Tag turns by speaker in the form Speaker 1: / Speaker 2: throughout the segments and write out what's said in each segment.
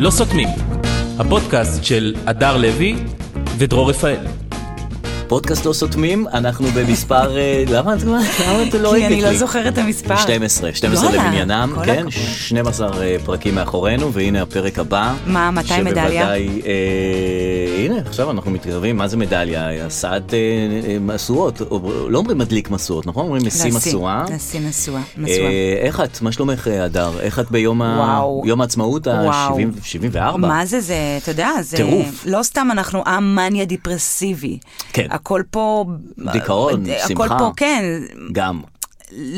Speaker 1: לא סותמים, הפודקאסט של הדר לוי ודרור רפאל.
Speaker 2: פודקאסט לא סותמים, אנחנו במספר, אה, למה את למה את לא
Speaker 3: כי
Speaker 2: הרגת לי?
Speaker 3: אני לא זוכרת את המספר.
Speaker 2: 12, 12
Speaker 3: יאללה,
Speaker 2: למניינם,
Speaker 3: כל
Speaker 2: כן,
Speaker 3: הכבוד.
Speaker 2: 12 אה, פרקים מאחורינו, והנה הפרק הבא.
Speaker 3: מה, מתי מדליה?
Speaker 2: שבוודאי, אה, הנה, עכשיו אנחנו מתקרבים, מה זה מדליה? הסעת אה, אה, משואות, או- לא אומרים מדליק משואות, נכון? אומרים נשיא משואה.
Speaker 3: נשיא משואה. משואה.
Speaker 2: אה, איך את? מה שלומך, אה, הדר? איך את ביום ה-
Speaker 3: וואו.
Speaker 2: יום העצמאות
Speaker 3: וואו.
Speaker 2: ה-74?
Speaker 3: מה זה זה, אתה יודע, זה...
Speaker 2: טירוף.
Speaker 3: לא סתם אנחנו עם מניה דיפרסיבי.
Speaker 2: כן.
Speaker 3: הכל פה... אה,
Speaker 2: דיכאון,
Speaker 3: הכל
Speaker 2: שמחה.
Speaker 3: פה, כן.
Speaker 2: גם.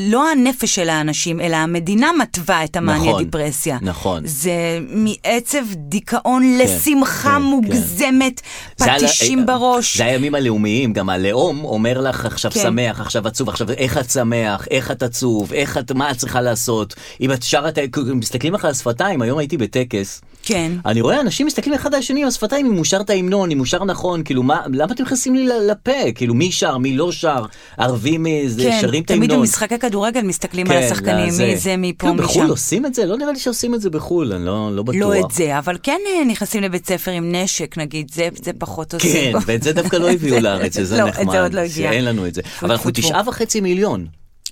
Speaker 3: לא הנפש של האנשים, אלא המדינה מתווה את המאניה
Speaker 2: נכון,
Speaker 3: דיפרסיה.
Speaker 2: נכון.
Speaker 3: זה מעצב דיכאון לשמחה
Speaker 2: כן,
Speaker 3: מוגזמת,
Speaker 2: זה על ה-
Speaker 3: פטישים
Speaker 2: אה,
Speaker 3: בראש.
Speaker 2: זה הימים הלאומיים, גם הלאום אומר לך עכשיו
Speaker 3: כן.
Speaker 2: שמח, עכשיו עצוב, עכשיו איך את שמח, איך את עצוב, איך את, מה את צריכה לעשות. אם את שרה, את- מסתכלים לך על השפתיים, היום הייתי בטקס.
Speaker 3: כן.
Speaker 2: אני רואה אנשים מסתכלים אחד על השני עם השפתיים, אם הוא שר את ההמנון, אם הוא שר נכון, כאילו מה, למה אתם נכנסים לי ל- לפה? כאילו מי שר, מי לא שר, ערבים אה, זה, שרים כן, את ההמנון.
Speaker 3: כן. תמיד במשחקי כדורגל מסתכלים על השחקנים,
Speaker 2: לזה.
Speaker 3: מי זה, מי פה,
Speaker 2: כאילו,
Speaker 3: מי שם.
Speaker 2: בחו"ל עושים את זה? לא נראה לי שעושים את זה בחו"ל, אני לא, לא בטוח.
Speaker 3: לא את זה, אבל כן אה, נכנסים לבית ספר עם נשק, נגיד, זה, זה פחות
Speaker 2: כן,
Speaker 3: עושים.
Speaker 2: ואת זה דווקא לא הביאו לארץ, שזה
Speaker 3: לא,
Speaker 2: נחמד.
Speaker 3: את זה עוד לא הגיע.
Speaker 2: שאין לנו את זה. אבל אנחנו
Speaker 3: טפו.
Speaker 2: תשעה וחצי מיליון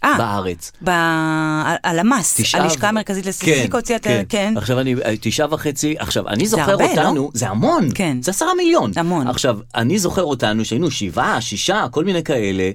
Speaker 3: אה.
Speaker 2: בארץ.
Speaker 3: הלמ"ס,
Speaker 2: תשעה ו-
Speaker 3: הלשכה המרכזית לסטטיסטיקה הוציאה את ה... כן.
Speaker 2: עכשיו אני, אה, תשעה וחצי, עכשיו, אני זוכר
Speaker 3: הרבה, לא?
Speaker 2: אותנו, זה המון,
Speaker 3: כן.
Speaker 2: זה עשרה מיליון.
Speaker 3: המון.
Speaker 2: עכשיו, אני זוכר אותנו שהיינו שבעה, שישה, כל מיני כאלה,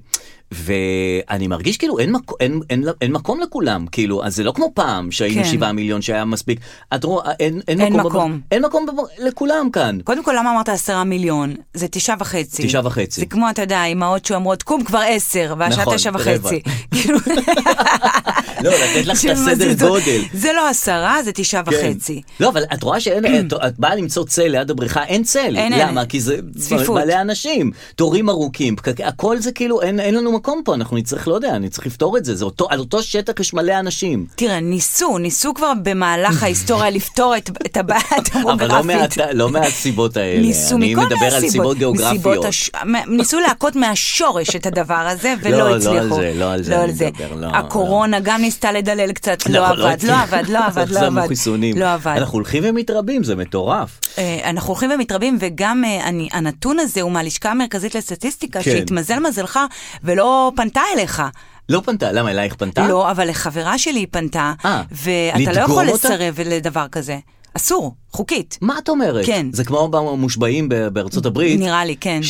Speaker 2: ואני מרגיש כאילו אין, מק, אין, אין, אין מקום לכולם, כאילו, אז זה לא כמו פעם שהיינו
Speaker 3: כן.
Speaker 2: שבעה מיליון שהיה מספיק. את רואה, אין, אין,
Speaker 3: אין
Speaker 2: מקום,
Speaker 3: מקום.
Speaker 2: בב- אין מקום בב- לכולם כאן.
Speaker 3: קודם כל, למה אמרת עשרה מיליון? זה תשעה וחצי.
Speaker 2: תשעה וחצי.
Speaker 3: זה כמו, אתה יודע, אמהות שאומרות, קום כבר עשר,
Speaker 2: נכון,
Speaker 3: והשעה תשע
Speaker 2: רבע.
Speaker 3: וחצי. כאילו,
Speaker 2: לא, לתת לך את הסדר
Speaker 3: שמזיזות.
Speaker 2: גודל.
Speaker 3: זה לא עשרה, זה תשעה
Speaker 2: כן.
Speaker 3: וחצי.
Speaker 2: לא, אבל את רואה שאין, את, את באה למצוא צל ליד הבריכה, אין צל.
Speaker 3: אין,
Speaker 2: למה?
Speaker 3: אין.
Speaker 2: כי זה
Speaker 3: צפיפות.
Speaker 2: מלא אנשים, תורים ארוכים, פקק, הכל זה כאילו, אין, אין לנו מקום פה, אנחנו נצטרך, לא יודע, נצטרך לפתור את זה, זה אותו, על אותו שטח יש מלא אנשים.
Speaker 3: תראה, ניסו, ניסו כבר במהלך ההיסטוריה לפתור את את הבעיה
Speaker 2: אבל לא, מהת,
Speaker 3: הדמוגרפית.
Speaker 2: לא מהסיבות האלה.
Speaker 3: ניסו
Speaker 2: אני
Speaker 3: מכל מיני
Speaker 2: מדבר על סיבות גיאוגרפיות.
Speaker 3: מסיבות הש... מ- ניסו להכות מהשורש את הדבר הזה, ולא
Speaker 2: לא, לא
Speaker 3: הצליחו.
Speaker 2: על זה, לא על זה אני מדבר, לא,
Speaker 3: הקורונה גם ניסתה לדלל קצת, לא,
Speaker 2: נכון,
Speaker 3: עבד, לא
Speaker 2: הצליח.
Speaker 3: עבד, לא עבד, לא
Speaker 2: שמו
Speaker 3: עבד.
Speaker 2: חיסונים.
Speaker 3: לא עבד.
Speaker 2: אנחנו הולכים ומתרבים, זה מטורף.
Speaker 3: אה, אנחנו הולכים ומתרבים, וגם אה, אני, הנתון הזה הוא מהלשכה המרכזית לסטטיסטיקה,
Speaker 2: כן.
Speaker 3: שהתמזל מזלך ולא פלתה אליך.
Speaker 2: לא פנתה, למה אלייך פנתה?
Speaker 3: לא, אבל לחברה שלי היא פנתה,
Speaker 2: אה,
Speaker 3: ואתה לא
Speaker 2: לדגום
Speaker 3: יכול
Speaker 2: אותה?
Speaker 3: לסרב לדבר כזה. אסור, חוקית.
Speaker 2: מה את אומרת?
Speaker 3: כן.
Speaker 2: זה כמו במושבעים ב- בארצות הברית.
Speaker 3: נראה לי, כן.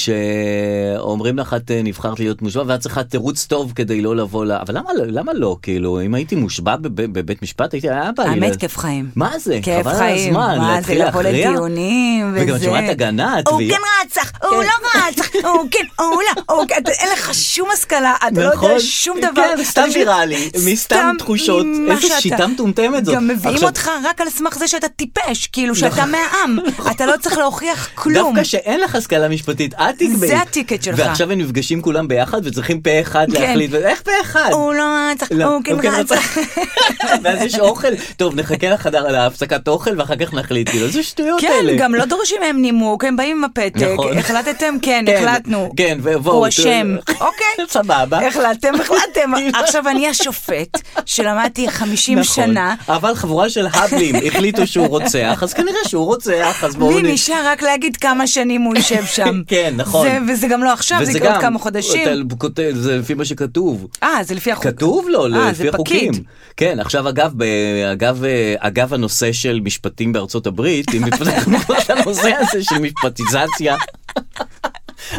Speaker 2: שאומרים לך, את אה, נבחרת להיות מושבע, ואת צריכה תירוץ טוב כדי לא לבוא ל... אבל למה, לא- למה לא? כאילו, אם הייתי מושבע בב- בבית משפט, הייתי... "אה, היה בא לי...
Speaker 3: האמת,
Speaker 2: ל-
Speaker 3: כיף חיים.
Speaker 2: לא-" מה זה?
Speaker 3: כיף
Speaker 2: חבל על
Speaker 3: חיים,
Speaker 2: הזמן,
Speaker 3: מה זה
Speaker 2: להתחיל
Speaker 3: לבוא
Speaker 2: להכריע?
Speaker 3: לדיונים וזה.
Speaker 2: וגם את שומעת הגנה, את
Speaker 3: הוא
Speaker 2: תביעה.
Speaker 3: כן רצח, הוא לא רצח, הוא כן, הוא לא, הוא כן, אתה- אין לך שום השכלה, אתה לא
Speaker 2: נכון.
Speaker 3: יודע שום דבר.
Speaker 2: כן, סתם
Speaker 3: אתה מבין?
Speaker 2: ויראלי, מסתם תחושות.
Speaker 3: ממה
Speaker 2: איזה
Speaker 3: שאתה-
Speaker 2: שיטה מטומטמת זאת.
Speaker 3: גם מביאים
Speaker 2: עכשיו- נכון.
Speaker 3: אותך רק על סמך זה שאתה טיפש, כאילו שאתה מהעם, אתה לא צריך להוכיח כלום.
Speaker 2: דווקא שאין לך השכלה משפטית, את תקבעי.
Speaker 3: זה הטיקט שלך.
Speaker 2: ועכשיו הם נפגשים כולם ביחד וצריכים פה אחד
Speaker 3: כן.
Speaker 2: להחליט. ואיך פה אחד?
Speaker 3: הוא לא רצח,
Speaker 2: לא,
Speaker 3: הוא כן רצח.
Speaker 2: ואז יש אוכל, טוב נחכה לחדר להפסקת אוכל ואחר כך נחליט, כאילו איזה שטויות
Speaker 3: כן,
Speaker 2: האלה.
Speaker 3: גם לא דורשים מהם נימוק, הם באים עם הפתק,
Speaker 2: נכון.
Speaker 3: החלטתם, כן,
Speaker 2: כן,
Speaker 3: החלטנו.
Speaker 2: כן, ובואו,
Speaker 3: הוא
Speaker 2: ת-
Speaker 3: אשם, אוקיי.
Speaker 2: סבבה.
Speaker 3: החלטתם, החלטתם. עכשיו אני השופט, שלמדתי 50
Speaker 2: לא- נכון.
Speaker 3: שנה.
Speaker 2: אבל חבורה של האבלים החליטו שהוא רוצח, אז כנראה שהוא רוצח, אז בואו... נ-
Speaker 3: לי נשאר רק להגיד כמה שנים הוא יושב שם.
Speaker 2: כן, נכון.
Speaker 3: זה- וזה גם לא עכשיו, זה
Speaker 2: וזה
Speaker 3: עוד
Speaker 2: גם,
Speaker 3: כמה חודשים.
Speaker 2: אתה כותב- זה לפי מה שכתוב.
Speaker 3: אה, זה לפי החוק.
Speaker 2: כתוב לו,
Speaker 3: אה,
Speaker 2: לפי
Speaker 3: זה
Speaker 2: החוקים.
Speaker 3: פקיד.
Speaker 2: כן, עכשיו אגב, ב- אגב, אה, אגב הנושא של משפטים בארצות הברית, אם נפתחנו כבר את הנושא הזה של משפטיזציה.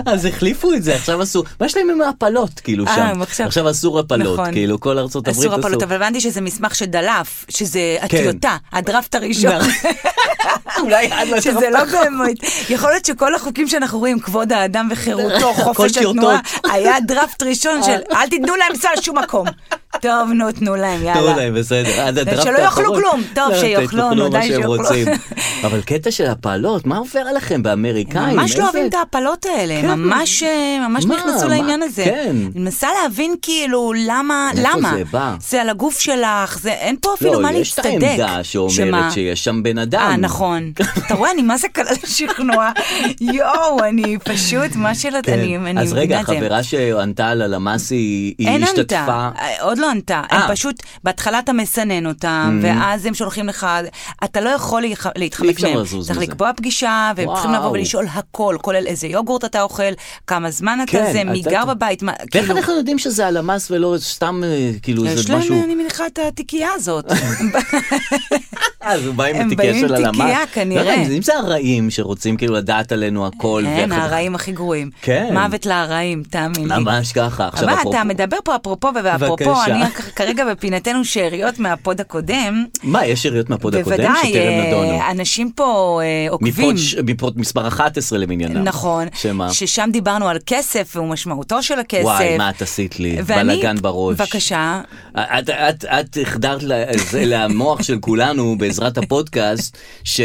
Speaker 2: אז החליפו את זה, עכשיו אסור, מה יש להם עם ההפלות, כאילו
Speaker 3: אה,
Speaker 2: שם?
Speaker 3: הם עכשיו-
Speaker 2: עכשיו אסור הפלות,
Speaker 3: נכון.
Speaker 2: כאילו כל ארצות הברית
Speaker 3: אסור הפלות, אבל הבנתי שזה מסמך שדלף, שזה
Speaker 2: כן. נכון.
Speaker 3: הטיוטה, הדראפט הראשון.
Speaker 2: אולי עד לא
Speaker 3: לא שזה לא באמת, יכול להיות שכל החוקים שאנחנו רואים, כבוד האדם וחירותו,
Speaker 2: הכל
Speaker 3: חופש
Speaker 2: טיוטות.
Speaker 3: התנועה, היה דראפט ראשון של אל תיתנו להם לנסוע לשום מקום. טוב, נו, תנו להם, יאללה.
Speaker 2: תנו להם, בסדר. עד הדראפט
Speaker 3: שלא יאכלו
Speaker 2: האחרון.
Speaker 3: כלום. טוב,
Speaker 2: לא,
Speaker 3: שיאכלו, נו, די
Speaker 2: מה שהם
Speaker 3: שיאכלו.
Speaker 2: רוצים. אבל קטע של הפעלות, מה עובר עליכם באמריקאים?
Speaker 3: ממש לא
Speaker 2: איזה-
Speaker 3: אוהבים את ההפלות האלה,
Speaker 2: כן.
Speaker 3: הם ממש, אה, ממש
Speaker 2: מה,
Speaker 3: נכנסו
Speaker 2: מה,
Speaker 3: לעניין הזה.
Speaker 2: כן.
Speaker 3: אני מנסה להבין כאילו למה,
Speaker 2: מאיפה
Speaker 3: למה.
Speaker 2: זה בא?
Speaker 3: זה על הגוף שלך, זה אין פה אפילו מה להצטדק.
Speaker 2: לא, יש את העמדה
Speaker 3: שמה?
Speaker 2: שאומרת שיש שם בן אדם.
Speaker 3: אה, נכון. אתה רואה, אני מה זה קלה לשכנוע. יואו, אני פשוט, מה של...
Speaker 2: כן.
Speaker 3: אני אני מבינה את
Speaker 2: אז
Speaker 3: זה.
Speaker 2: רגע, החברה שענתה על הלמ"ס היא היא
Speaker 3: אין
Speaker 2: השתתפה.
Speaker 3: ענתה, אה, עוד לא ענתה,
Speaker 2: אה. Mm.
Speaker 3: הם פשוט, בהתחלה אתה מסנן אותם, ואז הם שולחים לך, אתה לא יכול להיח-
Speaker 2: אי
Speaker 3: להתחמק
Speaker 2: אפשר
Speaker 3: מהם,
Speaker 2: לזוז
Speaker 3: צריך
Speaker 2: מזה.
Speaker 3: לקבוע פגישה, והם צריכים לבוא
Speaker 2: וואו.
Speaker 3: ולשאול הכל, כולל איזה יוגורט אתה אוכל, כמה זמן
Speaker 2: כן,
Speaker 3: אתה זה, מי
Speaker 2: אתה-
Speaker 3: גר בבית, מה-
Speaker 2: ואיך
Speaker 3: כאילו,
Speaker 2: אנחנו יודעים שזה הלמ"ס ולא סתם, אה, כאילו,
Speaker 3: יש
Speaker 2: זה
Speaker 3: להם,
Speaker 2: משהו...
Speaker 3: אני מניחה, את התיקייה הזאת.
Speaker 2: אז הוא בא עם
Speaker 3: הם
Speaker 2: התיקייה
Speaker 3: באים עם
Speaker 2: של הלמ"ס.
Speaker 3: תיקייה,
Speaker 2: לא
Speaker 3: כנראה.
Speaker 2: יודע, אם זה הרעים שרוצים כאילו לדעת עלינו הכל.
Speaker 3: הם
Speaker 2: ואיך-
Speaker 3: הרעים הכי גרועים.
Speaker 2: כן.
Speaker 3: מוות לרעים, תאמין לי.
Speaker 2: ממש ככה. עכשיו,
Speaker 3: אבל
Speaker 2: אפרופו-
Speaker 3: אתה מדבר פה אפרופו ובאפרופו,
Speaker 2: בבקשה.
Speaker 3: אני כרגע בפינתנו שאריות מהפוד הקודם.
Speaker 2: מה, יש שאריות מהפוד הקודם
Speaker 3: בוודאי,
Speaker 2: שטרם
Speaker 3: אה,
Speaker 2: נדונו?
Speaker 3: אנשים פה אה, עוקבים.
Speaker 2: מפוד ש- מפוד מספר 11 למניינם.
Speaker 3: נכון,
Speaker 2: אה, שמה?
Speaker 3: ששם דיברנו על כסף ומשמעותו של הכסף.
Speaker 2: וואי, מה את עשית לי?
Speaker 3: ואני-
Speaker 2: בלאגן בראש.
Speaker 3: בבקשה,
Speaker 2: את, את, את החדרת ל- זה למוח של כולנו בעזרת הפודקאסט, ש...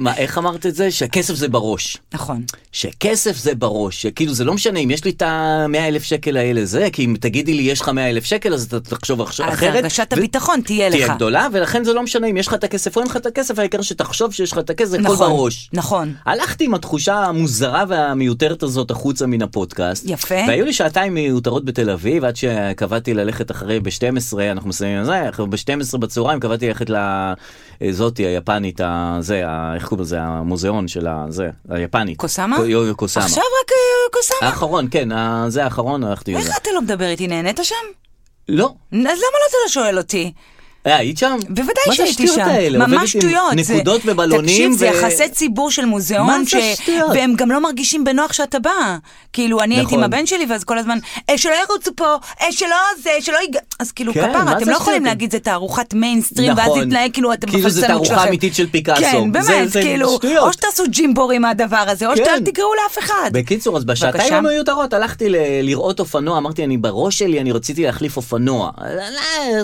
Speaker 2: מה, איך אמרת את זה? שהכסף זה בראש.
Speaker 3: נכון.
Speaker 2: שכסף זה בראש, שכאילו זה לא משנה אם יש לי את ה-100 אלף שקל האלה זה, כי אם תגידי לי יש לך 100 אלף שקל אז אתה תחשוב עכשיו
Speaker 3: אז
Speaker 2: אחרת.
Speaker 3: הרגשת הביטחון תהיה לך.
Speaker 2: תהיה גדולה, ולכן זה לא משנה אם יש לך את הכסף או אין לך את הכסף, העיקר שתחשוב שיש לך את הכסף, הכל
Speaker 3: נכון,
Speaker 2: בראש.
Speaker 3: נכון.
Speaker 2: הלכתי עם התחושה המוזרה והמיותרת הזאת החוצה מן הפודקאסט.
Speaker 3: יפה.
Speaker 2: והיו לי שעתיים מיותרות בתל אביב, עד שקבעתי ללכת אחרי ב-12, אנחנו מסיימים עם זה, ב-12 בצהריים קבעתי ללכת לזאתי היפנית, ה- זה, ה- איך קוראים לזה, המוזיאון של ה- זה, היפנית.
Speaker 3: קוסאמה?
Speaker 2: יו- יו- קוסאמה.
Speaker 3: עכשיו רק אה, קוסאמה.
Speaker 2: האחרון, כן, ה- זה האחרון, הלכתי עם זה.
Speaker 3: איך אתה לא מדבר איתי? נהנית שם?
Speaker 2: לא.
Speaker 3: אז למה לא אתה לא שואל אותי?
Speaker 2: אה, היית שם?
Speaker 3: בוודאי
Speaker 2: מה זה
Speaker 3: שהייתי
Speaker 2: השטויות
Speaker 3: שם,
Speaker 2: האלה? עובדת עם
Speaker 3: ממש שטויות. זה-
Speaker 2: נקודות ובלונים.
Speaker 3: תקשיב, זה
Speaker 2: ו-
Speaker 3: יחסי ציבור של מוזיאון,
Speaker 2: מה זה השטויות?
Speaker 3: והם גם לא מרגישים בנוח שאתה בא. כאילו, אני הייתי
Speaker 2: נכון.
Speaker 3: עם הבן שלי, ואז כל הזמן, "אה, שלא ירוצו פה, "אה, שלא זה, שלא יג... אז כאילו,
Speaker 2: כן, מה
Speaker 3: כפרה,
Speaker 2: זה
Speaker 3: אתם לא
Speaker 2: השטויות?
Speaker 3: יכולים להגיד, זה תערוכת מיינסטרים, ואז
Speaker 2: נכון.
Speaker 3: להתנהג כאילו אתם
Speaker 2: כאילו זה
Speaker 3: בחלצנות שלכם.
Speaker 2: תערוכה אמיתית של פיקאסו.
Speaker 3: כן,
Speaker 2: זה-
Speaker 3: באמת,
Speaker 2: זה
Speaker 3: כאילו,
Speaker 2: שטויות.
Speaker 3: או שתעשו ג'ימבור עם הדבר הזה, או
Speaker 2: כן.
Speaker 3: לא שאל תקראו לאף אחד.
Speaker 2: בקיצור, אז בשעתיים
Speaker 3: בבקשה.
Speaker 2: המיותרות הלכתי ל- לראות אופנוע, אמרתי, אני בראש שלי, אני רציתי להחליף אופנוע.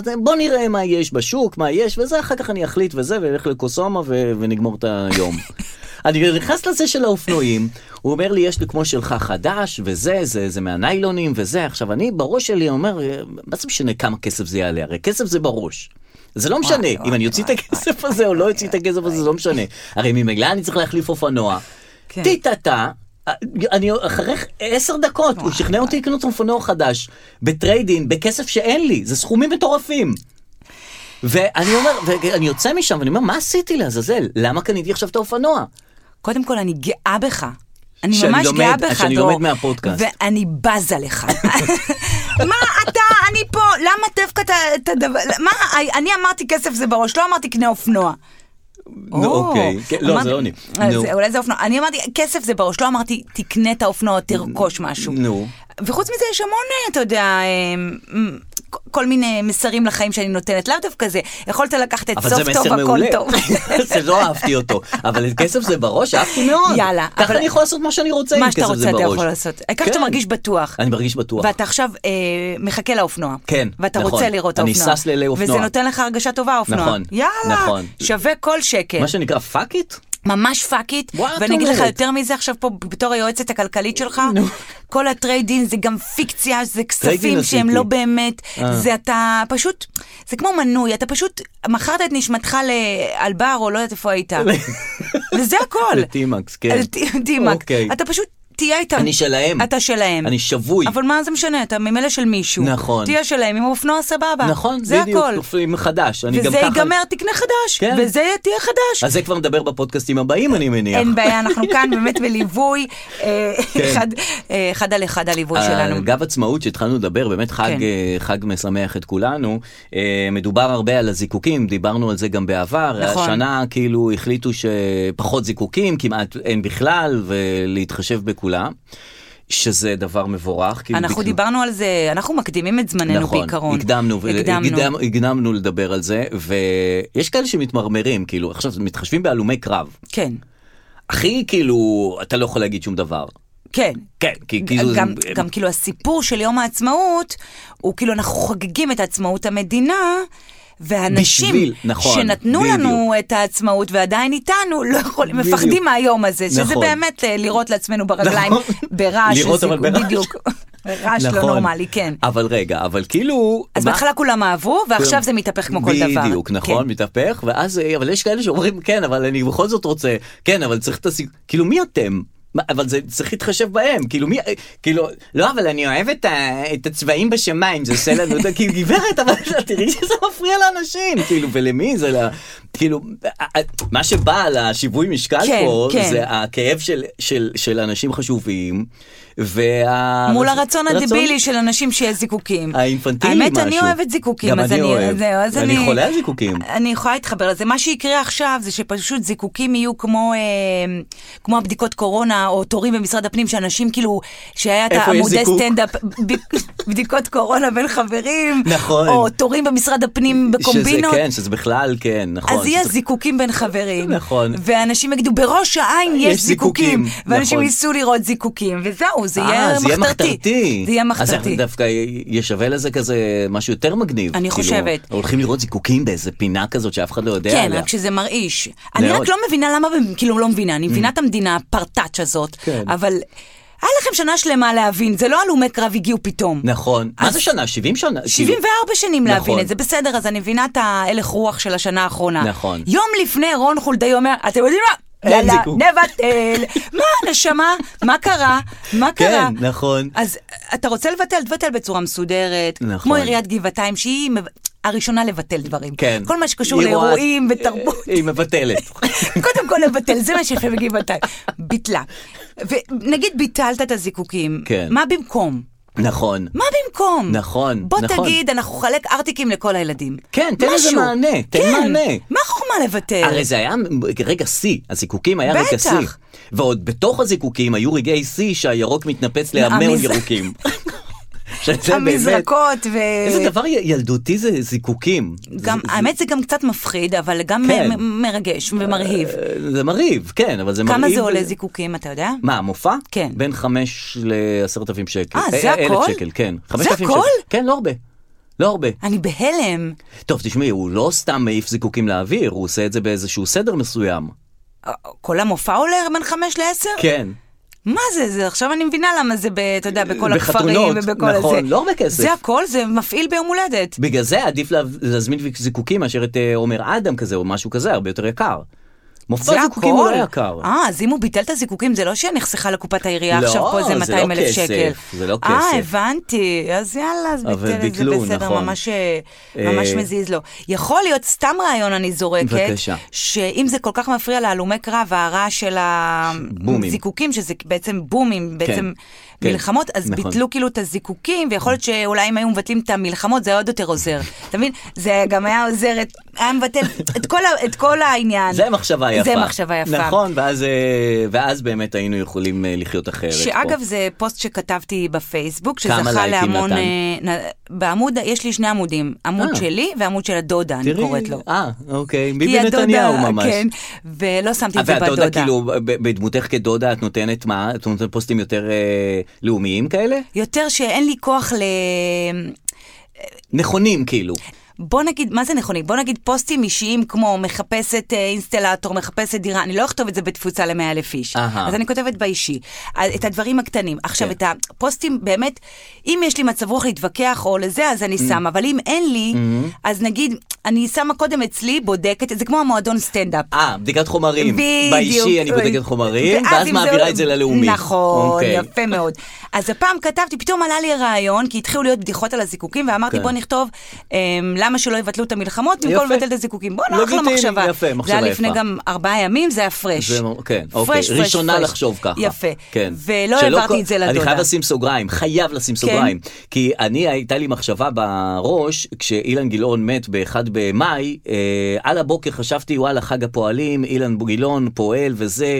Speaker 2: "לא, בוא נראה מה יש בשוק, מה יש, וזה, אחר כך אני אחליט וזה, ואלך לקוסומה ו- ונגמור את היום. אני נכנס לזה של האופנועים, הוא אומר לי, יש לי כמו שלך חדש, וזה, זה, זה מהניילונים, וזה. עכשיו, אני בראש שלי אומר, מה זה משנה כמה כסף זה יעלה? הרי כסף זה בראש. זה לא משנה, אם
Speaker 3: וואי,
Speaker 2: אני אוציא את הכסף הזה או לא אוציא את הכסף הזה, זה לא משנה. הרי ממילא אני צריך להחליף אופנוע.
Speaker 3: כן.
Speaker 2: טיטטה, אני אחרי עשר דקות, הוא שכנע אותי לקנות אופנוע חדש, בטריידין, בכסף שאין לי, זה סכומים מטורפים. ואני אומר, ואני יוצא משם ואני אומר, מה עשיתי לעזאזל? למה קניתי עכשיו את האופנוע?
Speaker 3: קודם כל, אני גאה בך. אני
Speaker 2: שאני
Speaker 3: ממש
Speaker 2: לומד-
Speaker 3: גאה בך,
Speaker 2: שאני
Speaker 3: דרור.
Speaker 2: לומד מהפודקאסט.
Speaker 3: ואני בזה לך. מה אתה, אני פה, למה דווקא את ה- את הדבר, מה, אני אמרתי כסף זה בראש, לא אמרתי קנה אופנוע.
Speaker 2: נו,
Speaker 3: או,
Speaker 2: אוקיי. כן, לא,
Speaker 3: אמרתי-
Speaker 2: זה לא אני.
Speaker 3: אז
Speaker 2: נו.
Speaker 3: אולי זה אופנוע. אני אמרתי, כסף זה בראש, לא אמרתי, תקנה את האופנוע, תרכוש משהו.
Speaker 2: נו.
Speaker 3: וחוץ מזה, יש המון, אה, אתה יודע, אה, מ- כל מיני מסרים לחיים שאני נותנת, לאו דווקא זה. יכולת לקחת את
Speaker 2: אבל
Speaker 3: סוף
Speaker 2: זה
Speaker 3: טוב,
Speaker 2: מסר
Speaker 3: הכל
Speaker 2: מעולה.
Speaker 3: טוב.
Speaker 2: זה לא אהבתי אותו. אבל כסף זה בראש, אהבתי מאוד.
Speaker 3: יאללה,
Speaker 2: ככה
Speaker 3: אבל-
Speaker 2: אני יכול לעשות מה שאני רוצה עם
Speaker 3: מה
Speaker 2: כסף זה בראש.
Speaker 3: שאתה רוצה אתה יכול לעשות. העיקר שאתה
Speaker 2: כן.
Speaker 3: מרגיש בטוח.
Speaker 2: אני מרגיש בטוח.
Speaker 3: ואתה עכשיו אה, מחכה לאופנוע.
Speaker 2: כן,
Speaker 3: ואתה
Speaker 2: נכון.
Speaker 3: רוצה לראות
Speaker 2: אני
Speaker 3: האופנוע.
Speaker 2: שש לאלי אופנוע.
Speaker 3: וזה נותן לך הרגשה טובה, האופנוע.
Speaker 2: נכון,
Speaker 3: יאללה,
Speaker 2: נכון.
Speaker 3: שווה כל שקל.
Speaker 2: מה שנקרא פאק איט?
Speaker 3: ממש פאק איט.
Speaker 2: וואי, את
Speaker 3: ואני אגיד לך
Speaker 2: אומרת.
Speaker 3: יותר מזה עכשיו פה, בתור היועצת הכלכלית שלך, כל הטרייד אין זה גם פיקציה, זה כספים שהם
Speaker 2: עשיתי.
Speaker 3: לא באמת,
Speaker 2: אה.
Speaker 3: זה אתה פשוט, זה כמו מנוי, אתה פשוט מכרת את נשמתך לאלבר או לא יודעת איפה היית. וזה הכל.
Speaker 2: לטימקס, כן.
Speaker 3: אל ט- טימקס.
Speaker 2: אוקיי.
Speaker 3: אתה פשוט תהיה איתם.
Speaker 2: אני שלהם.
Speaker 3: אתה שלהם.
Speaker 2: אני שבוי.
Speaker 3: אבל מה זה משנה, אתה ממילא של מישהו.
Speaker 2: נכון.
Speaker 3: תהיה שלהם, עם אופנוע סבבה.
Speaker 2: נכון,
Speaker 3: זה
Speaker 2: בדיוק,
Speaker 3: הכל.
Speaker 2: תופרים חדש. אני גם
Speaker 3: וזה
Speaker 2: ככה-
Speaker 3: ייגמר, תקנה חדש.
Speaker 2: כן.
Speaker 3: וזה יהיה- תהיה חדש.
Speaker 2: אז זה כבר נדבר בפודקאסטים הבאים, אני מניח.
Speaker 3: אין בעיה, אנחנו כאן באמת בליווי, אה,
Speaker 2: כן.
Speaker 3: אחד- אה, אחד על אחד הליווי שלנו.
Speaker 2: אגב עצמאות שהתחלנו לדבר, באמת חג,
Speaker 3: כן.
Speaker 2: אה, חג משמח את כולנו. אה, מדובר הרבה על הזיקוקים, דיברנו על זה גם בעבר.
Speaker 3: נכון.
Speaker 2: השנה כאילו החליטו שפחות זיקוקים, כמעט אין בכלל, ולהתחשב בכולם, שזה דבר מבורך. כאילו,
Speaker 3: אנחנו
Speaker 2: בכלל-
Speaker 3: דיברנו על זה, אנחנו מקדימים את זמננו
Speaker 2: נכון,
Speaker 3: בעיקרון.
Speaker 2: הקדמנו,
Speaker 3: הקדמנו.
Speaker 2: הקדמנו. הקדמנו לדבר על זה, ויש כאלה שמתמרמרים, כאילו, עכשיו מתחשבים בהלומי קרב.
Speaker 3: כן.
Speaker 2: הכי כאילו, אתה לא יכול להגיד שום דבר.
Speaker 3: כן.
Speaker 2: כן, כי כאילו...
Speaker 3: גם,
Speaker 2: זה-
Speaker 3: גם כאילו הסיפור של יום העצמאות, הוא כאילו אנחנו חוגגים את עצמאות המדינה, והאנשים
Speaker 2: בשביל, נכון,
Speaker 3: שנתנו
Speaker 2: בדיוק.
Speaker 3: לנו את העצמאות ועדיין איתנו, לא יכולים,
Speaker 2: בדיוק.
Speaker 3: מפחדים מהיום הזה, שזה
Speaker 2: נכון.
Speaker 3: באמת אה, לירות לעצמנו ברגליים,
Speaker 2: נכון.
Speaker 3: ברעש,
Speaker 2: לירות, אבל
Speaker 3: לסיכוי-
Speaker 2: ברעש.
Speaker 3: בדיוק, רעש לא
Speaker 2: נכון.
Speaker 3: נורמלי, כן.
Speaker 2: אבל רגע, אבל כאילו...
Speaker 3: אז
Speaker 2: מה- כן.
Speaker 3: בהתחלה כולם אהבו, ועכשיו זה מתהפך כמו כל דבר.
Speaker 2: בדיוק, נכון,
Speaker 3: כן.
Speaker 2: מתהפך, ואז, אה, אבל יש כאלה שאומרים, כן, אבל אני בכל זאת רוצה, כן, אבל צריך את הסיג... כאילו, מי אתם? מה, אבל זה צריך להתחשב בהם, כאילו מי, אה, כאילו, לא, אבל אני אוהב את, ה, את הצבעים בשמיים, זה עושה לנו, אתה- כאילו, גברת, אבל תראי שזה מפריע לאנשים, כאילו, ולמי זה, לה, כאילו, אה, אה, מה שבא על השיווי משקל
Speaker 3: כן,
Speaker 2: פה,
Speaker 3: כן.
Speaker 2: זה הכאב של, של, של אנשים חשובים, וה...
Speaker 3: מול הרצון הדבילי של אנשים שיש זיקוקים.
Speaker 2: האינפנטילי
Speaker 3: האמת,
Speaker 2: משהו.
Speaker 3: אני אוהבת זיקוקים.
Speaker 2: גם
Speaker 3: אז
Speaker 2: אני
Speaker 3: אני
Speaker 2: אוהב.
Speaker 3: זהו, אז
Speaker 2: אני חולה על זיקוקים.
Speaker 3: אני יכולה להתחבר לזה. מה שיקרה עכשיו זה שפשוט זיקוקים יהיו כמו, אה, כמו הבדיקות קורונה, או תורים במשרד הפנים, שאנשים כאילו, שהיה את
Speaker 2: איפה יש
Speaker 3: העמודי
Speaker 2: זיקוק?
Speaker 3: סטנדאפ, ב- בדיקות קורונה בין חברים,
Speaker 2: נכון.
Speaker 3: או תורים במשרד הפנים בקומבינות.
Speaker 2: שזה כן, שזה בכלל כן, נכון.
Speaker 3: אז יהיה
Speaker 2: שזה-
Speaker 3: זיקוקים בין חברים.
Speaker 2: נכון. אה,
Speaker 3: ואנשים יגידו, בראש העין יש,
Speaker 2: יש זיקוקים,
Speaker 3: זיקוקים. ואנשים
Speaker 2: נכון.
Speaker 3: ייסעו לראות זיקוקים, וזהו, זה יהיה
Speaker 2: אה,
Speaker 3: מחתרתי.
Speaker 2: זה יהיה מחתרתי.
Speaker 3: זה יהיה
Speaker 2: אז אנחנו
Speaker 3: מחתרתי.
Speaker 2: דווקא יהיה שווה לזה כזה משהו יותר מגניב.
Speaker 3: אני
Speaker 2: כאילו,
Speaker 3: חושבת.
Speaker 2: הולכים לראות זיקוקים באיזה פינה כזאת שאף אחד לא יודע
Speaker 3: כן,
Speaker 2: עליה.
Speaker 3: רק שזה מרעיש. אני רק
Speaker 2: מאוד. Mm.
Speaker 3: לא מבינה למה, הם- כאילו לא מבינה, אני מבינה את המדינה הפרטאץ' הזאת,
Speaker 2: כן.
Speaker 3: אבל היה לכם שנה שלמה להבין, זה לא הלומי קרב הגיעו פתאום.
Speaker 2: נכון. מה
Speaker 3: אז-
Speaker 2: זה שנה? 70 שנה? כאילו,
Speaker 3: 74 שנים
Speaker 2: נכון.
Speaker 3: להבין את זה, בסדר, אז אני מבינה את ההלך רוח של השנה האחרונה.
Speaker 2: נכון.
Speaker 3: יום לפני רון חולדאי אומר, אתם יודעים מה?
Speaker 2: אין
Speaker 3: יאללה,
Speaker 2: זיקוק."
Speaker 3: נבטל. מה, נשמה? מה קרה? מה קרה?
Speaker 2: כן, נכון.
Speaker 3: אז אתה רוצה לבטל, תבטל בצורה מסודרת.
Speaker 2: נכון.
Speaker 3: כמו עיריית גבעתיים, שהיא מב- הראשונה לבטל דברים.
Speaker 2: כן.
Speaker 3: כל מה שקשור
Speaker 2: היא רואה-
Speaker 3: לאירועים ותרבות.
Speaker 2: היא מבטלת.
Speaker 3: קודם כל לבטל, זה מה שיפה בגבעתיים. ביטלה. ונגיד ביטלת את הזיקוקים,
Speaker 2: כן.
Speaker 3: מה במקום?
Speaker 2: נכון.
Speaker 3: מה במקום?
Speaker 2: נכון,
Speaker 3: בוא
Speaker 2: נכון.
Speaker 3: תגיד, אנחנו נחלק ארטיקים לכל הילדים.
Speaker 2: כן, תן לזה
Speaker 3: משהו.
Speaker 2: מענה, תן
Speaker 3: כן.
Speaker 2: מענה.
Speaker 3: מה החוכמה לבטל?
Speaker 2: הרי זה היה רגע שיא, הזיקוקים היה רגע
Speaker 3: בטח.
Speaker 2: שיא. ועוד בתוך הזיקוקים היו רגעי שיא שהירוק מתנפץ
Speaker 3: המז-
Speaker 2: להמון ירוקים. שזה באמת-
Speaker 3: המזרקות ו...
Speaker 2: איזה דבר י- ילדותי זה זיקוקים.
Speaker 3: גם,
Speaker 2: זה-
Speaker 3: האמת זה גם קצת מפחיד, אבל גם
Speaker 2: כן.
Speaker 3: מ- מ- מרגש ומרהיב.
Speaker 2: זה- זה מרהיב, כן, אבל זה מרהיב.
Speaker 3: כמה זה עולה זיקוקים, אתה יודע?
Speaker 2: מה, המופע?
Speaker 3: כן.
Speaker 2: בין 5 ל-10,000 שקל.
Speaker 3: אה, זה
Speaker 2: אה, אלף
Speaker 3: הכל?
Speaker 2: שקל, כן.
Speaker 3: זה
Speaker 2: 5,000
Speaker 3: הכל?
Speaker 2: שקל. כן, לא הרבה. לא הרבה.
Speaker 3: אני בהלם.
Speaker 2: טוב, תשמעי, הוא לא סתם מעיף זיקוקים לאוויר, הוא עושה את זה באיזשהו סדר מסוים.
Speaker 3: אה, כל המופע עולה בין חמש לעשר?
Speaker 2: כן.
Speaker 3: מה זה זה? עכשיו אני מבינה למה זה, ב- אתה יודע, בכל
Speaker 2: בחתונות,
Speaker 3: הכפרים ובכל הזה.
Speaker 2: נכון, לא הרבה כסף.
Speaker 3: זה הכל, זה מפעיל ביום הולדת.
Speaker 2: בגלל זה עדיף לה- להזמין זיקוקים מאשר את אה, עומר אדם כזה או משהו כזה, הרבה יותר יקר. מופע
Speaker 3: זה
Speaker 2: זיקוקים
Speaker 3: הכל.
Speaker 2: הוא לא יקר.
Speaker 3: אה, אז אם הוא ביטל את הזיקוקים, זה לא שנחסכה לקופת העירייה
Speaker 2: לא,
Speaker 3: עכשיו פה איזה
Speaker 2: זה לא
Speaker 3: 200 אלף
Speaker 2: כסף,
Speaker 3: שקל.
Speaker 2: זה לא
Speaker 3: אה,
Speaker 2: כסף.
Speaker 3: הבנתי. אז יאללה, אז
Speaker 2: אבל
Speaker 3: ביטל את זה
Speaker 2: ביטלו,
Speaker 3: בסדר,
Speaker 2: נכון.
Speaker 3: ממש אה, ממש
Speaker 2: אה,
Speaker 3: מזיז לו. יכול להיות, סתם רעיון אני זורקת,
Speaker 2: בבקשה.
Speaker 3: שאם זה כל כך מפריע להלומי קרב, הרעש של
Speaker 2: בומים.
Speaker 3: הזיקוקים, שזה בעצם בומים, בעצם
Speaker 2: כן,
Speaker 3: מלחמות, אז
Speaker 2: נכון.
Speaker 3: ביטלו כאילו את הזיקוקים, ויכול להיות שאולי אם היו מבטלים את המלחמות, זה היה עוד יותר עוזר. אתה מבין? זה גם היה עוזר, את- היה מבטל את כל ה- את כל העניין.
Speaker 2: זה מחשבה יפה.
Speaker 3: זה מחשבה יפה.
Speaker 2: נכון, ואז, אה, ואז באמת היינו יכולים אה, לחיות אחרת.
Speaker 3: שאגב
Speaker 2: פה.
Speaker 3: זה פוסט שכתבתי בפייסבוק,
Speaker 2: כמה
Speaker 3: שזכה
Speaker 2: לייקים
Speaker 3: להמון...
Speaker 2: נתן?
Speaker 3: אה, נ- בעמוד, יש לי שני עמודים, עמוד
Speaker 2: אה.
Speaker 3: שלי ועמוד של הדודה, אני
Speaker 2: תראי,
Speaker 3: קוראת לו.
Speaker 2: אה, אוקיי,
Speaker 3: כי
Speaker 2: ביבי
Speaker 3: הדודה-
Speaker 2: נתניהו ממש.
Speaker 3: כן, ולא שמתי
Speaker 2: אה,
Speaker 3: את זה
Speaker 2: ואת
Speaker 3: בדודה.
Speaker 2: יודעת, כאילו, ב- בדמותך כדודה את נותנת מה? את נותנת פוסטים יותר אה, לאומיים כאלה?
Speaker 3: יותר שאין לי כוח ל...
Speaker 2: נכונים כאילו.
Speaker 3: בוא נגיד, מה זה נכונים? בוא נגיד פוסטים אישיים כמו מחפשת אה, אינסטלטור, מחפשת דירה, אני לא אכתוב את זה בתפוצה ל-100 אלף איש.
Speaker 2: אהה.
Speaker 3: אז אני כותבת באישי. אה, את הדברים הקטנים. עכשיו,
Speaker 2: כן.
Speaker 3: את הפוסטים, באמת, אם יש לי מצב רוח להתווכח או לזה, אז
Speaker 2: Mm.
Speaker 3: אני שמה, אבל אם אין לי,
Speaker 2: Mm-hmm.
Speaker 3: אז נגיד, אני שמה קודם אצלי, בודקת, זה כמו המועדון סטנדאפ.
Speaker 2: אה, בדיקת חומרים.
Speaker 3: בדיוק.
Speaker 2: באישי אני בודקת חומרים, ואז
Speaker 3: אם
Speaker 2: מעבירה את זה ללאומי.
Speaker 3: נכון,
Speaker 2: אוקיי.
Speaker 3: יפה מאוד. אז הפעם כתבתי, פתאום עלה לי רעיון, כי התחילו להיות בדיחות על הזיקוקים, ואמרתי
Speaker 2: כן.
Speaker 3: בוא נכתוב אמ, למה שלא יבטלו את המלחמות במקום
Speaker 2: יפה.
Speaker 3: לבטל את הזיקוקים. בוא'נה, אחלה
Speaker 2: לגיטימי,
Speaker 3: מחשבה.
Speaker 2: יפה, מחשבה
Speaker 3: זה היה לפני
Speaker 2: יפה.
Speaker 3: גם ארבעה ימים, זה היה פרש.
Speaker 2: זה, כן, אוקיי,
Speaker 3: פרש, פרש,
Speaker 2: ראשונה
Speaker 3: פרש.
Speaker 2: לחשוב ככה.
Speaker 3: יפה.
Speaker 2: כן.
Speaker 3: ולא
Speaker 2: שלא
Speaker 3: העברתי
Speaker 2: כל-
Speaker 3: את זה לדודה. כן.
Speaker 2: אני חייב לשים סוגריים, חייב לשים סוגריים. כי אני, הייתה לי מחשבה בראש, כשאילן גילאון מת באחד במאי, אה, על הבוקר חשבתי, וואלה, חג הפועלים, אילן גילאון פועל וזה.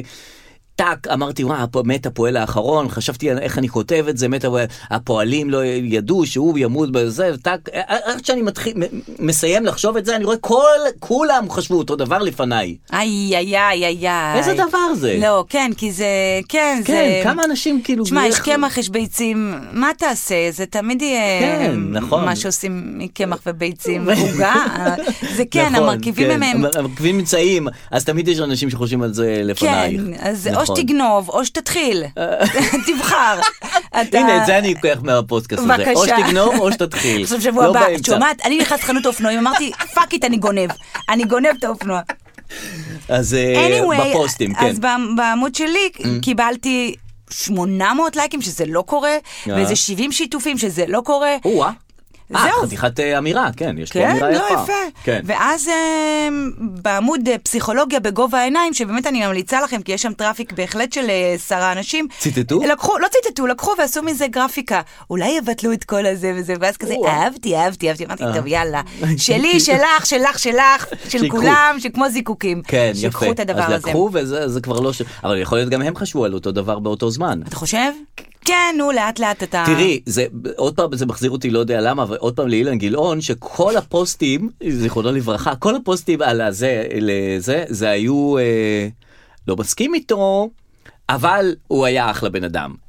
Speaker 2: טאק, אמרתי, וואה, הפ- מת הפועל האחרון, חשבתי על איך אני כותב את זה, מת הפועל, הפועלים לא ידעו שהוא ימות בזה, טאק, עד שאני מתחיל, מ- מסיים לחשוב את זה, אני רואה כל, כולם חשבו אותו דבר לפניי.
Speaker 3: איי, איי, איי, איי, איי.
Speaker 2: איזה דבר זה?
Speaker 3: לא, כן, כי זה... כן, זה...
Speaker 2: כן, כמה אנשים כאילו...
Speaker 3: תשמע, יש
Speaker 2: איך-
Speaker 3: קמח, יש ביצים, מה תעשה? זה תמיד יהיה... אמ,
Speaker 2: כן, נכון.
Speaker 3: מה שעושים מקמח וביצים, עוגה. זה כן,
Speaker 2: נכון,
Speaker 3: המרכיבים
Speaker 2: כן.
Speaker 3: הם... הם-
Speaker 2: המ- המרכיבים נמצאים, אז תמיד יש אנשים שחושבים על זה
Speaker 3: כן,
Speaker 2: לפנייך.
Speaker 3: אז או
Speaker 2: נכון. אה.
Speaker 3: שתגנוב, או שתתחיל. תבחר. אתה-
Speaker 2: הנה, את זה אני לוקח מהפודקאסט הזה. או
Speaker 3: בבקשה.
Speaker 2: שתגנוב או שתתחיל.
Speaker 3: עכשיו שבוע
Speaker 2: לא
Speaker 3: הבא, את
Speaker 2: באמצע.
Speaker 3: שומעת? אני נכנס לחנות אופנועים, אמרתי, פאק איט, אני גונב. אני גונב את האופנוע.
Speaker 2: אז אה,
Speaker 3: anyway,
Speaker 2: בפוסטים, כן. Mm.
Speaker 3: אז בעמ- בעמוד שלי קיבלתי 800 לייקים, שזה לא קורה, ואיזה 70 שיתופים, שזה לא קורה.
Speaker 2: או-אה. אה,
Speaker 3: זהו.
Speaker 2: חתיכת אה, אמירה, כן, יש פה
Speaker 3: כן,
Speaker 2: אמירה
Speaker 3: לא
Speaker 2: יפה.
Speaker 3: יפה.
Speaker 2: כן.
Speaker 3: ואז אה, בעמוד אה, פסיכולוגיה בגובה העיניים, שבאמת אני ממליצה לכם, כי יש שם טראפיק בהחלט של אה, עשרה אנשים.
Speaker 2: ציטטו?
Speaker 3: לקחו, לא ציטטו, לקחו ועשו מזה גרפיקה. אולי יבטלו את כל הזה וזה, ואז כזה,
Speaker 2: וואו.
Speaker 3: אהבתי, אהבתי, אהבתי, אמרתי, טוב, יאללה. שלי, שלך, שלך, שלך, של
Speaker 2: אה. שיקחו.
Speaker 3: כולם, שכמו זיקוקים.
Speaker 2: כן, יפה.
Speaker 3: שיקחו את הדבר
Speaker 2: אז
Speaker 3: הזה.
Speaker 2: לקחו וזה זה כבר לא ש... אבל יכול להיות גם הם חשבו על אותו דבר באותו זמן.
Speaker 3: אתה חושב? כן, נו, לאט לאט אתה...
Speaker 2: תראי, זה, עוד פעם, זה מחזיר אותי, לא יודע למה, אבל עוד פעם לאילן גילאון, שכל הפוסטים, זיכרונו לברכה, כל הפוסטים על הזה, לזה, זה היו, אה, לא מסכים איתו, אבל הוא היה אחלה בן אדם.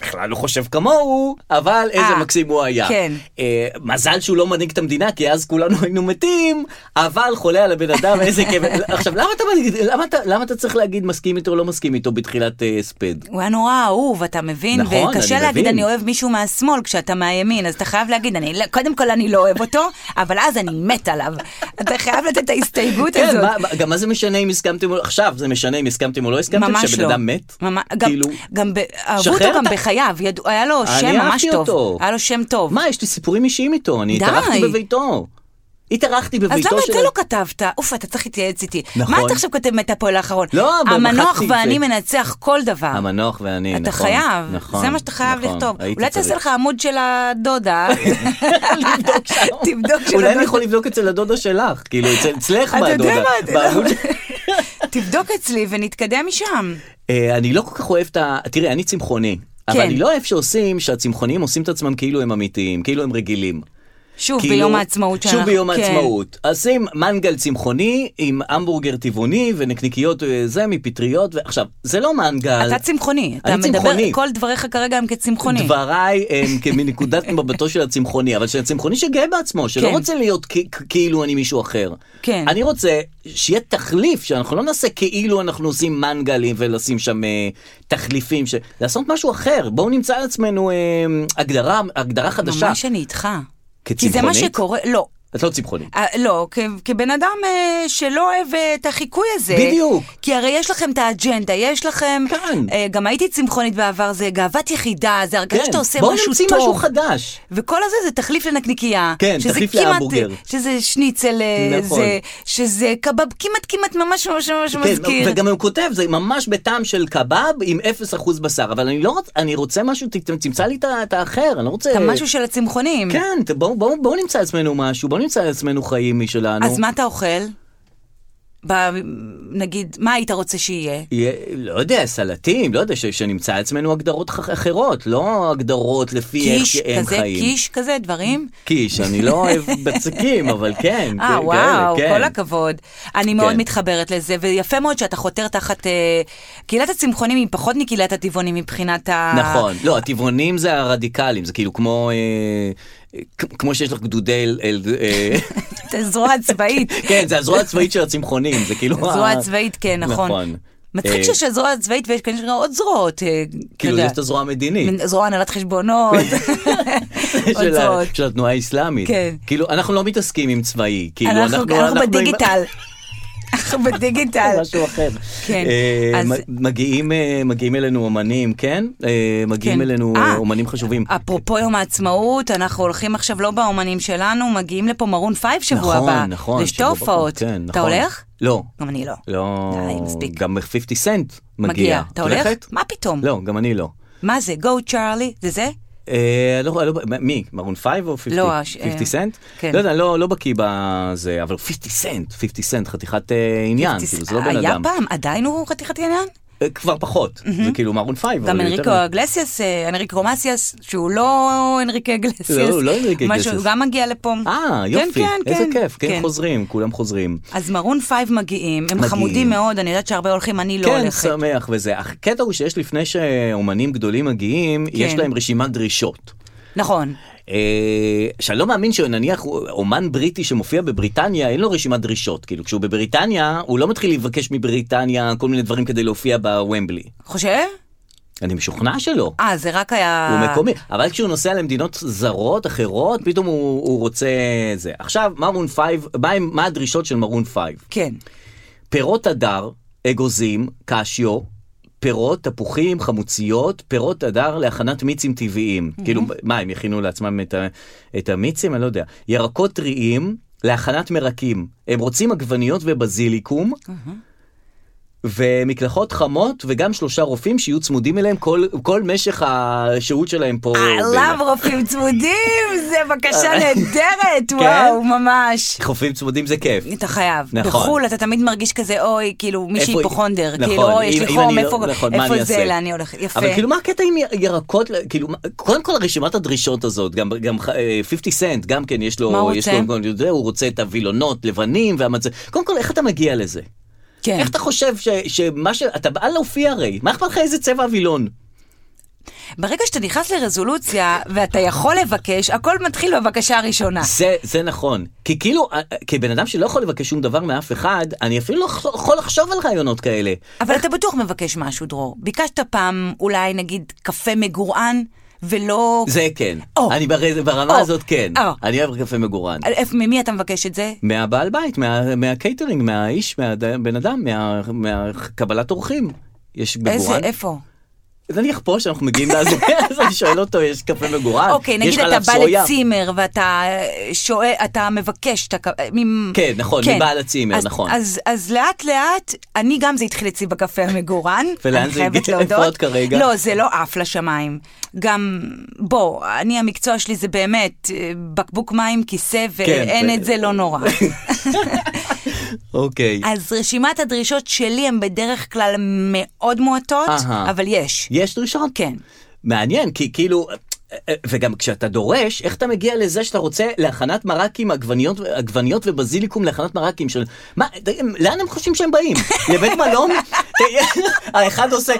Speaker 2: בכלל לא חושב כמוהו, אבל איזה
Speaker 3: אה,
Speaker 2: מקסים הוא היה.
Speaker 3: כן.
Speaker 2: אה, מזל שהוא לא מנהיג את המדינה, כי אז כולנו היינו מתים, אבל חולה על הבן אדם, איזה כיף. עכשיו, למה אתה, מנהיג- למה, אתה, למה אתה צריך להגיד מסכים איתו או לא מסכים איתו בתחילת אה, הספד?
Speaker 3: הוא היה נורא אהוב, אתה מבין?
Speaker 2: נכון,
Speaker 3: וקשה
Speaker 2: אני
Speaker 3: להגיד
Speaker 2: מבין.
Speaker 3: אני אוהב מישהו מהשמאל כשאתה מהימין, אז אתה חייב להגיד, אני, לא- קודם כל אני לא אוהב אותו, אבל אז אני מת עליו. אתה חייב לתת את ההסתייגות
Speaker 2: כן,
Speaker 3: הזאת.
Speaker 2: מה- מה- גם מה זה משנה אם הסכמתם או לא, עכשיו זה משנה אם הסכמתם או לא הסכמתם,
Speaker 3: ממש
Speaker 2: שבן
Speaker 3: לא.
Speaker 2: אדם מת?
Speaker 3: ממש- גם-
Speaker 2: כאילו,
Speaker 3: גם ב- אהבו
Speaker 2: שחרר
Speaker 3: אותו גם
Speaker 2: את ה-
Speaker 3: בחייו, ידעו- היה לו
Speaker 2: אני
Speaker 3: שם ממש
Speaker 2: אהבתי
Speaker 3: טוב.
Speaker 2: אותו.
Speaker 3: היה לו שם טוב.
Speaker 2: מה, יש לי סיפורים אישיים איתו, אני
Speaker 3: די.
Speaker 2: התארחתי בביתו. התארחתי בביתו
Speaker 3: אז
Speaker 2: שלו.
Speaker 3: למה את זה לא כתבת? אוף, אתה צריך להתייעץ איתי.
Speaker 2: נכון.
Speaker 3: מה אתה עכשיו כותב את הפועל האחרון?
Speaker 2: לא, אבל
Speaker 3: המנוח
Speaker 2: מחקתי את זה.
Speaker 3: ואני מנצח כל דבר.
Speaker 2: המנוח ואני, נכון.
Speaker 3: אתה חייב,
Speaker 2: נכון,
Speaker 3: זה מה שאתה חייב
Speaker 2: נכון,
Speaker 3: לכתוב.
Speaker 2: הייתי
Speaker 3: אולי תעשה
Speaker 2: צריך.
Speaker 3: לך עמוד של הדודה. תבדוק שם. תבדוק של
Speaker 2: אולי אני
Speaker 3: הדודה.
Speaker 2: יכול לבדוק אצל הדודה שלך, כאילו אצל- אצלך
Speaker 3: אתה יודע
Speaker 2: בדודה.
Speaker 3: מה, אתה-
Speaker 2: בעמוד ש-
Speaker 3: תבדוק אצלי ונתקדם משם.
Speaker 2: אה, אני לא כל כך אוהב את ה... תראי, אני צמחוני. אבל
Speaker 3: כן.
Speaker 2: אני לא אוהב שעושים, שהצמחונים עושים את עצמם כאילו הם אמיתיים, כאילו הם רגילים.
Speaker 3: שוב,
Speaker 2: כאילו,
Speaker 3: ביום העצמאות
Speaker 2: שוב
Speaker 3: שאנחנו...
Speaker 2: ביום
Speaker 3: כן.
Speaker 2: העצמאות. אז שים מנגל צמחוני עם המבורגר טבעוני ונקניקיות אה, זה מפטריות. ו- עכשיו, זה לא מנגל.
Speaker 3: אתה צמחוני. אתה
Speaker 2: אני
Speaker 3: מדבר,
Speaker 2: צמחוני.
Speaker 3: כל דבריך כרגע הם כצמחוני.
Speaker 2: דבריי הם כמנקודת מבטו של הצמחוני, אבל של הצמחוני שגאה בעצמו, שלא
Speaker 3: כן.
Speaker 2: רוצה להיות כ- כ- כאילו אני מישהו אחר.
Speaker 3: כן.
Speaker 2: אני רוצה שיהיה תחליף, שאנחנו לא נעשה כאילו אנחנו עושים מנגלים ולשים שם אה, תחליפים, ש... לעשות משהו אחר. בואו נמצא לעצמנו אה, הגדרה, הגדרה חדשה.
Speaker 3: ממש אני איתך. כי זה מה
Speaker 2: כצמחונית?
Speaker 3: שקורה, לא.
Speaker 2: את לא צמחונית.
Speaker 3: אה, לא, כ- כבן אדם אה, שלא אוהב אה, את החיקוי הזה.
Speaker 2: בדיוק.
Speaker 3: כי הרי יש לכם את האג'נדה, יש לכם...
Speaker 2: כן.
Speaker 3: אה, גם הייתי צמחונית בעבר, זה גאוות יחידה, זה הרגשה שאתה עושה
Speaker 2: כן, בואו
Speaker 3: משהו
Speaker 2: נמציא
Speaker 3: טוב.
Speaker 2: משהו חדש.
Speaker 3: וכל הזה זה תחליף לנקניקייה.
Speaker 2: כן,
Speaker 3: שזה
Speaker 2: תחליף
Speaker 3: כמעט-
Speaker 2: להמבורגר.
Speaker 3: שזה שניצל, אה,
Speaker 2: נכון. כן,
Speaker 3: זה, שזה קבב כמעט כמעט ממש ממש ממש מזכיר.
Speaker 2: וגם הוא כותב, זה ממש בטעם של קבב עם 0% בשר, אבל אני לא רוצה, אני רוצה משהו, ת- ת- תמצא לי את ה- את האחר, אני לא רוצה...
Speaker 3: את המשהו של הצמחונים.
Speaker 2: כן, ת- בואו בואו- בואו נמצא לעצמנו משהו, בואו נמצא לעצמנו חיים משלנו.
Speaker 3: אז מה אתה אוכל? ב- נגיד, מה היית רוצה שיהיה?
Speaker 2: יהיה, לא יודע, סלטים, לא יודע, ש- שנמצא לעצמנו הגדרות ח- אחרות, לא הגדרות לפי איך
Speaker 3: קיש
Speaker 2: שהם
Speaker 3: כזה,
Speaker 2: חיים.
Speaker 3: קיש כזה, דברים?
Speaker 2: קיש, אני לא אוהב בצקים, אבל כן. כ-
Speaker 3: אה,
Speaker 2: כאלה,
Speaker 3: וואו,
Speaker 2: כן.
Speaker 3: כל הכבוד. אני מאוד
Speaker 2: כן.
Speaker 3: מתחברת לזה, ויפה מאוד שאתה חותר תחת... אה, קהילת הצמחונים היא פחות מקהילת הטבעונים מבחינת ה...
Speaker 2: נכון, לא, הטבעונים זה הרדיקלים, זה כאילו כמו, אה, כ- כמו שיש לך גדודי אל... אל אה,
Speaker 3: את הזרוע הצבאית.
Speaker 2: כן, זה הזרוע הצבאית של הצמחונים, זה כאילו...
Speaker 3: זרוע
Speaker 2: ה-
Speaker 3: הצבאית, כן, נכון.
Speaker 2: נכון.
Speaker 3: מצחיק
Speaker 2: אה,
Speaker 3: שיש זרוע צבאית ויש כנראה עוד זרועות. אה,
Speaker 2: כאילו,
Speaker 3: אתה
Speaker 2: יש
Speaker 3: יודע,
Speaker 2: את הזרוע המדינית.
Speaker 3: זרוע הנהלת חשבונות, עוד
Speaker 2: של, ה,
Speaker 3: זרועות.
Speaker 2: של התנועה האסלאמית.
Speaker 3: כן.
Speaker 2: כאילו, אנחנו לא מתעסקים עם צבאי. כאילו,
Speaker 3: אנחנו
Speaker 2: אנחנו,
Speaker 3: אנחנו
Speaker 2: עם-
Speaker 3: בדיגיטל. אנחנו בדיגיטל.
Speaker 2: משהו אחר.
Speaker 3: כן,
Speaker 2: אה,
Speaker 3: אז-
Speaker 2: מ- מגיעים, אה, מגיעים אלינו אומנים, כן? אה, מגיעים
Speaker 3: כן.
Speaker 2: אלינו
Speaker 3: אה,
Speaker 2: אה, אומנים חשובים.
Speaker 3: אפרופו יום העצמאות, אנחנו הולכים עכשיו לא באומנים שלנו, מגיעים לפה מרון פייב שבוע
Speaker 2: נכון,
Speaker 3: הבא.
Speaker 2: נכון.
Speaker 3: לשתי
Speaker 2: שבוע הבא,
Speaker 3: הופעות.
Speaker 2: כן,
Speaker 3: אתה
Speaker 2: נכון.
Speaker 3: הולך?
Speaker 2: לא.
Speaker 3: גם אני לא.
Speaker 2: לא.
Speaker 3: די, מספיק.
Speaker 2: גם 50 סנט מגיע.
Speaker 3: מגיע. אתה
Speaker 2: את
Speaker 3: הולך?
Speaker 2: הולכת?
Speaker 3: מה פתאום?
Speaker 2: לא, גם אני לא.
Speaker 3: מה זה? גו צ'ארלי? זה זה?
Speaker 2: אה, לא, לא, מי? מרון 5 או 50?
Speaker 3: לא, הש-
Speaker 2: 50
Speaker 3: אה,
Speaker 2: סנט?
Speaker 3: כן.
Speaker 2: לא יודע, לא, לא בקיא בזה, אבל 50 סנט, 50 סנט, חתיכת אה, עניין, כאילו זה לא בן
Speaker 3: היה
Speaker 2: אדם.
Speaker 3: פעם, עדיין הוא חתיכת עניין?
Speaker 2: אה, כבר פחות, זה כאילו מרון פייב.
Speaker 3: גם
Speaker 2: אבל
Speaker 3: אנריקו
Speaker 2: יותר-
Speaker 3: אגלסיאס, אה, אנריקו מסיאס, שהוא לא אנריקו אגלסיאס.
Speaker 2: לא, הוא לא אנריקו
Speaker 3: משהו,
Speaker 2: אגלסיאס.
Speaker 3: הוא גם מגיע לפה.
Speaker 2: אה, יופי,
Speaker 3: כן, כן,
Speaker 2: איזה
Speaker 3: כן,
Speaker 2: כיף, כן
Speaker 3: כן.
Speaker 2: חוזרים, כולם חוזרים.
Speaker 3: אז מרון פייב מגיעים, הם
Speaker 2: מגיעים.
Speaker 3: חמודים מאוד, אני יודעת שהרבה הולכים, אני לא
Speaker 2: כן,
Speaker 3: הולכת.
Speaker 2: שמח וזה. הקטע הוא שיש לפני שאומנים גדולים מגיעים,
Speaker 3: כן.
Speaker 2: יש להם רשימת דרישות.
Speaker 3: נכון.
Speaker 2: אה, שאני לא מאמין שנניח אומן בריטי שמופיע בבריטניה אין לו רשימת דרישות כאילו כשהוא בבריטניה הוא לא מתחיל לבקש מבריטניה כל מיני דברים כדי להופיע בוומבלי.
Speaker 3: חושב?
Speaker 2: אני משוכנע שלא.
Speaker 3: אה, זה רק היה...
Speaker 2: הוא מקומי, אבל כשהוא נוסע למדינות זרות אחרות, פתאום הוא, הוא רוצה זה. עכשיו, מרון פייב, מה, הם- מה הדרישות של מרון פייב?
Speaker 3: כן.
Speaker 2: פירות הדר, אגוזים, קשיו, פירות, תפוחים, חמוציות, פירות הדר להכנת מיצים טבעיים. כאילו, מה, הם יכינו לעצמם את, ה, את המיצים? אני לא יודע. ירקות טריים להכנת מרקים. הם רוצים עגבניות ובזיליקום. ומקלחות חמות וגם שלושה רופאים שיהיו צמודים אליהם כל, כל משך השהות שלהם פה.
Speaker 3: I
Speaker 2: באילת.
Speaker 3: love אה, רופאים צמודים, זה בקשה נהדרת,
Speaker 2: אה, כן?
Speaker 3: וואו, ממש.
Speaker 2: חופים צמודים זה כיף.
Speaker 3: אתה חייב.
Speaker 2: נכון.
Speaker 3: בחו"ל אתה תמיד מרגיש כזה, אוי, כאילו, מישהי
Speaker 2: איפה-
Speaker 3: היפוכונדר,
Speaker 2: נכון,
Speaker 3: כאילו, אוי, יש
Speaker 2: אם-
Speaker 3: לי
Speaker 2: אם
Speaker 3: חום,
Speaker 2: אני לא-
Speaker 3: איפה
Speaker 2: נכון, מה
Speaker 3: איפה
Speaker 2: אני
Speaker 3: זה,
Speaker 2: אעשה?
Speaker 3: לאן אני הולכת? יפה.
Speaker 2: אבל כאילו מה הקטע עם ירקות, כאילו, מה- קודם כל רשימת הדרישות הזאת, גם, גם אה, 50 סנט, גם כן יש לו,
Speaker 3: מה הוא
Speaker 2: יש
Speaker 3: רוצה?
Speaker 2: לו, אני יודע, הוא רוצה את הווילונות, לבנים והמצ... קודם כל, איך אתה מגיע לזה?
Speaker 3: כן.
Speaker 2: איך אתה חושב ש, שמה ש... אתה בא להופיע הרי, מה אכפת לך איזה צבע הווילון?
Speaker 3: ברגע שאתה נכנס לרזולוציה ואתה יכול לבקש, הכל מתחיל בבקשה הראשונה.
Speaker 2: זה, זה נכון, כי כאילו, אה, אה, כבן אדם שלא יכול לבקש שום דבר מאף אחד, אני אפילו לא ח- יכול לחשוב על רעיונות כאלה.
Speaker 3: אבל אתה בטוח מבקש משהו, דרור. ביקשת פעם, אולי נגיד, קפה מגורען, ולא...
Speaker 2: זה כן,
Speaker 3: או.
Speaker 2: אני בר- ברמה
Speaker 3: או.
Speaker 2: הזאת כן,
Speaker 3: או.
Speaker 2: אני אוהב קפה מגורן.
Speaker 3: אה, איפה- ממי אתה מבקש את זה?
Speaker 2: מהבעל בית, מה, מהקייטרינג, מהאיש, מהבן אדם, מה, מהקבלת אורחים. יש
Speaker 3: איזה,
Speaker 2: בגורן?
Speaker 3: איפה?
Speaker 2: נניח פה שאנחנו מגיעים לזה, אז אני שואל אותו, יש קפה מגורן?
Speaker 3: אוקיי,
Speaker 2: אה, יש
Speaker 3: נגיד אתה
Speaker 2: חלב
Speaker 3: בא
Speaker 2: סויה?
Speaker 3: לצימר ואתה אה, שואל, אתה מבקש, אתה... ק- אה, ממ-
Speaker 2: כן, נכון, מבעל הצימר,
Speaker 3: אז-
Speaker 2: נכון.
Speaker 3: אז- אז לאט לאט, אני גם זה התחיל אצלי בקפה המגורן.
Speaker 2: ולאן
Speaker 3: אני
Speaker 2: זה
Speaker 3: חייבת
Speaker 2: הגיע?
Speaker 3: להודות.
Speaker 2: איפה את כרגע?
Speaker 3: לא, זה לא עף לשמיים. גם, בוא, אני המקצוע שלי זה באמת אה, בקבוק מים, כיסא, ואין
Speaker 2: כן, ו-
Speaker 3: את זה לא נורא.
Speaker 2: אוקיי.
Speaker 3: אז רשימת הדרישות שלי הן בדרך כלל מאוד מועטות,
Speaker 2: אהה.
Speaker 3: אבל יש.
Speaker 2: יש דרישות?
Speaker 3: כן.
Speaker 2: מעניין, כי כאילו... וגם כשאתה דורש, איך אתה מגיע לזה שאתה רוצה להכנת מרקים, עגבניות, עגבניות ובזיליקום להכנת מרקים של... מה, ת- הם- לאן הם חושבים שהם באים? לבית מלון? ת- האחד עושה,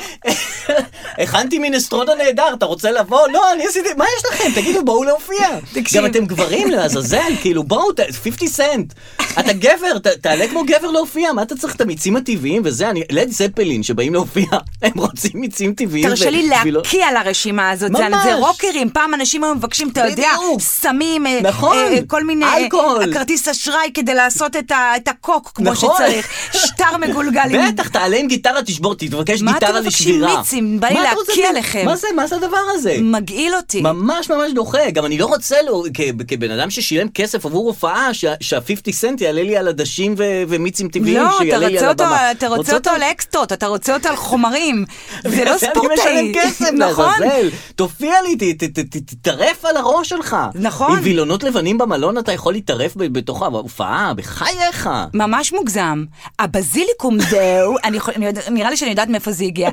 Speaker 2: הכנתי מינסטרונה נהדר, אתה רוצה לבוא? לא, אני עשיתי, מה יש לכם? תגידו, בואו להופיע.
Speaker 3: תקשיב.
Speaker 2: גם אתם גברים, לעזאזל, כאילו, בואו, ת- 50 סנט. אתה גבר, ת- תעלה כמו גבר להופיע, מה אתה צריך את המיצים הטבעיים וזה? אני, לד זפלין שבאים להופיע, הם רוצים מיצים טבעיים.
Speaker 3: תרשה לי
Speaker 2: ווילון-
Speaker 3: להקיא על הרשימה הזאת, זה-
Speaker 2: ממש.
Speaker 3: זה רוקרים, פעם אנשים היו מבקשים, אתה יודע,
Speaker 2: בדיוק.
Speaker 3: סמים, אה,
Speaker 2: נכון.
Speaker 3: אה, אה, כל מיני, אה,
Speaker 2: אלכוהול.
Speaker 3: כרטיס אשראי כדי לעשות את ה- את הקוק כמו
Speaker 2: נכון.
Speaker 3: שצריך, שטר מגולגל. עם-
Speaker 2: בטח, תעלה עם גיטרה, תשבור, תתבקש
Speaker 3: מה אתם
Speaker 2: גיטרה לשבירה.
Speaker 3: מבקשים מיצים? בא לי
Speaker 2: מה אתה
Speaker 3: להקיא
Speaker 2: רוצה?
Speaker 3: עליכם.
Speaker 2: מה זה, מה זה הדבר הזה?
Speaker 3: מגעיל אותי.
Speaker 2: ממש ממש דוחה, גם אני לא רוצה, לו, כ- כבן אדם ששילם כסף עבור הופעה, שה- שה-50 סנט יעלה לי על עדשים ו- ומיצים טבעיים,
Speaker 3: לא, אתה
Speaker 2: שיעלה לי על
Speaker 3: רוצה אותו-
Speaker 2: הבמה.
Speaker 3: אתה רוצה אותו על אקסטות, אתה רוצה אותו על חומרים, זה לא
Speaker 2: אני
Speaker 3: ספורטאי,
Speaker 2: משלם כסף,
Speaker 3: נכון?
Speaker 2: לעזאזל. תופיע לי, ת- ת- ת- תטרף על הראש שלך.
Speaker 3: נכון.
Speaker 2: עם וילונות לבנים במלון אתה יכול להתערף ב- בתוך ההופעה, בחייך.
Speaker 3: ממש מוגזם. הבזיליקום זהו, אני יכול- אני יודע- נראה לי שאני יודעת מאיפה זה הגיע.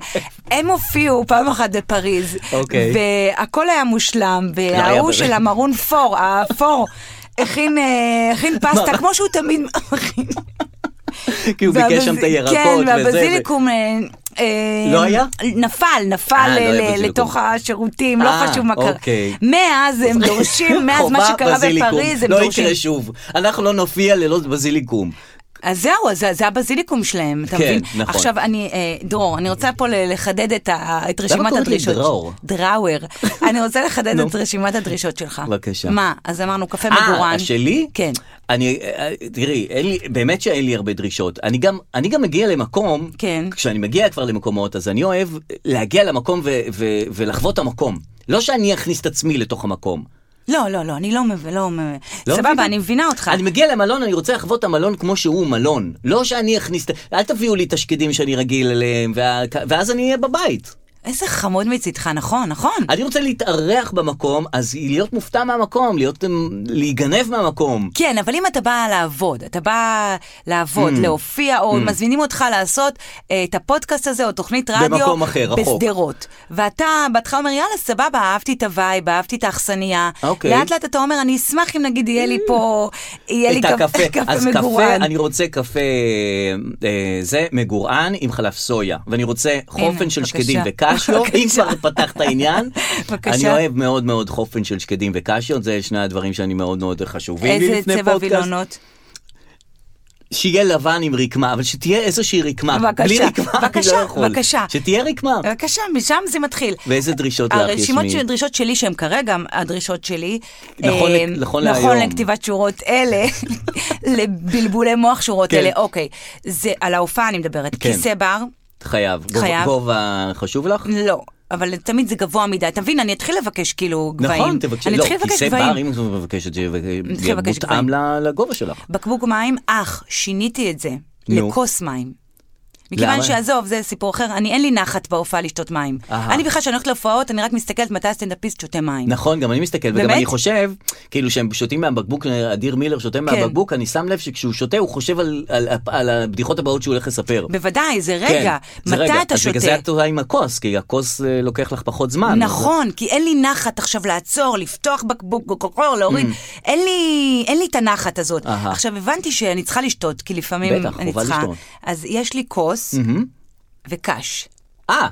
Speaker 3: הם הופיעו פעם אחת בפריז,
Speaker 2: אוקיי.
Speaker 3: והכל היה מושלם,
Speaker 2: לא היה
Speaker 3: וההוא
Speaker 2: באמת.
Speaker 3: של המרון פור, האפור, הכין אה, הכין פסטה, כמו שהוא תמיד מכין.
Speaker 2: כי הוא ביקש שם
Speaker 3: והבז-
Speaker 2: את הירקות
Speaker 3: כן,
Speaker 2: וזה.
Speaker 3: והבזיליקום... אה, אה,
Speaker 2: לא היה?
Speaker 3: נפל, נפל
Speaker 2: לא היה
Speaker 3: ל-
Speaker 2: בזיליקום.
Speaker 3: לתוך השירותים, לא
Speaker 2: אה,
Speaker 3: חשוב מה קרה.
Speaker 2: אוקיי.
Speaker 3: מאז הם דורשים, מאז מה
Speaker 2: חובה
Speaker 3: שקרה
Speaker 2: בזיליקום.
Speaker 3: בפריז, הם
Speaker 2: לא
Speaker 3: דורשים.
Speaker 2: יקרה שוב, אנחנו לא נופיע ללא בזיליקום.
Speaker 3: אז זהו, אז זה, זה הבזיליקום שלהם, אתה
Speaker 2: כן,
Speaker 3: מבין?
Speaker 2: נכון.
Speaker 3: עכשיו, אני, אה, דרור, אני רוצה פה ל- לחדד את, ה, את רשימת
Speaker 2: קוראת לי
Speaker 3: הדרישות.
Speaker 2: דרור?
Speaker 3: דראואר. אני רוצה לחדד
Speaker 2: נו.
Speaker 3: את רשימת הדרישות שלך.
Speaker 2: בבקשה.
Speaker 3: מה, אז אמרנו קפה מגורן.
Speaker 2: אה, שלי?
Speaker 3: כן.
Speaker 2: אני, אה, תראי, אין לי, באמת שאין לי הרבה דרישות. אני גם, אני גם מגיע למקום,
Speaker 3: כן.
Speaker 2: כשאני מגיע כבר למקומות, אז אני אוהב להגיע למקום ו- ו- ולחוות את המקום. לא שאני אכניס את עצמי לתוך המקום.
Speaker 3: לא, לא, לא, אני לא מבינה, לא, מב-
Speaker 2: לא
Speaker 3: סבבה,
Speaker 2: מבינה.
Speaker 3: אני מבינה אותך.
Speaker 2: אני מגיע למלון, אני רוצה לחוות את המלון כמו שהוא מלון. לא שאני אכניס, את- אל תביאו לי תשקידים שאני רגיל אליהם, וה- ואז אני אהיה בבית.
Speaker 3: איזה חמוד מצידך, נכון, נכון.
Speaker 2: אני רוצה להתארח במקום, אז להיות מופתע מהמקום, להיות, אמ, להיגנב מהמקום.
Speaker 3: כן, אבל אם אתה בא לעבוד, אתה בא לעבוד,
Speaker 2: Mm.
Speaker 3: להופיע, או מזמינים אותך לעשות אה, את הפודקאסט הזה, או תוכנית רדיו,
Speaker 2: במקום אחר, רחוק.
Speaker 3: בשדרות. ואתה בהתחלה אומר, יאללה, סבבה, אהבתי את הווייב, אהבתי את האכסניה.
Speaker 2: אוקיי. Mm.
Speaker 3: לאט לאט אתה אומר, אני אשמח אם נגיד יהיה לי פה, יהיה לי
Speaker 2: את הקפה, אז
Speaker 3: מגורן.
Speaker 2: קפה, אני רוצה קפה, אה, זה מגורען עם חלב סויה, ואני רוצה חופן של
Speaker 3: בבקשה.
Speaker 2: שקדים וקשיו, אם
Speaker 3: בבקשה.
Speaker 2: כבר פתחת עניין,
Speaker 3: בבקשה.
Speaker 2: אני אוהב מאוד מאוד חופן של שקדים וקשיו, זה שני הדברים שאני מאוד מאוד חשובים לי
Speaker 3: איזה
Speaker 2: לפני
Speaker 3: צבע
Speaker 2: פודקאסט.
Speaker 3: וילונות.
Speaker 2: שיהיה לבן עם רקמה, אבל שתהיה איזושהי רקמה,
Speaker 3: בבקשה,
Speaker 2: בלי רקמה אני לא
Speaker 3: בבקשה,
Speaker 2: יכול,
Speaker 3: בבקשה.
Speaker 2: שתהיה רקמה,
Speaker 3: בבקשה, משם זה מתחיל.
Speaker 2: ואיזה דרישות לך יש
Speaker 3: הרשימות
Speaker 2: מ-
Speaker 3: של הדרישות שלי, שהן כרגע הדרישות שלי,
Speaker 2: נכון
Speaker 3: אה,
Speaker 2: לק- נכון
Speaker 3: נכון
Speaker 2: להיום.
Speaker 3: לכתיבת שורות אלה, לבלבולי מוח שורות
Speaker 2: כן.
Speaker 3: אלה, אוקיי. זה על ההופעה אני מדברת,
Speaker 2: כן.
Speaker 3: כיסא בר,
Speaker 2: חייב, גובה-
Speaker 3: חייב.
Speaker 2: גובה חשוב לך?
Speaker 3: לא. אבל תמיד זה גבוה מדי, אתה מבין, אני אתחיל לבקש כאילו גבהים.
Speaker 2: נכון, תבקשי,
Speaker 3: אני
Speaker 2: לא,
Speaker 3: אתחיל לבקש
Speaker 2: כיסא בר,
Speaker 3: גבהים.
Speaker 2: אם את מבקשת,
Speaker 3: אתחיל
Speaker 2: שיהיה
Speaker 3: לבקש גבהים.
Speaker 2: מותאם ל- לגובה שלך.
Speaker 3: בקבוק מים, אך, שיניתי את זה
Speaker 2: נו.
Speaker 3: לכוס מים. מכיוון
Speaker 2: למה?
Speaker 3: שעזוב, זה סיפור אחר, אני אין לי נחת בהופעה לשתות מים.
Speaker 2: אהה.
Speaker 3: אני בכלל, כשאני הולכת להופעות, אני רק מסתכלת מתי הסטנדאפיסט שותה מים.
Speaker 2: נכון, גם אני מסתכל, וגם
Speaker 3: באמת?
Speaker 2: אני חושב, כאילו שהם שותים מהבקבוק, אדיר מילר
Speaker 3: כן.
Speaker 2: שותה מהבקבוק, אני שם לב שכשהוא שותה, הוא חושב על- על- על הבדיחות הבאות שהוא הולך לספר.
Speaker 3: בוודאי, זה
Speaker 2: כן,
Speaker 3: רגע.
Speaker 2: זה
Speaker 3: מתי
Speaker 2: רגע.
Speaker 3: אתה
Speaker 2: אז
Speaker 3: שותה?
Speaker 2: בגלל זה את עולה עם הכוס, כי הכוס אה, לוקח לך פחות זמן.
Speaker 3: נכון, כי אין לי נחת עכשיו לעצור, לפתוח בקבוק, גוקוקור, להוריד. אין לי, אין לי את הנחת הזאת.
Speaker 2: Mm. אהה.
Speaker 3: עכשיו, הבנתי שאני צריכה לשתות, כי לפעמים
Speaker 2: בטח,
Speaker 3: אני
Speaker 2: חובה
Speaker 3: צריכה.
Speaker 2: לשתות.
Speaker 3: אז יש לי כוס וקש.
Speaker 2: אז- אה,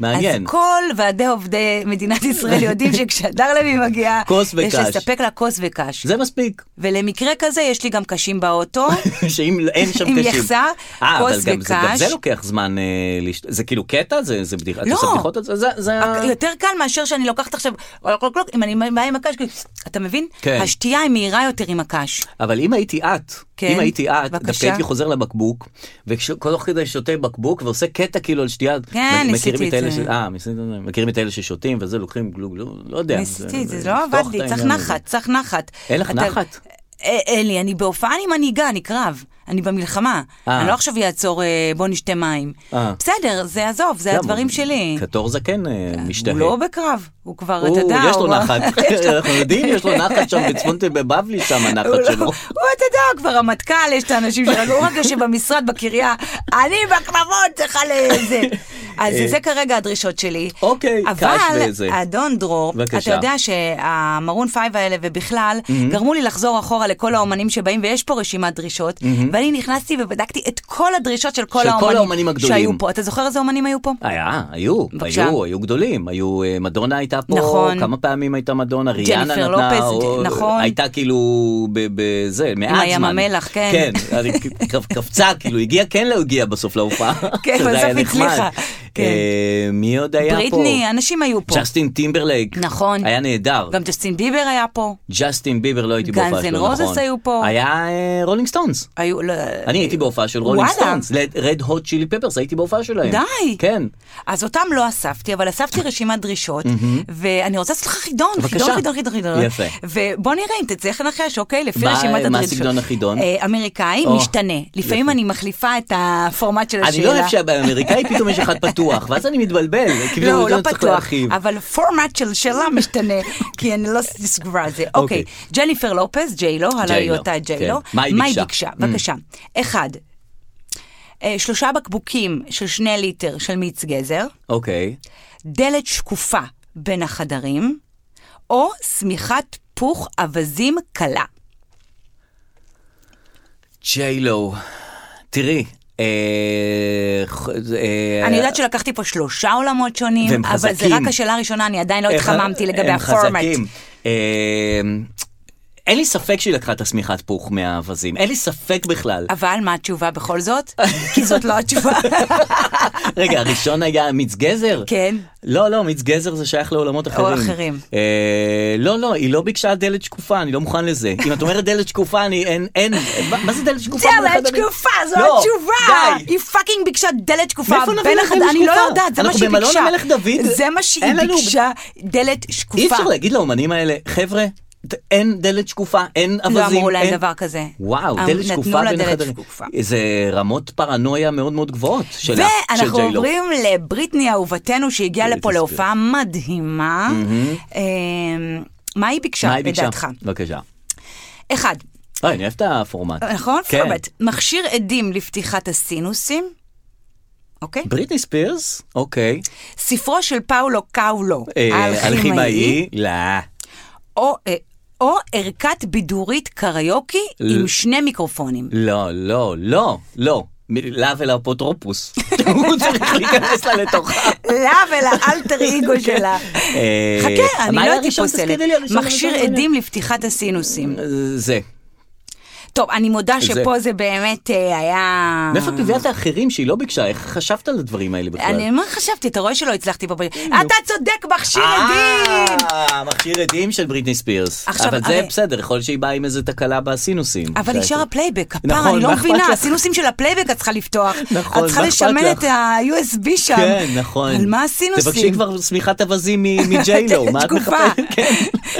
Speaker 2: מעניין.
Speaker 3: אז כל ועדי עובדי מדינת ישראל יודעים שכשהדר לוי מגיע,
Speaker 2: כוס
Speaker 3: יש
Speaker 2: וקש.
Speaker 3: לספק לה כוס וקש.
Speaker 2: זה מספיק,
Speaker 3: ולמקרה כזה יש לי גם קשים באוטו.
Speaker 2: שאם אין שם
Speaker 3: עם
Speaker 2: קשים.
Speaker 3: יחסה,
Speaker 2: אה, אבל
Speaker 3: כוס
Speaker 2: גם זה- גם
Speaker 3: וקש.
Speaker 2: זה לוקח זמן, אה, לשת- זה כאילו קטע? זה זה בדיחה? את
Speaker 3: לא.
Speaker 2: עושה בדיחות על זה? זה- זה... ה-
Speaker 3: יותר קל מאשר שאני לוקחת עכשיו, קלוק, קלוק, אם אני באה עם הקש, כאילו, אתה מבין?
Speaker 2: כן.
Speaker 3: השתייה היא מהירה יותר עם הקש.
Speaker 2: אבל אם הייתי את,
Speaker 3: כן,
Speaker 2: אם הייתי את,
Speaker 3: בבקשה.
Speaker 2: דווקא הייתי חוזר לבקבוק, ותוך כדי שותה בקבוק ועושה קטע כאילו על שתייה.
Speaker 3: כן,
Speaker 2: מכירים
Speaker 3: ניסיתי את
Speaker 2: אלה
Speaker 3: זה.
Speaker 2: ש- אה, ניסית את זה. מכירים את אלה ששותים וזה, לוקחים גלוג, לא- לא יודע.
Speaker 3: ניסיתי, זה לא
Speaker 2: לפתוח
Speaker 3: עבד
Speaker 2: את
Speaker 3: לי, צריך
Speaker 2: העניין הזה.
Speaker 3: נחת, צריך נחת.
Speaker 2: אין לך
Speaker 3: אתה-
Speaker 2: נחת?
Speaker 3: אה, אין לי, אני בהופעה, אני מנהיגה, אני קרב, אני במלחמה.
Speaker 2: אה.
Speaker 3: אני לא עכשיו אעצור, אה, בוא נשתה מים.
Speaker 2: אה.
Speaker 3: בסדר, זה עזוב, זה
Speaker 2: גם,
Speaker 3: הדברים
Speaker 2: הוא-
Speaker 3: שלי.
Speaker 2: קטור זקן אה, משתהה.
Speaker 3: הוא לא בקרב, הוא כבר, אתה
Speaker 2: הוא-
Speaker 3: יודע,
Speaker 2: יש לו
Speaker 3: הוא-
Speaker 2: נחת,
Speaker 3: יש לו-
Speaker 2: אנחנו יודעים, יש לו נחת שם בצפון תל- בבבלי שם
Speaker 3: הוא
Speaker 2: הנחת
Speaker 3: לא-
Speaker 2: שלו.
Speaker 3: הוא, אתה יודע, הוא כבר רמטכ"ל, יש את האנשים שלו, הוא רק יושב במשרד בקריה, אני בקרבות צריכה לזה. אז זה כרגע הדרישות שלי.
Speaker 2: אה. אוקיי, קש וזה.
Speaker 3: אבל אדון דרור, אתה
Speaker 2: בבקשה.
Speaker 3: יודע שהמרון פייב האלה ובכלל, גרמו לי לחזור אחורה לכל האומנים שבאים, ויש פה רשימת דרישות, ואני נכנסתי ובדקתי את כל הדרישות של כל
Speaker 2: של כל
Speaker 3: האומנים.
Speaker 2: האומנים הגדולים.
Speaker 3: שהיו פה. אתה זוכר איזה אומנים היו פה?
Speaker 2: היה, היו,
Speaker 3: בבקשה.
Speaker 2: היו, היו גדולים, היו, אה, מדונה הייתה פה,
Speaker 3: נכון.
Speaker 2: כמה פעמים הייתה מדונה, ריאנה נתנה,
Speaker 3: ג'ניפר לופז, ג'- נכון.
Speaker 2: הייתה כאילו, ב- בזה, מעט זמן.
Speaker 3: ים המלח, כן.
Speaker 2: כן, אני כ- כ- קפצה, כאילו, הגיעה, כן לא הגיעה בסוף להופעה.
Speaker 3: כן,
Speaker 2: שזה היה
Speaker 3: בסוף
Speaker 2: נחמד.
Speaker 3: הצליחה. כן.
Speaker 2: אה, מי עוד היה פה?
Speaker 3: בריטני, אנשים היו פה.
Speaker 2: ג'סטין טימברלייק.
Speaker 3: נכון.
Speaker 2: היה נהדר.
Speaker 3: גם ג'סטין ביבר היה פה.
Speaker 2: ג'סטין ביבר לא הייתי
Speaker 3: גאנס
Speaker 2: בהופעה
Speaker 3: אנד
Speaker 2: שלו, נכון.
Speaker 3: רוזס היו פה.
Speaker 2: היה אה, רולינג סטונס.
Speaker 3: היו, לא-
Speaker 2: אני הייתי בהופעה של רולינג
Speaker 3: וואלה.
Speaker 2: סטונס, רד הוט צ'ילי פפרס, הייתי בהופעה שלהם.
Speaker 3: די.
Speaker 2: כן.
Speaker 3: אז אותם לא אספתי, אבל אספתי רשימת דרישות, ואני רוצה לעשות לך חידון,
Speaker 2: בבקשה.
Speaker 3: חידון, חידון, חידון, חידון.
Speaker 2: יפה.
Speaker 3: ובוא נראה אם תצליח לנחש, אוקיי? לפי
Speaker 2: מה-
Speaker 3: רשימת
Speaker 2: מה
Speaker 3: הדרישות.
Speaker 2: סגנון החידון?
Speaker 3: אה, אמריקאי,
Speaker 2: או,
Speaker 3: משתנה. לפעמים אני מחליפה את הפורמט של השאלה.
Speaker 2: אני לא אוהב שבאמריקאי פתאום יש אחד פתוח, ואז אני מתבלבל. כאילו,
Speaker 3: לא, הוא לא
Speaker 2: אני צריך
Speaker 3: פתוח,
Speaker 2: להרחיב.
Speaker 3: אבל הפורמט של שאלה משתנה, כי אני לא סגורה על זה. אוקיי, ג'ניפר לופז, ג'יילו, הלא היא
Speaker 2: ג'יילו,
Speaker 3: אותה ג'יילו.
Speaker 2: כן. מה היא ביקשה? Mm.
Speaker 3: בבקשה. אחד, אה, שלושה בקבוקים של שני ליטר של מיץ גזר.
Speaker 2: אוקיי.
Speaker 3: דלת שקופה בין החדרים, או שמיכת פוך אווזים קלה.
Speaker 2: ג'יילו, תראי. אה, ח- אה,
Speaker 3: אני יודעת שלקחתי פה שלושה עולמות שונים,
Speaker 2: והם
Speaker 3: אבל זה
Speaker 2: חזקים.
Speaker 3: רק השאלה הראשונה, אני עדיין לא
Speaker 2: הם
Speaker 3: התחממתי
Speaker 2: ח-
Speaker 3: לגבי
Speaker 2: הם
Speaker 3: הפורמט.
Speaker 2: חזקים. אה, אין לי ספק שהיא לקחה את השמיכת פוך מהאווזים, אין לי ספק בכלל.
Speaker 3: אבל מה התשובה בכל זאת? כי זאת לא התשובה.
Speaker 2: רגע, הראשון היה מיץ גזר?
Speaker 3: כן.
Speaker 2: לא, לא, מיץ גזר זה שייך לעולמות אחרים.
Speaker 3: אחרים.
Speaker 2: אה, לא, לא, היא לא ביקשה דלת שקופה, אני לא מוכן לזה. אם את אומרת דלת שקופה, אני אין, אין, מה- מה זה דלת שקופה? מול
Speaker 3: דלת
Speaker 2: החדרים?
Speaker 3: שקופה, זו
Speaker 2: לא,
Speaker 3: התשובה!
Speaker 2: די.
Speaker 3: היא פאקינג ביקשה דלת שקופה
Speaker 2: מאיפה נביא
Speaker 3: בין
Speaker 2: לה
Speaker 3: החד...
Speaker 2: דלת
Speaker 3: אני לא
Speaker 2: שקופה?
Speaker 3: יודעת, זה מה
Speaker 2: אנחנו
Speaker 3: שהיא
Speaker 2: במלון
Speaker 3: ביקשה.
Speaker 2: המלך דוד?
Speaker 3: זה מה שהיא
Speaker 2: אין לנו-
Speaker 3: ביקשה, דלת שקופה.
Speaker 2: אי אפשר להגיד לאומנים האלה, חבר'ה, ד- אין דלת שקופה, אין אווזים.
Speaker 3: לא אמרו להם
Speaker 2: אין-
Speaker 3: דבר כזה.
Speaker 2: וואו,
Speaker 3: אמ-
Speaker 2: דלת שקופה
Speaker 3: נתנו
Speaker 2: בין
Speaker 3: לה דלת
Speaker 2: החדרים.
Speaker 3: שקופה.
Speaker 2: זה רמות פרנויה מאוד מאוד גבוהות של ה- של
Speaker 3: ואנחנו
Speaker 2: ג'יילו.
Speaker 3: עוברים לבריטני אהובתנו שהגיעה
Speaker 2: בריטני
Speaker 3: לפה
Speaker 2: ספירס.
Speaker 3: להופעה מדהימה. אמ, מה היא
Speaker 2: מה
Speaker 3: ביקשה
Speaker 2: היא ביקשה?
Speaker 3: לדעתך?
Speaker 2: בבקשה.
Speaker 3: אחד,
Speaker 2: אה, אני אוהב את הפורמט.
Speaker 3: נכון?
Speaker 2: כן.
Speaker 3: פורבט, מכשיר עדים לפתיחת הסינוסים, אוקיי?
Speaker 2: בריטני ספירס? אוקיי.
Speaker 3: ספרו של פאולו קאולו,
Speaker 2: אה,
Speaker 3: האלכימאי,
Speaker 2: אלכימאי? לא.
Speaker 3: או, אה, או ערכת בידורית קריוקי עם שני מיקרופונים.
Speaker 2: לא, לא, לא, לא. מ- לה ולאפוטרופוס. הוא צריך להיכנס לה לתוכה.
Speaker 3: לה ולאלטר איגו שלה.
Speaker 2: כן. אה,
Speaker 3: חכה, אני
Speaker 2: מה
Speaker 3: לא
Speaker 2: היה
Speaker 3: הייתי
Speaker 2: הראשון?
Speaker 3: פוסלת.
Speaker 2: תזכירי לי, הראשון, לא
Speaker 3: מכשיר
Speaker 2: הראשון, אה,
Speaker 3: עדים לפתיחת הסינוסים.
Speaker 2: זה.
Speaker 3: טוב, אני מודה שפה זה באמת אה, היה...
Speaker 2: מאיפה את מביאה את האחרים שהיא לא ביקשה? איך חשבת על הדברים האלה בכלל?
Speaker 3: אני מה חשבתי, אתה רואה שלא הצלחתי פה. אתה צודק, מכשיר עדים!
Speaker 2: אה, מכשיר עדים של בריטני ספירס.
Speaker 3: עכשיו,
Speaker 2: אבל זה
Speaker 3: הרי-
Speaker 2: בסדר, יכול להיות שהיא באה עם איזה תקלה בסינוסים.
Speaker 3: אבל
Speaker 2: זה-
Speaker 3: נשאר הפלייבק,
Speaker 2: נכון,
Speaker 3: הפעם אני לא
Speaker 2: מה אכפת
Speaker 3: מבינה,
Speaker 2: לך?
Speaker 3: הסינוסים של הפלייבק את צריכה לפתוח.
Speaker 2: נכון,
Speaker 3: את צריכה
Speaker 2: מה
Speaker 3: לשמן
Speaker 2: אכפת
Speaker 3: את
Speaker 2: לך?
Speaker 3: ה-USB שם.
Speaker 2: כן, נכון.
Speaker 3: על מה הסינוסים?
Speaker 2: תבקשי כבר שמיכת אווזים מ- מג'יילו, מה את
Speaker 3: תגובה.
Speaker 2: מחפשת? כן.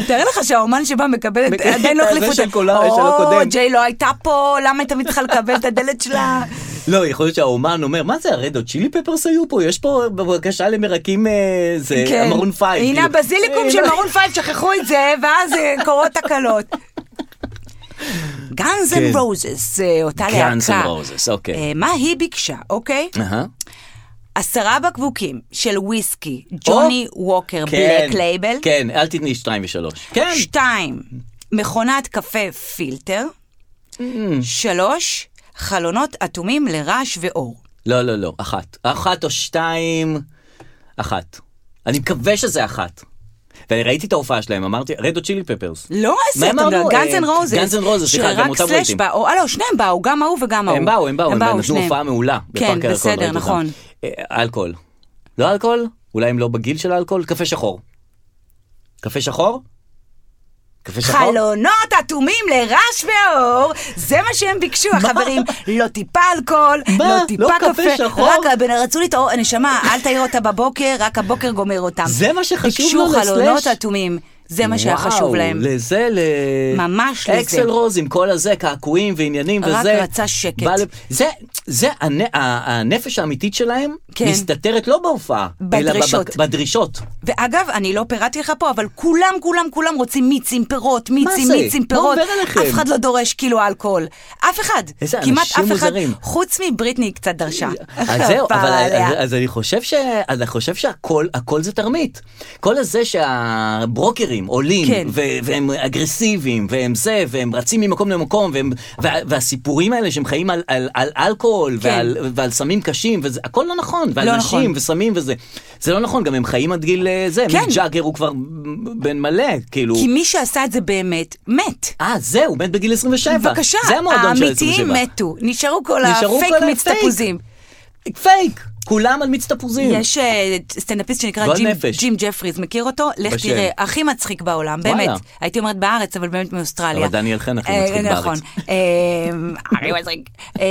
Speaker 3: תאר לך שהאומן שבא מקבל, את-
Speaker 2: מקבל
Speaker 3: עדיין לא
Speaker 2: את זה
Speaker 3: החליפו
Speaker 2: של
Speaker 3: אותה.
Speaker 2: קולה- של הקודם.
Speaker 3: ג'יי לא הייתה פה, למה הייתה צריכה לקבל את הדלת שלה?
Speaker 2: לא, יכול להיות שהאומן אומר, מה זה הרדו צ'ילי פפרס היו פה? יש פה בבקשה למרקים, אה, זה
Speaker 3: כן.
Speaker 2: מרון פייב.
Speaker 3: הנה
Speaker 2: כאילו.
Speaker 3: הבזיליקום
Speaker 2: אה,
Speaker 3: של
Speaker 2: לא-
Speaker 3: מרון פייב, שכחו את זה, ואז אה, קורות תקלות. גאנז אנד
Speaker 2: כן.
Speaker 3: רוזס, אה, אותה להקה.
Speaker 2: Guns N' Roses, אוקיי. אה.
Speaker 3: אה, מה היא ביקשה, אוקיי?
Speaker 2: אהה.
Speaker 3: עשרה בקבוקים של וויסקי, ג'וני ווקר,
Speaker 2: כן,
Speaker 3: בלק לייבל.
Speaker 2: כן, אל תתני שתיים ושלוש. כן.
Speaker 3: שתיים, מכונת קפה פילטר.
Speaker 2: Mm.
Speaker 3: שלוש, חלונות אטומים לרעש ואור.
Speaker 2: לא, לא, לא, אחת. אחת או שתיים, אחת. אני מקווה שזה אחת. ואני ראיתי את ההופעה שלהם, אמרתי, רדו צ'ילי פפרס.
Speaker 3: לא
Speaker 2: מה
Speaker 3: עשית,
Speaker 2: אמרנו?
Speaker 3: גאנז
Speaker 2: אה,
Speaker 3: אנד רוזס.
Speaker 2: Guns N' Roses, סליחה, גם אותם ראיתי.
Speaker 3: באו, אה לא, שניהם באו, גם ההוא וגם ההוא.
Speaker 2: הם באו, הם באו, הם נתנו
Speaker 3: שניהם.
Speaker 2: הופעה מעולה. בפארק
Speaker 3: כן,
Speaker 2: הירקון, ראיתי
Speaker 3: בסדר,
Speaker 2: אותם.
Speaker 3: נכון.
Speaker 2: אה, אלכוהול. לא אלכוהול? אולי הם לא בגיל של האלכוהול? קפה שחור. קפה שחור? קפה שחור?
Speaker 3: חלונות אטומים לרעש ואור, זה מה שהם ביקשו, החברים. לא טיפה אלכוהול,
Speaker 2: מה?
Speaker 3: לא טיפה
Speaker 2: לא
Speaker 3: קפה.
Speaker 2: קפה שחור?
Speaker 3: רק הבן- רצו להתעורר, נשמה, אל תעיר אותה בבוקר, רק הבוקר גומר אותם.
Speaker 2: זה מה שחשוב לו,
Speaker 3: ביקשו
Speaker 2: לסלאש?
Speaker 3: חלונות אטומים, זה מה שהיה חשוב להם.
Speaker 2: וואו, לזה, ל...
Speaker 3: ממש לזה.
Speaker 2: אקסל רוז עם כל הזה, קעקועים ועניינים
Speaker 3: רק
Speaker 2: וזה.
Speaker 3: רצה שקט.
Speaker 2: בא לפ- זה, זה הנ... ה- הנפש האמיתית שלהם,
Speaker 3: כן.
Speaker 2: מסתתרת לא בהופעה, אלא
Speaker 3: בדרישות.
Speaker 2: בב- בדרישות.
Speaker 3: ואגב, אני לא פירטתי לך פה, אבל כולם, כולם, כולם רוצים מיצים, פירות, מיצים,
Speaker 2: זה?
Speaker 3: מיצים,
Speaker 2: מה
Speaker 3: פירות.
Speaker 2: עובר עליכם?
Speaker 3: אף אחד לא דורש כאילו אלכוהול. אף אחד.
Speaker 2: איזה
Speaker 3: כמעט
Speaker 2: אנשים
Speaker 3: אף אחד,
Speaker 2: מוזרים.
Speaker 3: חוץ מבריטני קצת דרשה.
Speaker 2: אז זהו,
Speaker 3: כפרה
Speaker 2: אבל
Speaker 3: עליה.
Speaker 2: אז, אז אני חושב ש... אז אני חושב שהכל, הכל זה תרמית. כל הזה שהברוקרים עולים,
Speaker 3: כן.
Speaker 2: ו- והם אגרסיביים, והם זה, והם רצים ממקום למקום, והם, וה- והסיפורים האלה שהם חיים על, על, על אלכוהול,
Speaker 3: כן.
Speaker 2: ועל, ועל סמים קשים, וזה, הכל לא נכון, ועל
Speaker 3: לא
Speaker 2: נשים,
Speaker 3: נכון.
Speaker 2: וסמים וזה. זה לא נכון, גם הם חיים עד גיל אה, זה,
Speaker 3: כן.
Speaker 2: מיק ג'אגר הוא כבר בן מלא, כאילו...
Speaker 3: כי מי שעשה את זה באמת, מת.
Speaker 2: אה, זהו, מת בגיל 27.
Speaker 3: בבקשה,
Speaker 2: זה המועדון של 27.
Speaker 3: האמיתיים מתו. נשארו כל
Speaker 2: נשארו
Speaker 3: הפייק
Speaker 2: כל הפייק.
Speaker 3: מצטפוזים.
Speaker 2: פייק! כולם על מיץ תפוזים.
Speaker 3: יש אה, סטנדאפיסט שנקרא
Speaker 2: גועל
Speaker 3: ג'ים-
Speaker 2: נפש.
Speaker 3: ג'ים ג'פריז, מכיר אותו? לך
Speaker 2: בשם.
Speaker 3: תראה, הכי מצחיק בעולם,
Speaker 2: וואלה.
Speaker 3: באמת. הייתי אומרת בארץ, אבל באמת מאוסטרליה.
Speaker 2: אבל דניאל חן הכי
Speaker 3: אה,
Speaker 2: מצחיק בארץ.
Speaker 3: נכון. אה, הכי מצחיק. אה,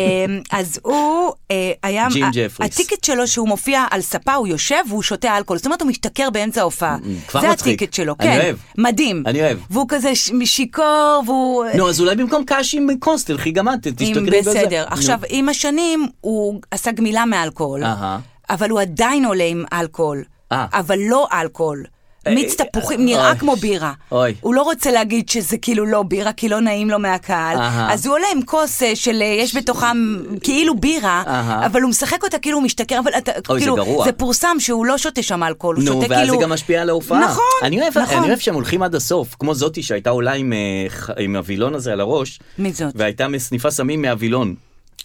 Speaker 3: אז הוא אה, היה...
Speaker 2: ג'ים
Speaker 3: ה-
Speaker 2: ג'פריס.
Speaker 3: הטיקט שלו שהוא מופיע על ספה, הוא יושב והוא שותה אלכוהול. זאת אומרת, הוא משתכר באמצע ההופעה.
Speaker 2: כבר
Speaker 3: זה
Speaker 2: מצחיק.
Speaker 3: הטיקט שלו,
Speaker 2: אני
Speaker 3: כן.
Speaker 2: אוהב.
Speaker 3: מדהים.
Speaker 2: אני אוהב.
Speaker 3: והוא כזה ש- משיכור, והוא...
Speaker 2: נו, אז אולי במקום קש עם קונס, תלכי גם את,
Speaker 3: אם
Speaker 2: תשתכרי בזה.
Speaker 3: בסדר.
Speaker 2: נו.
Speaker 3: עכשיו, עם השנים הוא עשה גמילה מאלכוהול,
Speaker 2: אהה.
Speaker 3: אבל הוא עדיין עולה עם אלכוהול,
Speaker 2: אה.
Speaker 3: אבל לא אלכוהול.
Speaker 2: אה,
Speaker 3: מיץ
Speaker 2: אה,
Speaker 3: תפוחים נראה
Speaker 2: אוי.
Speaker 3: כמו בירה.
Speaker 2: אוי.
Speaker 3: הוא לא רוצה להגיד שזה כאילו לא בירה, כי לא נעים לו מהקהל.
Speaker 2: אהה.
Speaker 3: אז הוא עולה עם כוס אה, של אה, יש בתוכה מ- כאילו בירה,
Speaker 2: אהה.
Speaker 3: אבל הוא משחק אותה כאילו הוא משתכר, אבל אתה-
Speaker 2: אוי, זה
Speaker 3: כאילו,
Speaker 2: גרוע.
Speaker 3: זה פורסם שהוא לא שותה שם אלכוהול, הוא
Speaker 2: נו,
Speaker 3: שותה
Speaker 2: ואז
Speaker 3: כאילו...
Speaker 2: זה גם משפיע על ההופעה.
Speaker 3: נכון,
Speaker 2: אני אוהב,
Speaker 3: נכון.
Speaker 2: אני אוהב שהם הולכים עד הסוף, כמו זאתי שהייתה עולה עם, אה, ח- עם הווילון הזה על הראש.
Speaker 3: מי זאת?
Speaker 2: והייתה מסניפה סמים מהווילון.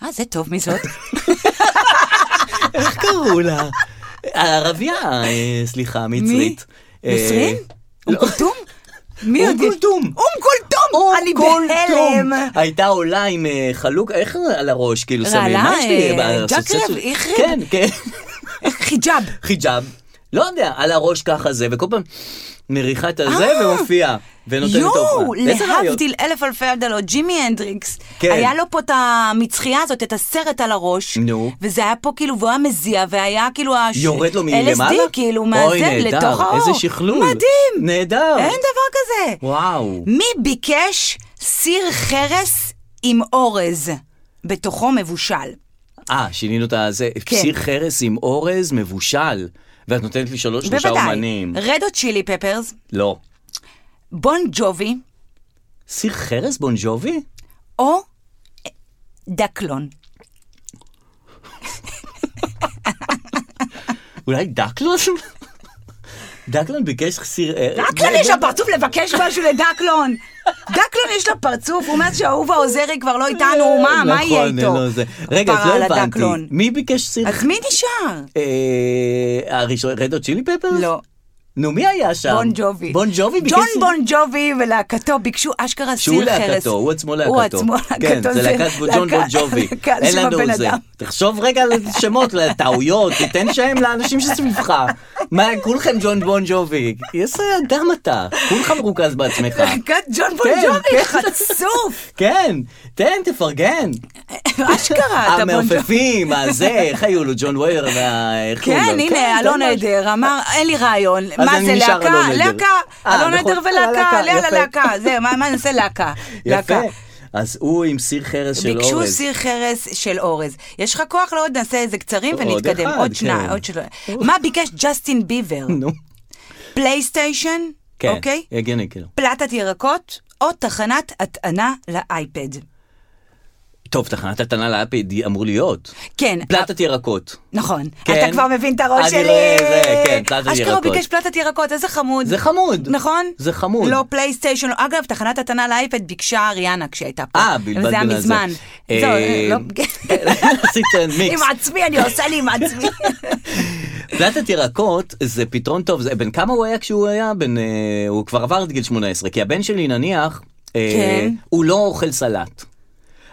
Speaker 3: אה, זה טוב, מי זאת?
Speaker 2: איך קראו לה? הערבייה, אה, סליחה, מצרית. אה,
Speaker 3: נסרין? אום
Speaker 2: לא.
Speaker 3: כולתום? מי
Speaker 2: אום
Speaker 3: עוד יש?
Speaker 2: כולתום.
Speaker 3: אום כולתום! אני
Speaker 2: כל
Speaker 3: בהלם!
Speaker 2: תום. הייתה עולה עם אה, חלוק, איך על הראש, כאילו, סמים.
Speaker 3: רעלה,
Speaker 2: מה יש לי?
Speaker 3: אה,
Speaker 2: באסוציאציה
Speaker 3: ג'קרב,
Speaker 2: שלי?
Speaker 3: איחריב.
Speaker 2: כן, כן.
Speaker 3: חיג'אב.
Speaker 2: חיג'אב, לא יודע, על הראש ככה זה, וכל פעם מריחה את הזה
Speaker 3: אה.
Speaker 2: ומופיעה. ונותנת את
Speaker 3: יואו,
Speaker 2: ההופעה. איזה רעיון.
Speaker 3: להבדיל אלף אלפי הבדלות, ג'ימי הנדריקס.
Speaker 2: כן.
Speaker 3: היה לו פה את המצחייה הזאת, את הסרט על הראש.
Speaker 2: נו.
Speaker 3: וזה היה פה כאילו, והוא היה מזיע, והיה כאילו... הש-
Speaker 2: יורד לו מלמעלה?
Speaker 3: LSD, כאילו,
Speaker 2: אוי,
Speaker 3: מהזה,
Speaker 2: נהדר,
Speaker 3: לתוך האור.
Speaker 2: איזה שכלול.
Speaker 3: מדהים.
Speaker 2: נהדר.
Speaker 3: אין דבר כזה.
Speaker 2: וואו.
Speaker 3: מי ביקש סיר חרס עם אורז? בתוכו מבושל.
Speaker 2: אה, שינינו את הזה.
Speaker 3: כן.
Speaker 2: סיר חרס עם אורז מבושל. ואת נותנת לי שלוש שלושה
Speaker 3: בוודאי.
Speaker 2: אומנים.
Speaker 3: רדו צ'ילי פפרס,
Speaker 2: לא.
Speaker 3: בון ג'ובי
Speaker 2: סיר חרס בון ג'ובי?
Speaker 3: או אה, דקלון.
Speaker 2: אולי דקלון? דקלון ביקש סיר...
Speaker 3: דקלון יש לה פרצוף לבקש משהו לדקלון. דקלון יש לה פרצוף, הוא אומר שאהובה עוזרי כבר לא איתנו, מה, מה יהיה
Speaker 2: נכון,
Speaker 3: איתו?
Speaker 2: לא זה. רגע, אז
Speaker 3: כפרה
Speaker 2: לא
Speaker 3: על
Speaker 2: הבנתי.
Speaker 3: הדקלון.
Speaker 2: מי ביקש סיר...
Speaker 3: אז מי נשאר?
Speaker 2: אה, הראשון, רדו צ'ילי פפרס?
Speaker 3: לא.
Speaker 2: נו, מי היה שם?
Speaker 3: בון ג'ובי.
Speaker 2: בון ג'ובי ביקש...
Speaker 3: ג'ון
Speaker 2: סיר-
Speaker 3: בון ג'ובי ולהקתו ביקשו אשכרה סיר
Speaker 2: שהוא
Speaker 3: חרס.
Speaker 2: להקתו, הוא עצמו להקתו.
Speaker 3: הוא עצמו
Speaker 2: כן,
Speaker 3: להקתו.
Speaker 2: זה להקת בו- ג'ון
Speaker 3: להקה-
Speaker 2: בון ג'ובי.
Speaker 3: להקה
Speaker 2: אין
Speaker 3: של
Speaker 2: לנו
Speaker 3: הבן
Speaker 2: זה.
Speaker 3: אדם.
Speaker 2: תחשוב רגע על שמות, לטעויות, תיתן שם לאנשים שסביבך. מה, כולכם ג'ון בון ג'ובי. איזה אדם אה, אתה, כולך מרוכז בעצמך.
Speaker 3: להקת ג'ון בון
Speaker 2: כן,
Speaker 3: ג'ובי,
Speaker 2: כן.
Speaker 3: חצוף.
Speaker 2: כן, תן, תפרגן. אה,
Speaker 3: אשכרה, אתה בון ג'ובי.
Speaker 2: המרפפים, הזה, איך היו לו, ג'ון וויר וה... איך קוראים
Speaker 3: כן,
Speaker 2: לו?
Speaker 3: הנה,
Speaker 2: תן
Speaker 3: אלון
Speaker 2: משהו.
Speaker 3: עדר אמר, אין לי רעיון.
Speaker 2: אז
Speaker 3: מה
Speaker 2: אני
Speaker 3: זה,
Speaker 2: נשאר
Speaker 3: להקה?
Speaker 2: אלון עדר.
Speaker 3: להקה.
Speaker 2: אה,
Speaker 3: אלון
Speaker 2: נכון.
Speaker 3: עדר ולהקה,
Speaker 2: להקה,
Speaker 3: עלה
Speaker 2: יפה.
Speaker 3: להקה. זה, מה מה נעשה להקה?
Speaker 2: יפה.
Speaker 3: להקה.
Speaker 2: אז הוא עם סיר חרס של אורז.
Speaker 3: ביקשו סיר חרס של אורז. יש לך כוח לעוד נעשה איזה קצרים
Speaker 2: עוד
Speaker 3: ונתקדם.
Speaker 2: אחד,
Speaker 3: עוד
Speaker 2: כן.
Speaker 3: שנה, עוד שלוש. מה ביקש ג'סטין ביבר?
Speaker 2: נו,
Speaker 3: פלייסטיישן?
Speaker 2: כן,
Speaker 3: אוקיי?
Speaker 2: הגיוני כאילו.
Speaker 3: פלטת ירקות? או תחנת הטענה לאייפד.
Speaker 2: טוב, תחנת הטענה לאפיד אמור להיות.
Speaker 3: כן,
Speaker 2: פלטת ירקות.
Speaker 3: נכון.
Speaker 2: כן.
Speaker 3: אתה כבר מבין את הראש
Speaker 2: אני
Speaker 3: שלי.
Speaker 2: רואה זה, כן, פלטת
Speaker 3: אשכרה הוא
Speaker 2: ירקות.
Speaker 3: ביקש פלטת ירקות, איזה חמוד.
Speaker 2: זה חמוד.
Speaker 3: נכון?
Speaker 2: זה חמוד.
Speaker 3: לא פלייסטיישן, לא- אגב, תחנת הטענה לאייפד ביקשה אריאנה כשהייתה פה.
Speaker 2: אה, בלבד
Speaker 3: אבל זה היה
Speaker 2: בין הזה.
Speaker 3: מזמן.
Speaker 2: אה, כן,
Speaker 3: זהו, לא...
Speaker 2: עשית מיקס.
Speaker 3: עם עצמי, אני עושה לי עם עצמי.
Speaker 2: פלטת ירקות זה פתרון טוב, זה, בן כמה הוא היה כשהוא היה? בן, אה, הוא כבר עבר את גיל 18, כי הבן שלי נניח, אה,
Speaker 3: כן.
Speaker 2: הוא לא אוכל סלט.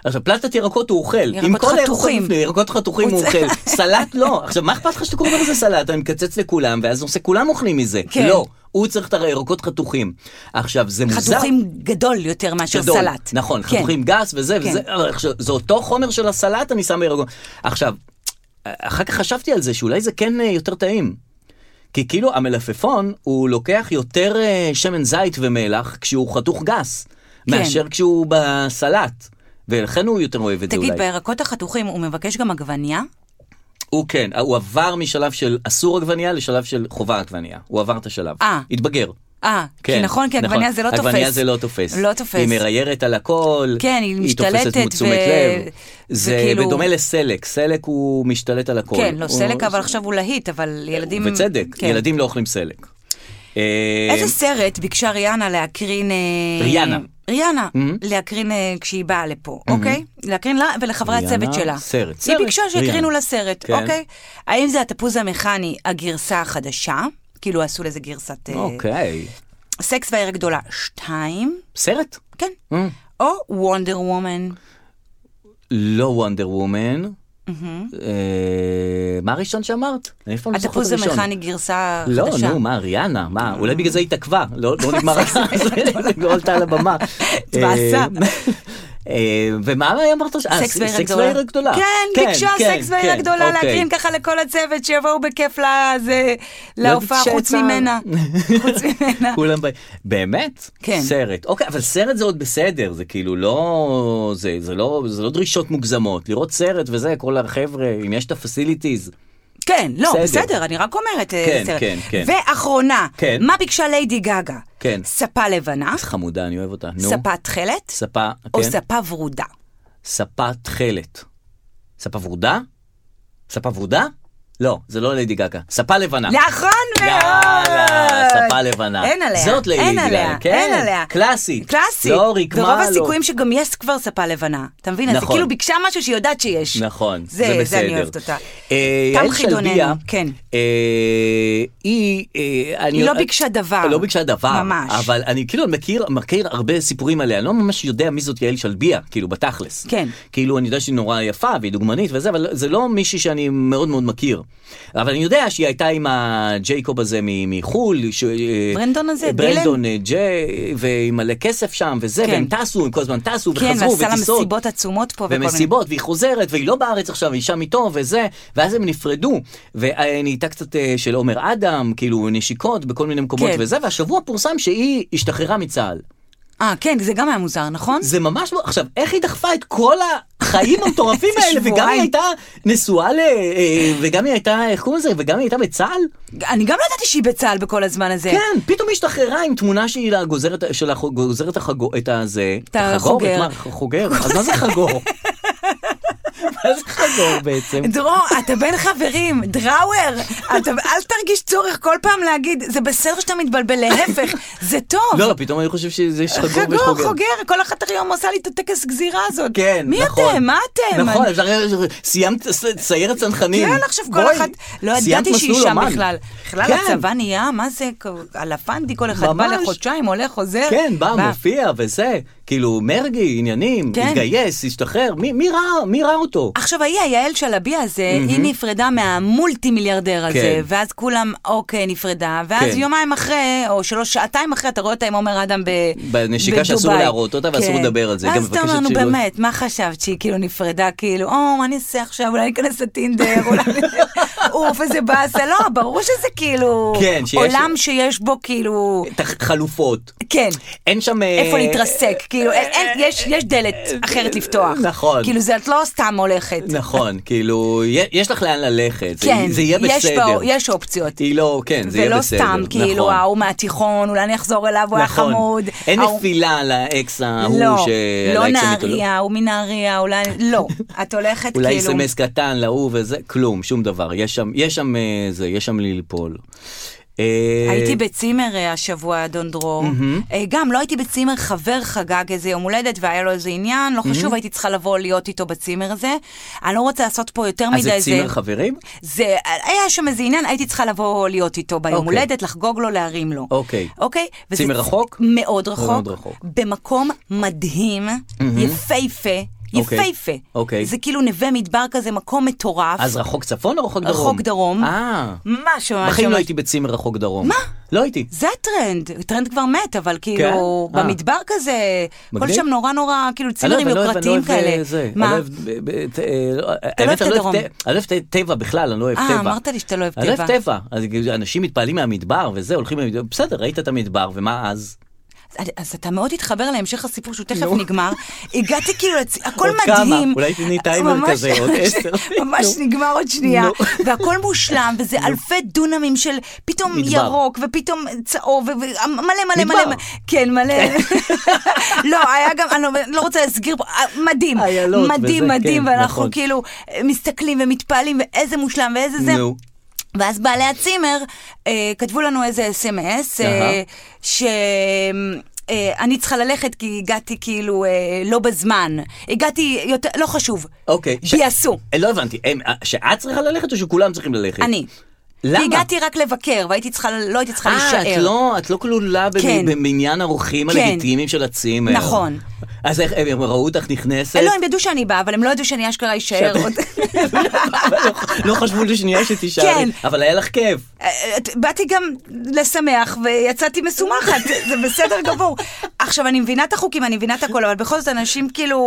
Speaker 2: עכשיו פלטת ירקות הוא אוכל,
Speaker 3: ירקות
Speaker 2: עם כל הירקות
Speaker 3: חתוכים.
Speaker 2: לפני, ירקות חתוכים
Speaker 3: הוא
Speaker 2: הוא
Speaker 3: צ-
Speaker 2: אוכל, סלט לא. עכשיו מה אכפת לך שאתה קוראים לזה סלט, אני מקצץ לכולם ואז עושה כולם אוכלים מזה,
Speaker 3: כן.
Speaker 2: לא, הוא צריך את הירקות חתוכים. עכשיו זה מוזר.
Speaker 3: חתוכים גדול יותר מאשר
Speaker 2: גדול.
Speaker 3: סלט.
Speaker 2: נכון,
Speaker 3: כן.
Speaker 2: חתוכים גס וזה,
Speaker 3: כן.
Speaker 2: וזה, אבל עכשיו, זה אותו חומר של הסלט אני שם בירקון. עכשיו, אחר כך חשבתי על זה שאולי זה כן אה, יותר טעים. כי כאילו המלפפון הוא לוקח יותר אה, שמן זית ומלח כשהוא חתוך גס,
Speaker 3: כן.
Speaker 2: מאשר כשהוא בסלט. ולכן הוא יותר אוהב את זה
Speaker 3: תגיד,
Speaker 2: אולי.
Speaker 3: בירקות החתוכים הוא מבקש גם עגבנייה?
Speaker 2: הוא כן, הוא עבר משלב של אסור עגבנייה לשלב של חובה עגבנייה. הוא עבר את השלב.
Speaker 3: אה.
Speaker 2: התבגר.
Speaker 3: אה, כי נכון, כי עגבנייה זה לא תופס.
Speaker 2: כן, עגבנייה זה לא תופס.
Speaker 3: לא תופס.
Speaker 2: היא מריירת על הכל.
Speaker 3: כן, היא משתלטת
Speaker 2: היא תופסת תשומת
Speaker 3: ו-
Speaker 2: לב. זה
Speaker 3: וכאילו-
Speaker 2: בדומה לסלק, סלק הוא משתלט על הכל.
Speaker 3: כן, לא,
Speaker 2: הוא-
Speaker 3: סלק, אבל עכשיו הוא להיט, אבל ילדים...
Speaker 2: ובצדק,
Speaker 3: כן.
Speaker 2: ילדים לא אוכלים סלק. אה,
Speaker 3: איזה סרט ביקשה ריאנה להקרין... אה,
Speaker 2: ריאנה. Mm-hmm.
Speaker 3: ריאנה, להקרין אה, כשהיא באה לפה, אוקיי? להקרין לה ולחברי
Speaker 2: ריאנה,
Speaker 3: הצוות שלה.
Speaker 2: סרט,
Speaker 3: היא
Speaker 2: סרט,
Speaker 3: ביקשה שיקרינו
Speaker 2: ריאנה.
Speaker 3: לה סרט,
Speaker 2: כן.
Speaker 3: אוקיי? האם זה התפוז המכני, הגרסה החדשה? כאילו עשו לזה גרסת... אה,
Speaker 2: אוקיי.
Speaker 3: סקס והעיר הגדולה 2,
Speaker 2: סרט?
Speaker 3: כן.
Speaker 2: Mm.
Speaker 3: או וונדר וומן.
Speaker 2: לא וונדר וומן. אה, מה הראשון שאמרת? אני אף פעם לא זוכרת
Speaker 3: התפוז
Speaker 2: הראשון.
Speaker 3: המכני גרסה
Speaker 2: לא,
Speaker 3: חדשה. אה.
Speaker 2: נו, מה, ריאנה, מה, אולי בגלל זה היא התעכבה, לא לא נגמר הסרט, לא עלתה על הבמה.
Speaker 3: התבאסה.
Speaker 2: אה, אה, ומה היה אמרת? אה,
Speaker 3: סקס והעיר הגדולה.
Speaker 2: והעיר הגדולה.
Speaker 3: כן, ביקשה
Speaker 2: כן,
Speaker 3: סקס והעיר
Speaker 2: כן,
Speaker 3: הגדולה
Speaker 2: אוקיי.
Speaker 3: להקרין ככה לכל הצוות, שיבואו בכיף לזה,
Speaker 2: לא,
Speaker 3: להופעה,
Speaker 2: יודעת
Speaker 3: חוץ
Speaker 2: שיצא-
Speaker 3: ממנה. חוץ ממנה.
Speaker 2: כולם ב... באמת?
Speaker 3: כן.
Speaker 2: סרט. אוקיי, אבל סרט זה עוד בסדר, זה כאילו לא... זה, זה, לא, זה לא דרישות מוגזמות. לראות סרט וזה, כל החבר'ה, אם יש את הפסיליטיז.
Speaker 3: כן, לא,
Speaker 2: בסדר.
Speaker 3: בסדר, אני רק אומרת. אה,
Speaker 2: כן,
Speaker 3: בסדר.
Speaker 2: כן, כן.
Speaker 3: ואחרונה,
Speaker 2: כן.
Speaker 3: מה ביקשה ליידי גגה?
Speaker 2: כן.
Speaker 3: ספה לבנה,
Speaker 2: איזה חמודה, אני אוהב אותה. נו.
Speaker 3: ספה תכלת,
Speaker 2: ספה,
Speaker 3: או
Speaker 2: כן.
Speaker 3: ספה ורודה.
Speaker 2: ספה תכלת. ספה ורודה? ספה ורודה? לא, זה לא ליידי גגה. ספה לבנה.
Speaker 3: נכון מאוד!
Speaker 2: יאללה, ספה לבנה.
Speaker 3: אין עליה.
Speaker 2: זאת ליידי
Speaker 3: אין
Speaker 2: גגה,
Speaker 3: עליה,
Speaker 2: כן.
Speaker 3: אין עליה.
Speaker 2: קלאסית.
Speaker 3: קלאסית.
Speaker 2: לא רקמה,
Speaker 3: ורוב
Speaker 2: לא-
Speaker 3: הסיכויים שגם יש כבר ספה לבנה. אתה מבין? אז היא
Speaker 2: נכון.
Speaker 3: כאילו ביקשה משהו שהיא יודעת שיש.
Speaker 2: נכון,
Speaker 3: זה-
Speaker 2: זה, בסדר.
Speaker 3: זה אני אוהבת אותה.
Speaker 2: אה,
Speaker 3: תם
Speaker 2: יעל
Speaker 3: חידוננו,
Speaker 2: שלביה,
Speaker 3: כן.
Speaker 2: אה, היא... אה, אני-
Speaker 3: היא לא ביקשה דבר.
Speaker 2: לא ביקשה דבר.
Speaker 3: ממש.
Speaker 2: אבל אני כאילו מכיר, מכיר הרבה סיפורים עליה, אני לא ממש יודע מי זאת יעל שלביה, כאילו בתכלס.
Speaker 3: כן.
Speaker 2: כאילו אני יודע שהיא נורא יפה והיא דוגמנית וזה, אבל זה לא מישהי שאני מאוד מאוד מכיר. אבל אני יודע שהיא הייתה עם הג'ייקוב הזה מ- מחול. ש-
Speaker 3: ברנדון הזה,
Speaker 2: ברנדון אה, ג'יי, ועם מלא כסף שם, וזה,
Speaker 3: כן.
Speaker 2: והם טסו, הם כל הזמן טסו,
Speaker 3: כן,
Speaker 2: וחזרו,
Speaker 3: ועשה לה
Speaker 2: וטיסות.
Speaker 3: מסיבות עצומות פה. וכל מיני-
Speaker 2: ומסיבות, והיא חוזרת, והיא לא בארץ עכשיו, היא שם איתו וזה, ואז הם נפרדו, ונהייתה קצת אה, של עומר אדם, כאילו נשיקות בכל מיני מקומות
Speaker 3: כן.
Speaker 2: וזה, והשבוע פורסם שהיא השתחררה מצה"ל.
Speaker 3: אה, כן, זה גם היה מוזר, נכון?
Speaker 2: זה ממש, לא- עכשיו, איך היא דחפה את כל החיים המטורפים האלה, וגם היא
Speaker 3: שבועיים.
Speaker 2: הייתה נשואה ל... אה, וגם היא הייתה, איך קוראים לזה? וגם היא הייתה בצה"ל?
Speaker 3: אני גם לא ידעתי שהיא בצה"ל בכל הזמן הזה.
Speaker 2: כן, פתאום היא השתחררה עם תמונה שהיא לה- גוזרת, שלה חוג- גוזרת החגו, את הזה.
Speaker 3: את
Speaker 2: החגור,
Speaker 3: החוגר.
Speaker 2: את מה? חוגר. אז מה זה חגור? מה זה חגור בעצם?
Speaker 3: דרור, אתה בן חברים, דראואר, אתה- אל תרגיש צורך כל פעם להגיד, זה בסדר שאתה מתבלבל, להפך, זה טוב.
Speaker 2: לא, פתאום אני חושב שזה יש חגור ויש
Speaker 3: חגור, חוגר, כל אחת הרי היום עושה לי את הטקס גזירה הזאת.
Speaker 2: כן,
Speaker 3: מי
Speaker 2: נכון.
Speaker 3: אתם? מה אתם?
Speaker 2: נכון,
Speaker 3: אני-
Speaker 2: אפשר... סיימת ס- סיירת צנחנים.
Speaker 3: כן, עכשיו כל
Speaker 2: בואי,
Speaker 3: אחת, לא
Speaker 2: סיימת
Speaker 3: ידעתי שהיא
Speaker 2: מסלול
Speaker 3: שם
Speaker 2: אומן.
Speaker 3: בכלל. בכלל
Speaker 2: כן,
Speaker 3: הצבא נהיה, מה זה, אלפנדי, כל אחד בא
Speaker 2: ממש.
Speaker 3: לחודשיים, הולך, חוזר.
Speaker 2: כן, בא, מופיע וזה, כאילו, מרגי, עניינים,
Speaker 3: כן.
Speaker 2: התגייס, השתחרר, מי- מי ראה- מי ראה אותו?
Speaker 3: עכשיו, ההיא, היעל שלבי הזה, היא נפרדה מהמולטי מיליארדר הזה,
Speaker 2: כן.
Speaker 3: ואז כולם, אוקיי, נפרדה, ואז
Speaker 2: כן.
Speaker 3: יומיים אחרי, או שלוש, שעתיים אחרי, אתה רואה אותה עם עומר אדם ב- בדובאי.
Speaker 2: בנשיקה שאסור להראות אותה ואסור
Speaker 3: כן.
Speaker 2: לדבר על זה, היא גם
Speaker 3: ואז אתה
Speaker 2: מבקשת
Speaker 3: אומר, נו
Speaker 2: שלא-
Speaker 3: באמת, מה חשבת, שהיא כאילו נפרדה, כאילו, או, מה אני אעשה עכשיו, אולי ניכנס לטינדר, אולי... אוף, איזה באסה, לא, ברור שזה כאילו...
Speaker 2: כן, שיש-
Speaker 3: עולם שיש בו כאילו...
Speaker 2: את החלופות.
Speaker 3: כן.
Speaker 2: אין שם... אה,
Speaker 3: איפה להתרסק, כאילו, אין- אין- יש- יש דלת אחרת לפתוח.
Speaker 2: נכון.
Speaker 3: כאילו, זה את לא סתם הולכת.
Speaker 2: נכון, כאילו, יה- יש לך לאן ללכת, זה-
Speaker 3: כן,
Speaker 2: זה יהיה
Speaker 3: יש
Speaker 2: בסדר.
Speaker 3: בו- יש אופציות.
Speaker 2: היא לא, כן, זה יהיה
Speaker 3: ולא
Speaker 2: בסדר.
Speaker 3: סתם, כאילו,
Speaker 2: נכון.
Speaker 3: ההוא מהתיכון, אולי אני אחזור אליו, הוא היה
Speaker 2: נכון.
Speaker 3: חמוד.
Speaker 2: אין
Speaker 3: ההוא-
Speaker 2: נפילה לאקס ההוא,
Speaker 3: לא,
Speaker 2: ש-
Speaker 3: לא
Speaker 2: לאקס המיתולוגי.
Speaker 3: נהריה, הוא מנהריה, אולי... לא, את הולכת
Speaker 2: אולי
Speaker 3: כאילו...
Speaker 2: אס.אם.אס קטן להוא וזה, כלום, שום דבר. יש שם, יש שם אה, זה, יש שם ללפול. אה,
Speaker 3: הייתי בצימר אה, השבוע, אדון דרור. אה, גם, לא הייתי בצימר, חבר חגג איזה יום הולדת והיה לו איזה עניין, לא חשוב, הייתי צריכה לבוא להיות איתו בצימר הזה. אני לא רוצה לעשות פה יותר
Speaker 2: אז
Speaker 3: מדי
Speaker 2: זה
Speaker 3: איזה...
Speaker 2: צימר חברים?
Speaker 3: זה, היה שם איזה עניין, הייתי צריכה לבוא להיות איתו ביום
Speaker 2: אוקיי.
Speaker 3: הולדת, לחגוג לו, להרים לו.
Speaker 2: אוקיי.
Speaker 3: אוקיי? וזה
Speaker 2: צימר רחוק?
Speaker 3: מאוד רחוק.
Speaker 2: מאוד רחוק.
Speaker 3: במקום מדהים, יפהפה.
Speaker 2: אוקיי.
Speaker 3: יפהפה.
Speaker 2: אוקיי.
Speaker 3: זה כאילו נווה מדבר כזה, מקום מטורף.
Speaker 2: אז רחוק צפון או רחוק דרום?
Speaker 3: רחוק דרום.
Speaker 2: אה,
Speaker 3: משהו, ממש
Speaker 2: בחיים לא
Speaker 3: ממש-
Speaker 2: הייתי בצימר רחוק דרום. מה? לא הייתי.
Speaker 3: זה הטרנד, טרנד כבר מת, אבל כאילו,
Speaker 2: אה.
Speaker 3: במדבר כזה, כל
Speaker 2: מגניב.
Speaker 3: שם נורא נורא, כאילו
Speaker 2: אני לא
Speaker 3: צימרים
Speaker 2: אוהב- אני לא אוהב- אני לא
Speaker 3: יוקרתיים
Speaker 2: אוהב, אה,
Speaker 3: כאלה.
Speaker 2: זה, אני
Speaker 3: מה?
Speaker 2: לא אוהב, ב- ב- ת- אה, לא- האמת,
Speaker 3: אוהב את
Speaker 2: אני לא
Speaker 3: הדרום.
Speaker 2: ת- אני לא אוהב ת- טבע בכלל, אני לא אוהב
Speaker 3: אה,
Speaker 2: טבע.
Speaker 3: אמרת לי שאתה לא אוהב
Speaker 2: אני לא אוהב
Speaker 3: טבע.
Speaker 2: טבע. אז כאילו, אנשים מתפעלים מהמדבר וזה, הולכים למדבר, בסדר, ראית את המדבר, ומה אז?
Speaker 3: אז- אז אתה מאוד התחבר להמשך הסיפור שהוא תכף נגמר. הגעתי כאילו, לצ- הכל
Speaker 2: עוד כמה?
Speaker 3: מדהים.
Speaker 2: אולי תתני טיימר
Speaker 3: ממש-
Speaker 2: כזה, עוד עשר.
Speaker 3: ממש
Speaker 2: נו.
Speaker 3: נגמר עוד שנייה.
Speaker 2: נו.
Speaker 3: והכל מושלם, וזה אלפי דונמים של פתאום
Speaker 2: מדבר.
Speaker 3: ירוק, ופתאום צהוב, ומלא מלא
Speaker 2: מדבר.
Speaker 3: מלא. כן, מלא. לא, היה גם, אני לא- לא רוצה להסגיר פה, אה, מדהים.
Speaker 2: איילות
Speaker 3: מדהים,
Speaker 2: וזה,
Speaker 3: מדהים,
Speaker 2: כן,
Speaker 3: ואנחנו
Speaker 2: נכון.
Speaker 3: כאילו אה, מסתכלים ומתפעלים, ואיזה מושלם ואיזה זה.
Speaker 2: נו.
Speaker 3: ואז בעלי הצימר אה, כתבו לנו איזה אס.אם.אס, אה,
Speaker 2: אהה.
Speaker 3: שאני צריכה ללכת כי הגעתי כאילו אה, לא בזמן. הגעתי יותר, לא חשוב.
Speaker 2: אוקיי. ש-
Speaker 3: ביעשו.
Speaker 2: אה, לא הבנתי, הם- אה, שאת צריכה ללכת או שכולם צריכים ללכת?
Speaker 3: אני.
Speaker 2: למה?
Speaker 3: כי הגעתי רק לבקר, והייתי צריכה, לא הייתי צריכה
Speaker 2: אה,
Speaker 3: להישאר.
Speaker 2: את לא, את לא כלולה במ-
Speaker 3: כן.
Speaker 2: במניין האורחים
Speaker 3: כן.
Speaker 2: הלגיטימיים של הצימר.
Speaker 3: נכון.
Speaker 2: אז איך, הם הם ראו אותך נכנסת?
Speaker 3: אה, לא, הם ידעו שאני באה, אבל הם לא ידעו שאני אשכרה אשאר עוד.
Speaker 2: לא חשבו לשנייה שתישארי,
Speaker 3: אה, כן.
Speaker 2: אבל היה לך כיף.
Speaker 3: אה, את- באתי גם לשמח ויצאתי משומחת, זה בסדר גמור. עכשיו, אני מבינה את החוקים, אני מבינה את הכל, אבל בכל זאת אנשים כאילו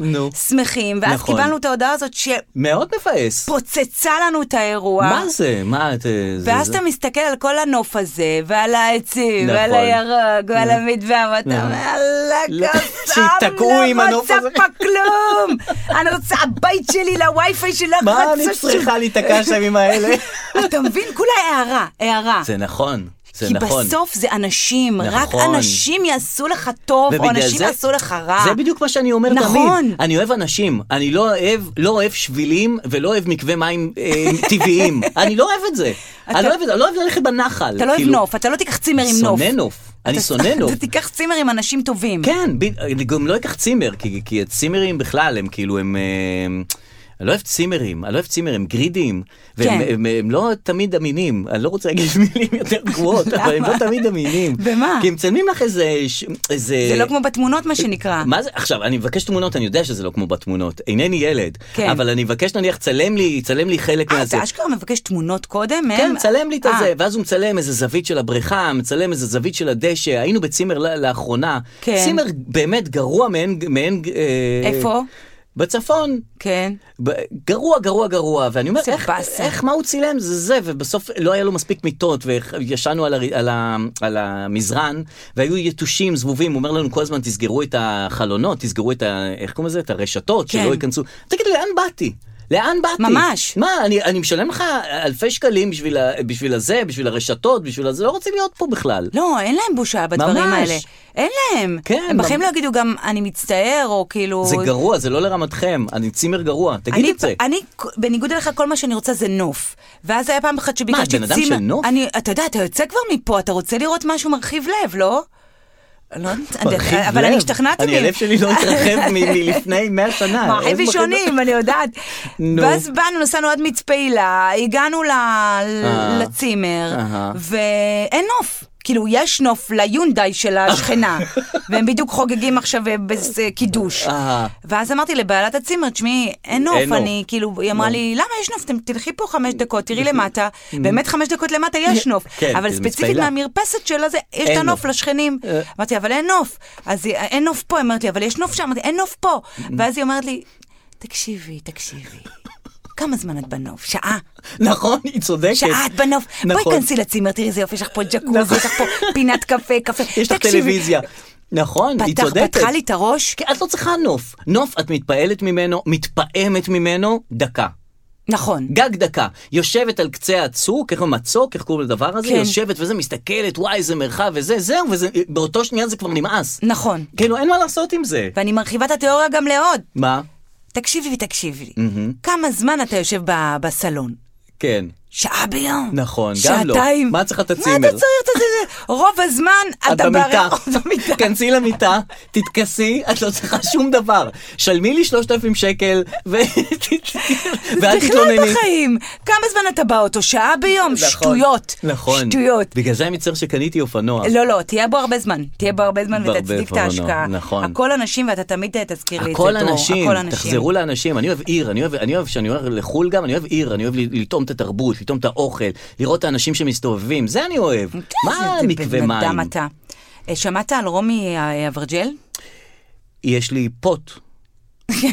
Speaker 2: נו.
Speaker 3: שמחים, ואז
Speaker 2: נכון.
Speaker 3: קיבלנו את ההודעה הזאת
Speaker 2: מאוד מבאס.
Speaker 3: שפוצצה לנו את האירוע.
Speaker 2: מה זה? מה את... אה, זה-
Speaker 3: ואז
Speaker 2: זה-
Speaker 3: אתה מסתכל על כל הנוף הזה, ועל העצים,
Speaker 2: נכון.
Speaker 3: ועל הירוק, ועל המדבר, ואתה אומר,
Speaker 2: לא,
Speaker 3: אללה קסאם,
Speaker 2: שיתקעו עם
Speaker 3: לא
Speaker 2: הנוף
Speaker 3: רוצה
Speaker 2: הזה."
Speaker 3: פה כלום. אני רוצה, הבית שלי לווי-פיי שלך,
Speaker 2: מה אני
Speaker 3: רצה
Speaker 2: צריכה להיתקע שם עם האלה?
Speaker 3: ש- אתה מבין? כולה הערה, הערה.
Speaker 2: זה נכון, זה
Speaker 3: כי
Speaker 2: נכון.
Speaker 3: בסוף זה אנשים, רק
Speaker 2: נכון.
Speaker 3: אנשים יעשו לך טוב, או
Speaker 2: ובגלל
Speaker 3: אנשים
Speaker 2: זה-
Speaker 3: יעשו לך רע.
Speaker 2: זה בדיוק מה שאני אומר
Speaker 3: נכון.
Speaker 2: תמיד. אני אוהב אנשים, אני לא אוהב, לא אוהב שבילים ולא אוהב מקווה מים אה, טבעיים. אני לא אוהב את זה.
Speaker 3: אתה-
Speaker 2: אני לא אוהב את זה, אני לא אוהב ללכת בנחל.
Speaker 3: אתה לא אוהב
Speaker 2: כאילו,
Speaker 3: נוף, אתה לא תיקח צימר עם נוף.
Speaker 2: שונא נוף. אני
Speaker 3: אתה-
Speaker 2: שונא נוף.
Speaker 3: אתה תיקח צימר עם אנשים טובים.
Speaker 2: כן, ב- אני גם לא אקח צימר, כי- כי הצימרים בכלל הם כאילו הם... אה, אני לא אוהב צימרים, אני לא אוהב צימרים, גרידים, והם
Speaker 3: כן.
Speaker 2: הם, הם לא תמיד אמינים, אני לא רוצה להגיד מילים יותר גרועות, אבל הם לא
Speaker 3: למה?
Speaker 2: תמיד אמינים.
Speaker 3: במה?
Speaker 2: כי הם מצלמים לך איזה... ש- איזה...
Speaker 3: זה לא כמו בתמונות, מה שנקרא.
Speaker 2: מה זה? עכשיו, אני מבקש תמונות, אני יודע שזה לא כמו בתמונות, אינני ילד,
Speaker 3: כן.
Speaker 2: אבל אני מבקש נניח, צלם לי, צלם לי חלק
Speaker 3: אה,
Speaker 2: מהזה.
Speaker 3: אתה אשכרה מבקש תמונות קודם?
Speaker 2: כן,
Speaker 3: מהם?
Speaker 2: צלם לי את
Speaker 3: אה,
Speaker 2: הזה, ואז הוא מצלם איזה זווית של הבריכה, מצלם איזה זווית של הדשא, היינו בצימר ל- לאחרונה.
Speaker 3: כן.
Speaker 2: צימר באמת גרוע מעין... מעין אה,
Speaker 3: איפה?
Speaker 2: בצפון.
Speaker 3: כן.
Speaker 2: ב- גרוע, גרוע, גרוע, ואני אומר,
Speaker 3: זה
Speaker 2: איך,
Speaker 3: באסה.
Speaker 2: איך, מה הוא צילם? זה זה, ובסוף לא היה לו מספיק מיטות, וישנו על, הר... על, ה... על המזרן, והיו יתושים, זבובים, הוא אומר לנו כל הזמן, תסגרו את החלונות, תסגרו את ה... איך קוראים לזה? את הרשתות,
Speaker 3: כן.
Speaker 2: שלא ייכנסו. תגיד לי, לאן באתי? לאן באתי?
Speaker 3: ממש.
Speaker 2: מה, אני, אני משלם לך אלפי שקלים בשביל, ה... בשביל הזה, בשביל הרשתות, בשביל הזה, לא רוצים להיות פה בכלל.
Speaker 3: לא, אין להם בושה בדברים
Speaker 2: ממש.
Speaker 3: האלה. אין להם.
Speaker 2: כן,
Speaker 3: הם בחיים
Speaker 2: ממ-
Speaker 3: לא יגידו גם, אני מצטער, או כאילו...
Speaker 2: זה גרוע, זה לא לרמתכם, אני צימר גרוע, תגיד
Speaker 3: אני,
Speaker 2: את זה.
Speaker 3: אני, בניגוד אליך, כל מה שאני רוצה זה נוף. ואז היה פעם אחת שביקשתי
Speaker 2: את בן אדם של נוף?
Speaker 3: אני, אתה יודע, אתה יוצא כבר מפה, אתה רוצה לראות משהו מרחיב לב, לא? לא, יודעת,
Speaker 2: מרחיב
Speaker 3: אבל
Speaker 2: לב.
Speaker 3: אני השתכנעתי.
Speaker 2: אני,
Speaker 3: מ-
Speaker 2: הלב שלי לא התרחב מ- מלפני 100 שנה.
Speaker 3: מרחיב
Speaker 2: איזה
Speaker 3: ראשונים, אני יודעת.
Speaker 2: נו.
Speaker 3: ואז באנו, נסענו עד מצפה הילה, הגענו ל- לצימר,
Speaker 2: אה. אהה.
Speaker 3: ואין נוף. כאילו, יש נוף ליונדאי של השכנה, והם בדיוק חוגגים עכשיו אה, בס- אה, קידוש.
Speaker 2: אהה.
Speaker 3: ואז אמרתי לבעלת הצימר, תשמעי, אין נוף,
Speaker 2: אין נוף." לא.
Speaker 3: אני כאילו, היא אמרה לי, למה יש נוף? אתם- תלכי פה חמש דקות, תראי למטה, באמת חמש דקות למטה יש נוף,
Speaker 2: כן,
Speaker 3: אבל
Speaker 2: זה
Speaker 3: ספציפית
Speaker 2: מצפה הילה.
Speaker 3: מהמרפסת שלה זה, יש את
Speaker 2: אין
Speaker 3: הנוף
Speaker 2: נוף. אה.
Speaker 3: לשכנים. אמרתי, אבל אין נוף. אז היא, אין נוף פה, היא אומרת לי, אבל יש נוף שם. אמרתי, אין נוף פה. ואז היא אומרת לי, תקשיבי, תקשיבי, כמה זמן את בנוף? שעה.
Speaker 2: נכון, היא צודקת.
Speaker 3: שעה את בנוף,
Speaker 2: נכון.
Speaker 3: בואי כנסי לצימר, תראי איזה יופי, יש לך פה ג'קוזי, יש לך פה פינת קפה, קפה.
Speaker 2: יש לך
Speaker 3: תקשיבי,
Speaker 2: טלוויזיה. נכון, היא
Speaker 3: פתח,
Speaker 2: צודקת.
Speaker 3: פתחה לי את הראש,
Speaker 2: כי את לא צריכה נוף. נוף, את מתפעלת ממנו, מתפעמת ממנו, דקה.
Speaker 3: נכון.
Speaker 2: גג דקה. יושבת על קצה הצוק, איך אומרים, מצוק, איך קוראים לדבר הזה?
Speaker 3: כן.
Speaker 2: יושבת וזה, מסתכלת, וואי, איזה מרחב וזה, זהו, וזה, באותו שנייה זה כבר נמאס.
Speaker 3: נכון.
Speaker 2: כאילו, אין מה לעשות עם זה.
Speaker 3: ואני מרחיבה את התיאוריה גם לעוד.
Speaker 2: מה?
Speaker 3: תקשיבי ותקשיבי, כמה זמן אתה יושב ב- בסלון?
Speaker 2: כן.
Speaker 3: שעה ביום.
Speaker 2: נכון, גם לא.
Speaker 3: שעתיים.
Speaker 2: מה את צריכה את
Speaker 3: מה
Speaker 2: הצימר?
Speaker 3: אתה צריך את הצימר? רוב הזמן
Speaker 2: את
Speaker 3: אתה
Speaker 2: במיטה,
Speaker 3: בהר- במיטה.
Speaker 2: כנסי למיטה, תתכסי, את לא צריכה שום דבר. שלמי לי 3,000 שקל, ו- ואת
Speaker 3: בכלל
Speaker 2: תתלונני.
Speaker 3: בחיים. כמה זמן אתה באוטו? שעה ביום?
Speaker 2: נכון,
Speaker 3: שטויות.
Speaker 2: נכון.
Speaker 3: שטויות.
Speaker 2: בגלל זה אני מצטער שקניתי אופנוע.
Speaker 3: לא, לא, תהיה בו הרבה זמן. תהיה בו הרבה זמן
Speaker 2: בהרבה
Speaker 3: ותצדיק את
Speaker 2: פרעונות,
Speaker 3: ההשקעה.
Speaker 2: נכון.
Speaker 3: הכל אנשים ואתה תמיד אה, תזכיר לי את זה.
Speaker 2: הכל
Speaker 3: דרור,
Speaker 2: אנשים,
Speaker 3: הכל אנשים.
Speaker 2: תחזרו לאנשים, אני אוהב עיר, אני אוהב, אני אוהב שאני אוהב לחו"ל גם, אני אוהב עיר, אני אוהב ל- לטעום את התרבות, לטעום את האוכל, לראות את האנשים שמסתובבים, זה אני אוהב. מה
Speaker 3: איזה
Speaker 2: מקווה
Speaker 3: כן, בן אדם
Speaker 2: מים?
Speaker 3: אתה. אה, שמעת על רומי אה, אברג'ל?
Speaker 2: יש לי פוט.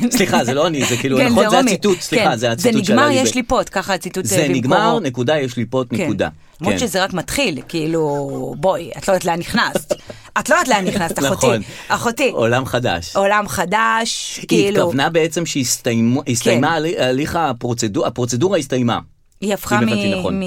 Speaker 2: סליחה, זה לא אני, זה כאילו,
Speaker 3: כן,
Speaker 2: נכון, זה
Speaker 3: רומי.
Speaker 2: הציטוט, סליחה,
Speaker 3: כן,
Speaker 2: זה הציטוט
Speaker 3: זה
Speaker 2: שעלה
Speaker 3: נגמר,
Speaker 2: לי.
Speaker 3: יש
Speaker 2: ב-
Speaker 3: לי פה, ככה הציטוט אה,
Speaker 2: זה
Speaker 3: במקורו.
Speaker 2: נגמר, נקודה, יש לי פוט,
Speaker 3: כן.
Speaker 2: נקודה.
Speaker 3: למרות
Speaker 2: כן.
Speaker 3: שזה רק מתחיל, כאילו, בואי, את לא יודעת לאן נכנסת. את לא יודעת לאן נכנסת, אחותי.
Speaker 2: נכון.
Speaker 3: אחותי.
Speaker 2: עולם חדש.
Speaker 3: עולם חדש,
Speaker 2: היא
Speaker 3: כאילו, כן.
Speaker 2: התכוונה בעצם שהסתיימה הליך הפרוצדורה, הפרוצדורה הסתיימה.
Speaker 3: היא הפכה
Speaker 2: אם הבנתי
Speaker 3: מ-
Speaker 2: נכון.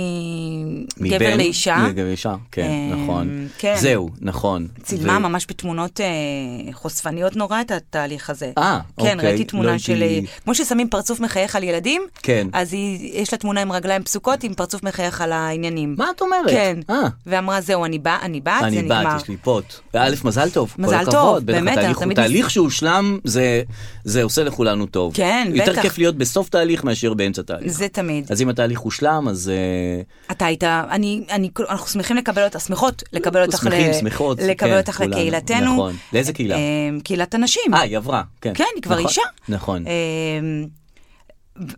Speaker 3: מגבר
Speaker 2: מבן
Speaker 3: לאישה,
Speaker 2: לגבר לאישה, כן,
Speaker 3: אמ,
Speaker 2: נכון.
Speaker 3: כן.
Speaker 2: זהו, נכון.
Speaker 3: צילמה
Speaker 2: ו-
Speaker 3: ממש בתמונות אה, חושפניות נורא את התהליך הזה.
Speaker 2: אה,
Speaker 3: כן,
Speaker 2: אוקיי,
Speaker 3: ראיתי
Speaker 2: לא
Speaker 3: תמונה
Speaker 2: הייתי-
Speaker 3: של, אה, כמו ששמים פרצוף מחייך על ילדים,
Speaker 2: כן.
Speaker 3: אז היא- יש לה תמונה עם רגליים פסוקות עם פרצוף מחייך על העניינים.
Speaker 2: מה את אומרת?
Speaker 3: כן.
Speaker 2: אה.
Speaker 3: ואמרה, זהו, אני באה, אני באה, זה
Speaker 2: אני
Speaker 3: נגמר.
Speaker 2: בת, יש לי פוט. א', מזל טוב.
Speaker 3: מזל
Speaker 2: כל
Speaker 3: טוב,
Speaker 2: הכבוד, בטח,
Speaker 3: באמת,
Speaker 2: התהליך
Speaker 3: אנחנו
Speaker 2: הוא
Speaker 3: תמיד-
Speaker 2: תהליך שהושלם, זה- זה עושה לכולנו טוב.
Speaker 3: כן,
Speaker 2: יותר
Speaker 3: בטח.
Speaker 2: כיף להיות בסוף תהליך מאשר באמצע תהליך.
Speaker 3: זה תמיד.
Speaker 2: אז אם התהליך הושלם, אז... אה,
Speaker 3: אתה היית, אני, אני, אנחנו שמחים לקבל אותך, שמחות לקבל אותך,
Speaker 2: שמחים,
Speaker 3: ל-
Speaker 2: שמחות,
Speaker 3: לקבל
Speaker 2: כן,
Speaker 3: אותך
Speaker 2: כולנו,
Speaker 3: לקהילתנו.
Speaker 2: נכון. לאיזה קהילה?
Speaker 3: אמ, קהילת הנשים.
Speaker 2: אה, היא עברה, כן.
Speaker 3: כן, היא כבר
Speaker 2: נכון,
Speaker 3: אישה.
Speaker 2: נכון.
Speaker 3: אמ,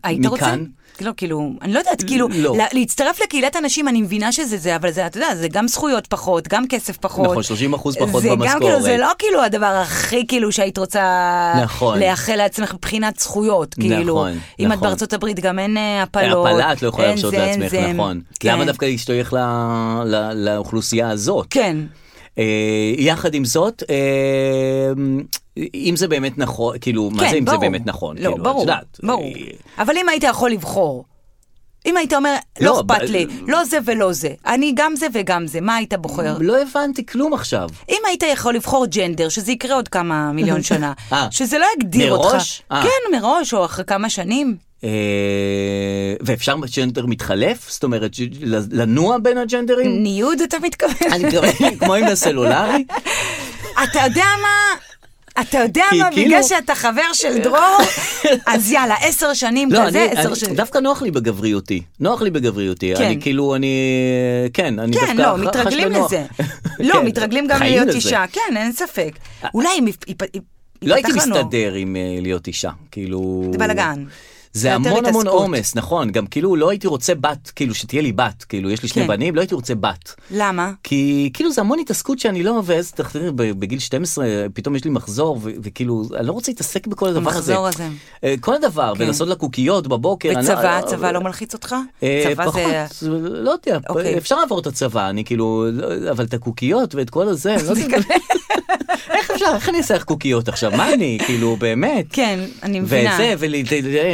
Speaker 3: היית
Speaker 2: מכאן?
Speaker 3: רוצה? לא, כאילו, אני לא יודעת, כאילו,
Speaker 2: לא.
Speaker 3: לה- להצטרף לקהילת הנשים, אני מבינה שזה זה, אבל זה, אתה יודע, זה גם זכויות פחות, גם כסף פחות.
Speaker 2: נכון, 30% פחות
Speaker 3: זה גם כאילו, זה
Speaker 2: במשכורת.
Speaker 3: לא כאילו הדבר הכי כאילו שהיית רוצה
Speaker 2: נכון.
Speaker 3: לאחל לעצמך מבחינת זכויות, כאילו.
Speaker 2: נכון,
Speaker 3: אם את
Speaker 2: נכון.
Speaker 3: בארצות הברית גם אין אה, הפלות.
Speaker 2: הפלה את לא יכולה
Speaker 3: אין
Speaker 2: להרשות
Speaker 3: זה, אין
Speaker 2: לעצמך,
Speaker 3: זה.
Speaker 2: נכון.
Speaker 3: כן.
Speaker 2: למה דווקא להשתייך ל- ל- לאוכלוסייה הזאת?
Speaker 3: כן.
Speaker 2: אה, יחד עם זאת, אה, אם זה באמת נכון, כאילו, מה
Speaker 3: כן,
Speaker 2: זה אם זה
Speaker 3: ברור.
Speaker 2: באמת נכון?
Speaker 3: לא,
Speaker 2: כאילו, את
Speaker 3: ברור,
Speaker 2: יודעת,
Speaker 3: ברור.
Speaker 2: אה,
Speaker 3: אבל אם היית יכול לבחור, אם היית אומר, לא
Speaker 2: לא,
Speaker 3: אכפת
Speaker 2: ב-
Speaker 3: לי, לא זה ולא זה, אני גם זה וגם זה, מה היית בוחר?
Speaker 2: לא הבנתי כלום עכשיו.
Speaker 3: אם היית יכול לבחור ג'נדר, שזה יקרה עוד כמה מיליון שנה,
Speaker 2: אה.
Speaker 3: שזה לא יגדיר אותך.
Speaker 2: מראש? אה.
Speaker 3: כן, מראש, או אחרי כמה שנים.
Speaker 2: אה, ואפשר ג'נדר מתחלף? זאת אומרת, ש- לנוע בין הג'נדרים?
Speaker 3: ניוד אתה מתכוון?
Speaker 2: אני מתכוון, כמו עם הסלולרי?
Speaker 3: אתה יודע מה? אתה יודע
Speaker 2: כי
Speaker 3: מה,
Speaker 2: כאילו-
Speaker 3: בגלל שאתה חבר של דרור, אז יאללה, עשר שנים
Speaker 2: לא,
Speaker 3: כזה,
Speaker 2: אני,
Speaker 3: עשר
Speaker 2: אני,
Speaker 3: שנים.
Speaker 2: דווקא נוח לי בגבריותי, נוח לי בגבריותי,
Speaker 3: כן.
Speaker 2: אני כאילו, אני, כן, אני
Speaker 3: כן,
Speaker 2: דווקא ח- חש
Speaker 3: לא, מתרגלים
Speaker 2: בנוח.
Speaker 3: לזה. לא,
Speaker 2: כן,
Speaker 3: מתרגלים גם
Speaker 2: חיים
Speaker 3: להיות
Speaker 2: לזה. אה,
Speaker 3: אישה, כן, אין ספק. אולי אם יפ- יפ- יפ-
Speaker 2: לא הייתי
Speaker 3: יפתח לנו-
Speaker 2: מסתדר עם אה, להיות אישה, כאילו...
Speaker 3: זה בלאגן. זה
Speaker 2: זה
Speaker 3: יותר
Speaker 2: המון המון
Speaker 3: התעסקות.
Speaker 2: עומס, נכון, גם כאילו לא הייתי רוצה בת, כאילו שתהיה לי בת, כאילו יש לי שני
Speaker 3: כן.
Speaker 2: בנים, לא הייתי רוצה בת.
Speaker 3: למה?
Speaker 2: כי כאילו זה המון התעסקות שאני לא, ואז תחזרי, בגיל 12 פתאום יש לי מחזור, ו- וכאילו, אני לא רוצה להתעסק בכל הדבר הזה.
Speaker 3: המחזור הזה.
Speaker 2: אה, כל הדבר, ולעשות לה קוקיות בבוקר. אני לא-
Speaker 3: וצבא, צבא לא מלחיץ אותך?
Speaker 2: אה,
Speaker 3: צבא זה...
Speaker 2: פחות, לא יודע,
Speaker 3: אוקיי.
Speaker 2: אפשר לעבור את הצבא, אני כאילו, לא- אבל את הקוקיות ואת כל הזה, לא יודע. איך אפשר, איך אני אעשה לך קוקיות עכשיו, מה אני, כאילו, באמת.
Speaker 3: כן, אני מבינה.
Speaker 2: וזה,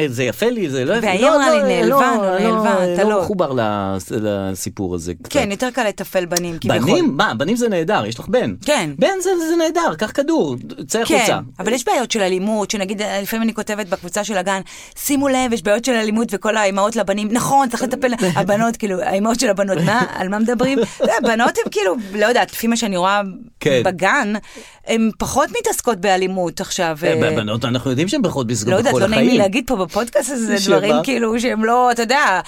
Speaker 2: וזה יפה לי, זה לא יפה.
Speaker 3: והיא
Speaker 2: לא,
Speaker 3: אמרה
Speaker 2: לא,
Speaker 3: לי,
Speaker 2: לא,
Speaker 3: נעלבה,
Speaker 2: לא,
Speaker 3: נעלבה, אתה
Speaker 2: לא
Speaker 3: לא.
Speaker 2: מחובר לס- לסיפור הזה. קצת.
Speaker 3: כן, יותר קל לתפעל בנים, כביכול.
Speaker 2: בנים? מה, בנים זה נהדר, יש לך בן.
Speaker 3: כן.
Speaker 2: בן זה זה נהדר, קח כדור, צא
Speaker 3: כן,
Speaker 2: החוצה.
Speaker 3: אבל יש בעיות של אלימות, שנגיד, אה, לפעמים אני כותבת בקבוצה של הגן, שימו לב, יש בעיות של אלימות וכל האימהות לבנים, נכון, צריך לטפל, הבנות, כאילו, האימהות של הבנות, מה, על מה מדברים? לא, הבנות הן כאילו, לא יודעת, לפי מה שאני רואה
Speaker 2: כן.
Speaker 3: בגן, הן פחות מתעסקות באלימות עכשיו.
Speaker 2: אה,
Speaker 3: אה,
Speaker 2: בבנות, אנחנו יודעים שהן בריכות בזגות
Speaker 3: לא
Speaker 2: בכל החיים.
Speaker 3: יודעת, לא נעים לי להגיד פה בפודקאסט הזה
Speaker 2: שמה?
Speaker 3: דברים כאילו שהם לא, אתה יודע,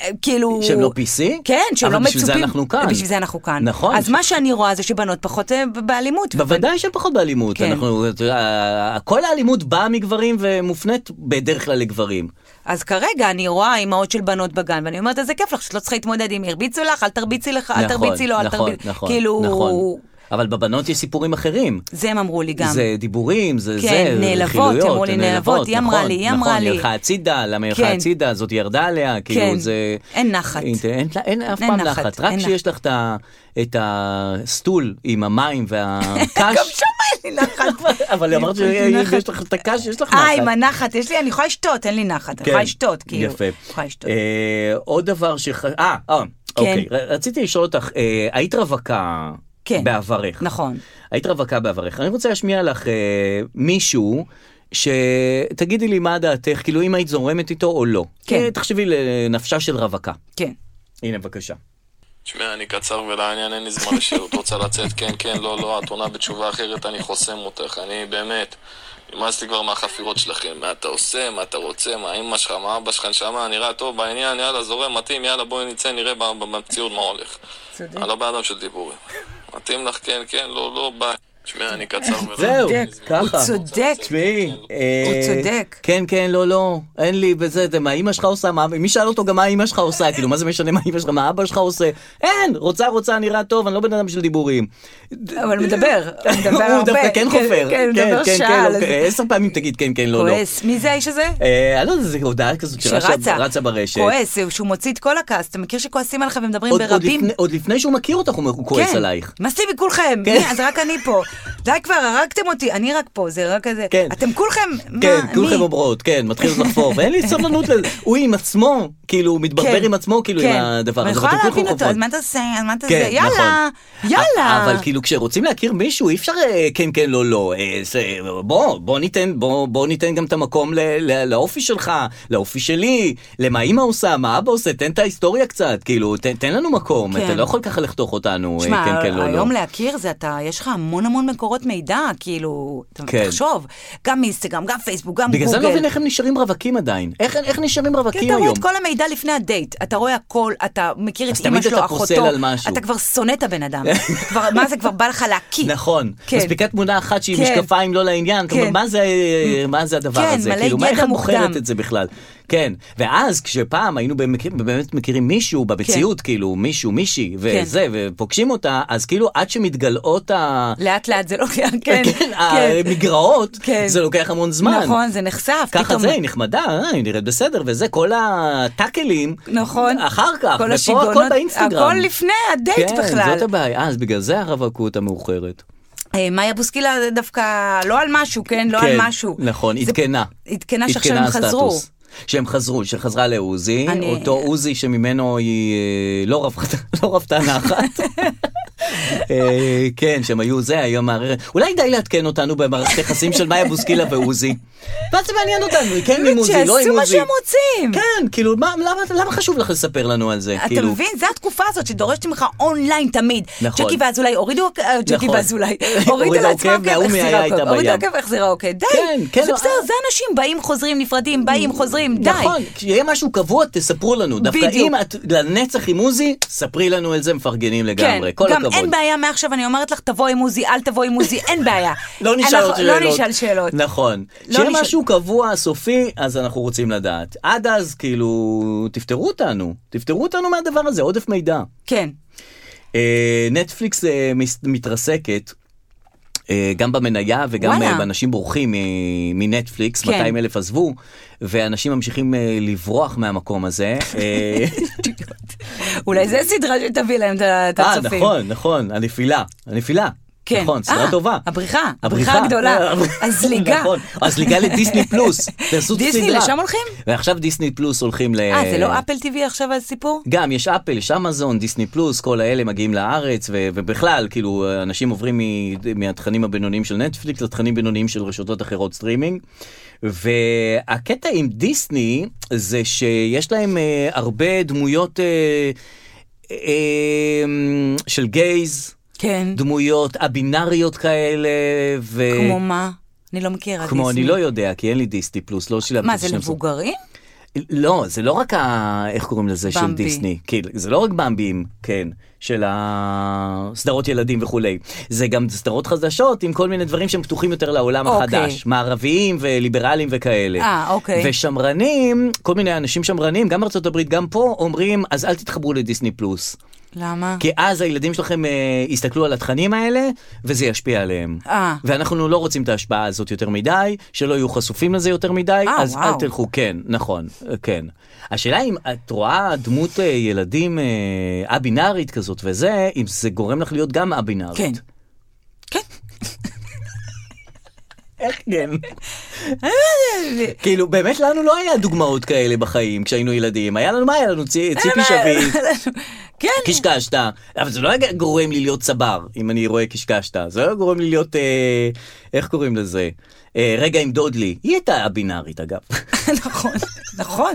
Speaker 3: אה, כאילו...
Speaker 2: שהם לא PC?
Speaker 3: כן, שהם
Speaker 2: אבל
Speaker 3: לא מצופים.
Speaker 2: בשביל זה אנחנו כאן.
Speaker 3: בשביל זה אנחנו כאן.
Speaker 2: נכון.
Speaker 3: אז מה שאני רואה זה שבנות פחות אה, ב- באלימות.
Speaker 2: בוודאי שהן פחות באלימות.
Speaker 3: כן.
Speaker 2: אנחנו, אתה יודע, כל האלימות באה מגברים ומופנית בדרך כלל לגברים.
Speaker 3: אז כרגע אני רואה אימהות של בנות בגן, ואני אומרת, איזה כיף לך, שאת לא צריכה להתמודד אם ירביצו לך, אל תרביצי לך, אל
Speaker 2: נכון,
Speaker 3: תרביצי לו, אל
Speaker 2: נכון,
Speaker 3: תרביצי...
Speaker 2: נכון,
Speaker 3: כאילו...
Speaker 2: נכון. אבל בבנות יש סיפורים אחרים.
Speaker 3: זה הם אמרו לי גם.
Speaker 2: זה דיבורים, זה זה,
Speaker 3: כן, נעלבות,
Speaker 2: רכילויות,
Speaker 3: אמרו לי, נעלבות, היא אמרה
Speaker 2: נכון,
Speaker 3: לי, היא אמרה
Speaker 2: נכון, היא
Speaker 3: לי.
Speaker 2: הלכה הצידה, למה היא הלכה
Speaker 3: כן.
Speaker 2: הצידה, זאת ירדה עליה, כאילו זה...
Speaker 3: אין נחת.
Speaker 2: אין, אין, אין אף
Speaker 3: אין
Speaker 2: פעם
Speaker 3: נחת,
Speaker 2: נחת, רק
Speaker 3: אין
Speaker 2: כשיש לך את ה- את הסטול עם המים והקש.
Speaker 3: גם שם אין לי נחת.
Speaker 2: אבל אמרת שיש לך את הקש, יש לך נחת.
Speaker 3: אה, עם הנחת, יש לי, אני יכולה לשתות, אין לי נחת, אני יכולה לשתות, כאילו.
Speaker 2: כן, יפה.
Speaker 3: יכולה לשתות. כן.
Speaker 2: אה, עוד דבר ש... אה, אה, אוקיי. ר- רציתי לשאול אותך, אה, היית רווקה
Speaker 3: כן.
Speaker 2: בעברך.
Speaker 3: נכון.
Speaker 2: היית רווקה בעברך. אני רוצה להשמיע לך אה, מישהו שתגידי לי מה דעתך, כאילו אם היית זורמת איתו או לא.
Speaker 3: כן.
Speaker 2: אה, תחשבי לנפשה של רווקה.
Speaker 3: כן.
Speaker 2: הנה, בבקשה.
Speaker 4: תשמע, אני קצר ולעניין, אין לי זמן לשאלות. רוצה לצאת? כן, כן, לא, לא, את עונה בתשובה אחרת, אני חוסם אותך. אני באמת, נמאס לי כבר מהחפירות שלכם. מה אתה עושה? מה אתה רוצה? מה אמא שלך? מה אבא שלך? נשמה, נראה טוב בעניין, יאללה, זורם, מתאים, יאללה, בואי נצא, נראה ב- ב- במציאות מה הולך. צודק. אני לא בן אדם של דיבורים. מתאים לך? כן, כן, לא, לא, ביי. תשמע, אני קצר ולעניין.
Speaker 2: זהו,
Speaker 3: צודק.
Speaker 2: ככה.
Speaker 3: הוא צודק.
Speaker 2: תשמעי, אה,
Speaker 3: הוא צודק.
Speaker 2: כן, כן, לא, לא, אין לי, וזה, זה מה אימא שלך עושה, מה, מי שאל אותו גם מה אימא שלך עושה, כאילו, מה זה משנה מה אימא שלך, מה אבא שלך עושה, אין, רוצה, רוצה, נראה טוב, אני לא בן אדם של דיבורים.
Speaker 3: אבל הוא מדבר, הוא מדבר הרבה.
Speaker 2: הוא דווקא כן חופר.
Speaker 3: כן, הוא מדבר
Speaker 2: כן,
Speaker 3: שעה.
Speaker 2: כן,
Speaker 3: אז-
Speaker 2: אוקיי, עשר פעמים תגיד כן, כן, לא, לא.
Speaker 3: כועס. מי זה האיש הזה?
Speaker 2: אה, אני לא יודע, זו הודעה כזאת
Speaker 3: שרצה.
Speaker 2: שרצה ברשת.
Speaker 3: כועס, זהו, שהוא מוציא את כל הכעס. אתה מכיר שכועסים עליך ומדברים
Speaker 2: עוד- עוד
Speaker 3: ברבים?
Speaker 2: לפני- עוד לפני שהוא מכיר אותך, הוא הוא כועס
Speaker 3: כן.
Speaker 2: עלייך.
Speaker 3: מספיק מכולכם,
Speaker 2: כן.
Speaker 3: מי? אז רק אני פה. די כבר, הרגתם אותי, אני רק פה, זה רק כזה.
Speaker 2: כן.
Speaker 3: אתם כולכם, מה,
Speaker 2: כן,
Speaker 3: מי?
Speaker 2: כולכם אומרות, כן, מתחיל לחפור, ואין לי סבלנות לזה. הוא עם עצמו, כאילו, הוא מתברבר
Speaker 3: כן.
Speaker 2: עם עצמו, כאילו, עם
Speaker 3: כן.
Speaker 2: הדבר
Speaker 3: אבל
Speaker 2: הזה,
Speaker 3: אני יכולה
Speaker 2: ואתם כולכם
Speaker 3: להבין אותו,
Speaker 2: חופרות.
Speaker 3: אז מה אתה עושה, אז מה אתה עושה,
Speaker 2: כן,
Speaker 3: יאללה,
Speaker 2: נכון.
Speaker 3: יאללה.
Speaker 2: אבל כאילו כשרוצים להכיר מישהו אי אפשר אה, כן כן לא לא אה, זה, בוא בוא ניתן בוא בוא ניתן גם את המקום ל, ל, לאופי שלך לאופי שלי למה אימא עושה מה אבא עושה תן את ההיסטוריה קצת כאילו תן, תן לנו מקום
Speaker 3: כן.
Speaker 2: אתה לא יכול ככה לחתוך אותנו אה,
Speaker 3: שמע,
Speaker 2: כן כן לא לא.
Speaker 3: היום להכיר זה אתה, יש לך המון המון מקורות מידע, כאילו, אתה-
Speaker 2: כן.
Speaker 3: תחשוב, גם אינסטגרם, גם פייסבוק, גם
Speaker 2: בגלל זה אני לא
Speaker 3: גוגל.
Speaker 2: מבין איך הם נשארים רווקים עדיין איך, איך נשארים
Speaker 3: כן,
Speaker 2: רווקים
Speaker 3: אתה רואה
Speaker 2: היום.
Speaker 3: את כל המידע לפני הדייט, אתה רואה הכל, אתה מכיר את
Speaker 2: אז
Speaker 3: אימא
Speaker 2: תמיד
Speaker 3: שלו,
Speaker 2: אתה
Speaker 3: אחותו,
Speaker 2: פוסל על משהו.
Speaker 3: אתה כבר שונא את הבן אדם, כבר- מה זה כבר בא לך להקיא.
Speaker 2: נכון,
Speaker 3: כן.
Speaker 2: מספיקה תמונה אחת שהיא
Speaker 3: כן.
Speaker 2: משקפיים לא לעניין, אתה
Speaker 3: כן.
Speaker 2: אומר, מה זה, מה זה הדבר
Speaker 3: כן,
Speaker 2: הזה,
Speaker 3: מלא
Speaker 2: כאילו, מה,
Speaker 3: ידע
Speaker 2: איך את
Speaker 3: מוקדם.
Speaker 2: בוחרת את זה בכלל? כן, ואז כשפעם היינו במק- באמת מכירים מישהו
Speaker 3: כן.
Speaker 2: במציאות, כאילו, מישהו, מישהי, וזה, ופוגשים אותה, אז כאילו עד שמתגלעות ה...
Speaker 3: לאט לאט זה לוקח, כן,
Speaker 2: כן,
Speaker 3: כן.
Speaker 2: המגרעות,
Speaker 3: כן.
Speaker 2: זה לוקח המון זמן.
Speaker 3: נכון, זה נחשף,
Speaker 2: ככה
Speaker 3: פתאום-
Speaker 2: זה, היא נחמדה, אה, היא נראית בסדר, וזה, כל הטאקלים,
Speaker 3: נכון.
Speaker 2: אחר כך,
Speaker 3: כל
Speaker 2: ופה
Speaker 3: השיגעונות,
Speaker 2: הכל באינסטגרם.
Speaker 3: הכל לפני הדייט
Speaker 2: כן,
Speaker 3: בכלל.
Speaker 2: זאת הבעיה, אז בגלל זה הרווקות המאוחרת.
Speaker 3: אה, מאיה בוסקילה זה דווקא לא על משהו, כן? לא על
Speaker 2: כן,
Speaker 3: משהו.
Speaker 2: נכון,
Speaker 3: זה-
Speaker 2: עדכנה.
Speaker 3: עדכנה שעכשיו הם
Speaker 2: הסטטוס.
Speaker 3: חזרו.
Speaker 2: שהם חזרו, שחזרה לעוזי,
Speaker 3: אני-
Speaker 2: אותו עוזי שממנו היא אה, לא רוותה, לא רוותה נחת. אה, כן, שהם היו זה, היום מערער. אולי די לעדכן אותנו במערכת יחסים של מאיה בוסקילה ועוזי. ואז זה מעניין אותנו, היא כן עם עוזי, לא עם
Speaker 3: שיעשו מה
Speaker 2: עוזי.
Speaker 3: שהם רוצים.
Speaker 2: כן, כאילו, מה- למה למה חשוב לך לספר לנו על זה?
Speaker 3: אתה
Speaker 2: כאילו,
Speaker 3: מבין? זה התקופה הזאת שדורשת ממך אונליין תמיד.
Speaker 2: נכון.
Speaker 3: ג'קי ואזולאי הורידו, אה, ג'קי
Speaker 2: נכון.
Speaker 3: ואזולאי, הורידו
Speaker 2: הורידה
Speaker 3: לעצמם
Speaker 2: עוקב,
Speaker 3: עוקב,
Speaker 2: וההוא
Speaker 3: החזירה
Speaker 2: מהיה
Speaker 3: עוקב,
Speaker 2: איתה
Speaker 3: הורידו
Speaker 2: בים.
Speaker 3: עוקב, החזירה עוקב. די,
Speaker 2: כן, כן,
Speaker 3: זה
Speaker 2: לא,
Speaker 3: בסדר,
Speaker 2: אה.
Speaker 3: זה אנשים, באים, חוזרים, נפרדים, באים, חוזרים, די.
Speaker 2: נכון, כשיהיה משהו קבוע, תספרו לנו. דווקא
Speaker 3: בדיוק.
Speaker 2: אם את לנצח עם עוזי, ספרי לנו את זה, מפרגנים לגמרי. כל
Speaker 3: כן, גם
Speaker 2: הכבוד.
Speaker 3: אין בעיה מעכשיו, אני אומרת לך, תבוא עם עוזי, אל תבוא עם עוזי, אין בעיה.
Speaker 2: לא נשאל עוד
Speaker 3: אנחנו-
Speaker 2: שאלות.
Speaker 3: לא נשאל שאלות.
Speaker 2: נכון.
Speaker 3: לא
Speaker 2: שיהיה
Speaker 3: נשאל-
Speaker 2: משהו קבוע, סופי, אז אנחנו רוצים לדעת. עד אז, כאילו, תפטרו אותנו. תפטרו אותנו מהדבר הזה, עודף מידע.
Speaker 3: כן.
Speaker 2: אה, נטפליקס אה, מס- מתרסקת. אה, גם במניה וגם
Speaker 3: וואלה.
Speaker 2: אה, באנשים בורחים מ- מנטפליקס,
Speaker 3: כן.
Speaker 2: 200 אלף עזבו, ואנשים ממשיכים אה, לברוח מהמקום הזה. אה,
Speaker 3: אולי זה סדרה שתביא להם את ה- את
Speaker 2: אה,
Speaker 3: הצופים.
Speaker 2: נכון, נכון, הנפילה, הנפילה.
Speaker 3: כן.
Speaker 2: נכון, סדרה
Speaker 3: אה,
Speaker 2: טובה. אה,
Speaker 3: הבריחה, הבריחה הגדולה.
Speaker 2: הבריחה.
Speaker 3: הזליגה.
Speaker 2: נכון, הזליגה לדיסני פלוס. תעשו
Speaker 3: דיסני,
Speaker 2: סדרה.
Speaker 3: לשם הולכים?
Speaker 2: ועכשיו דיסני פלוס הולכים ל...
Speaker 3: אה, זה לא אפל TV עכשיו הסיפור?
Speaker 2: גם, יש אפל, יש אמזון, דיסני פלוס, כל האלה מגיעים לארץ, ו- ובכלל, כאילו, אנשים עוברים מ- מהתכנים הבינוניים של נטפליקס לתכנים בינוניים של רשתות אחרות סטרימינג. והקטע עם דיסני זה שיש להם אה, הרבה דמויות אה, אה, של גייז,
Speaker 3: כן.
Speaker 2: דמויות א-בינאריות כאלה, ו...
Speaker 3: כמו מה? אני לא מכירה דיסני.
Speaker 2: כמו אני לא יודע, כי אין לי דיסני פלוס, לא שילמתי
Speaker 3: מה,
Speaker 2: את
Speaker 3: זה
Speaker 2: השנים.
Speaker 3: מבוגרים?
Speaker 2: לא, זה לא רק ה... איך קוראים לזה של
Speaker 3: במבי.
Speaker 2: דיסני. כאילו, זה לא רק במבים, כן, של הסדרות ילדים וכולי. זה גם סדרות חדשות עם כל מיני דברים שהם פתוחים יותר לעולם
Speaker 3: אוקיי.
Speaker 2: החדש. מערביים וליברליים וכאלה.
Speaker 3: אה, אוקיי.
Speaker 2: ושמרנים, כל מיני אנשים שמרנים, גם בארצות הברית, גם פה, אומרים, אז אל תתחברו לדיסני פלוס.
Speaker 3: למה?
Speaker 2: כי אז הילדים שלכם אה, יסתכלו על התכנים האלה, וזה ישפיע עליהם.
Speaker 3: אה.
Speaker 2: ואנחנו לא רוצים את ההשפעה הזאת יותר מדי, שלא יהיו חשופים לזה יותר מדי,
Speaker 3: אה,
Speaker 2: אז
Speaker 3: וואו.
Speaker 2: אל תלכו, כן, נכון, אה, כן. השאלה אם את רואה דמות אה, ילדים אה, א-בינארית כזאת וזה, אם זה גורם לך להיות גם א-בינארית.
Speaker 3: כן. כן.
Speaker 2: איך כן? כאילו, באמת לנו לא היה דוגמאות כאלה בחיים כשהיינו ילדים. היה לנו, מה היה לנו?
Speaker 3: אה,
Speaker 2: צי- ציפי שביט.
Speaker 3: כן.
Speaker 2: קשקשת, אבל זה לא היה גורם לי להיות צבר, אם אני רואה קשקשת, זה לא גורם לי להיות, אה, איך קוראים לזה? אה, רגע עם דודלי, היא הייתה הבינארית אגב.
Speaker 3: נכון, נכון.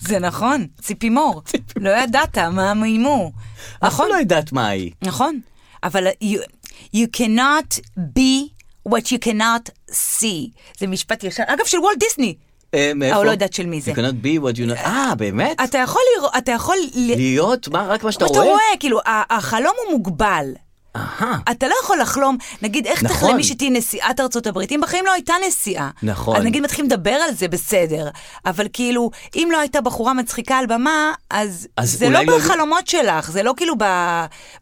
Speaker 3: זה נכון. ציפי מור. לא ידעת מה מהימור.
Speaker 2: נכון.
Speaker 3: נכון,
Speaker 2: לא יודעת מה היא.
Speaker 3: נכון. אבל you- you cannot be what you cannot see. זה משפט ישן. אגב, של וולט דיסני.
Speaker 2: אה, מאיפה?
Speaker 3: לא יודעת של מי זה.
Speaker 2: You cannot be what you know. אה, באמת?
Speaker 3: אתה יכול לראות, אתה יכול... ל-
Speaker 2: להיות, מה, רק מה שאתה
Speaker 3: מה אתה
Speaker 2: רואה?
Speaker 3: רואה? כאילו, ה- החלום הוא מוגבל.
Speaker 2: אהה.
Speaker 3: אתה לא יכול לחלום, נגיד, איך
Speaker 2: נכון.
Speaker 3: תחלמי שתהיי נשיאת ארצות הברית? אם בחיים לא הייתה נשיאה.
Speaker 2: נכון.
Speaker 3: אז נגיד מתחילים לדבר על זה, בסדר. אבל כאילו, אם לא הייתה בחורה מצחיקה על במה, אז,
Speaker 2: אז
Speaker 3: זה לא
Speaker 2: אולי לא היו-
Speaker 3: בחלומות שלך, זה לא כאילו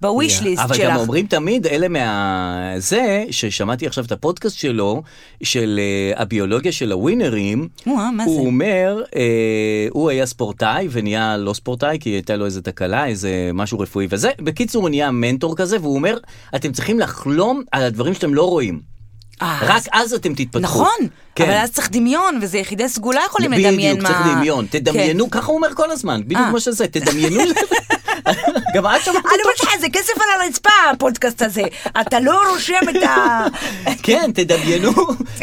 Speaker 3: בוויש ליסט
Speaker 2: אבל
Speaker 3: שלך.
Speaker 2: גם אומרים תמיד, אלה מה... זה, ששמעתי עכשיו את הפודקאסט שלו, של אה, הביולוגיה של הווינרים,
Speaker 3: וואה, מה זה?
Speaker 2: הוא אומר, אה, הוא היה ספורטאי ונהיה לא ספורטאי, כי הייתה לו איזה תקלה, איזה משהו רפואי וזה. בקיצור, הוא נהיה מנטור כזה, והוא אומר, אתם צריכים לחלום על הדברים שאתם לא רואים.
Speaker 3: אה,
Speaker 2: רק
Speaker 3: אז-
Speaker 2: אז אתם תתפתחו.
Speaker 3: נכון,
Speaker 2: כן.
Speaker 3: אבל אז צריך דמיון, וזה יחידי סגולה יכולים
Speaker 2: בדיוק,
Speaker 3: לדמיין מה... כן.
Speaker 2: צריך דמיון. תדמיינו, ככה הוא אומר כל הזמן, בדיוק
Speaker 3: אה.
Speaker 2: כמו שזה, תדמיינו. גם את שמעת
Speaker 3: אני אומרת לך, זה כסף על הרצפה, הפודקאסט הזה. אתה לא רושם את ה...
Speaker 2: כן, תדמיינו,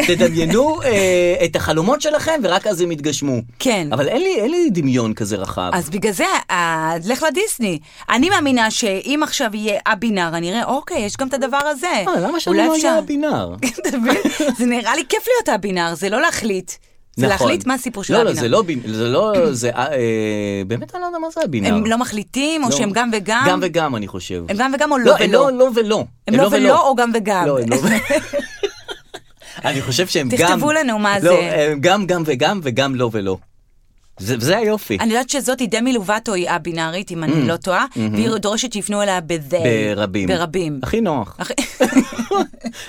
Speaker 2: תדמיינו אה, את החלומות שלכם, ורק אז הם יתגשמו.
Speaker 3: כן.
Speaker 2: אבל אין לי, אין לי דמיון כזה רחב.
Speaker 3: אז בגלל זה, אה, לך לדיסני. אני מאמינה שאם עכשיו יהיה א-בינאר, אני אראה, אוקיי, יש גם את הדבר הזה.
Speaker 2: אה, למה שאני
Speaker 3: אולי
Speaker 2: לא
Speaker 3: אפשר.
Speaker 2: אהיה הבינאר?
Speaker 3: אתה מבין? זה נראה לי כיף להיות א-בינאר, זה לא להחליט. זה
Speaker 2: נכון.
Speaker 3: להחליט מה הסיפור של
Speaker 2: לא,
Speaker 3: א-בינאר.
Speaker 2: לא, זה לא, בין- זה לא, זה, אה, אה, באמת אני לא יודע מה זה הבינאר.
Speaker 3: הם לא מחליטים, או שהם גם וגם?
Speaker 2: גם וגם, אני חושב.
Speaker 3: הם גם וגם או לא
Speaker 2: לא, הם
Speaker 3: ולא?
Speaker 2: לא, לא ולא.
Speaker 3: הם לא ולא או גם וגם?
Speaker 2: לא, הם לא אני חושב שהם גם...
Speaker 3: תכתבו לנו מה
Speaker 2: לא,
Speaker 3: זה.
Speaker 2: הם גם, גם וגם, וגם לא ולא. זה זה היופי.
Speaker 3: אני יודעת שזאת היא דמי לובטו, היא א-בינארית, אם אני לא טועה, והיא דורשת שיפנו אליה ב-they.
Speaker 2: Mm. Mm-hmm. ברבים.
Speaker 3: ברבים.
Speaker 2: הכי נוח.
Speaker 3: אחי-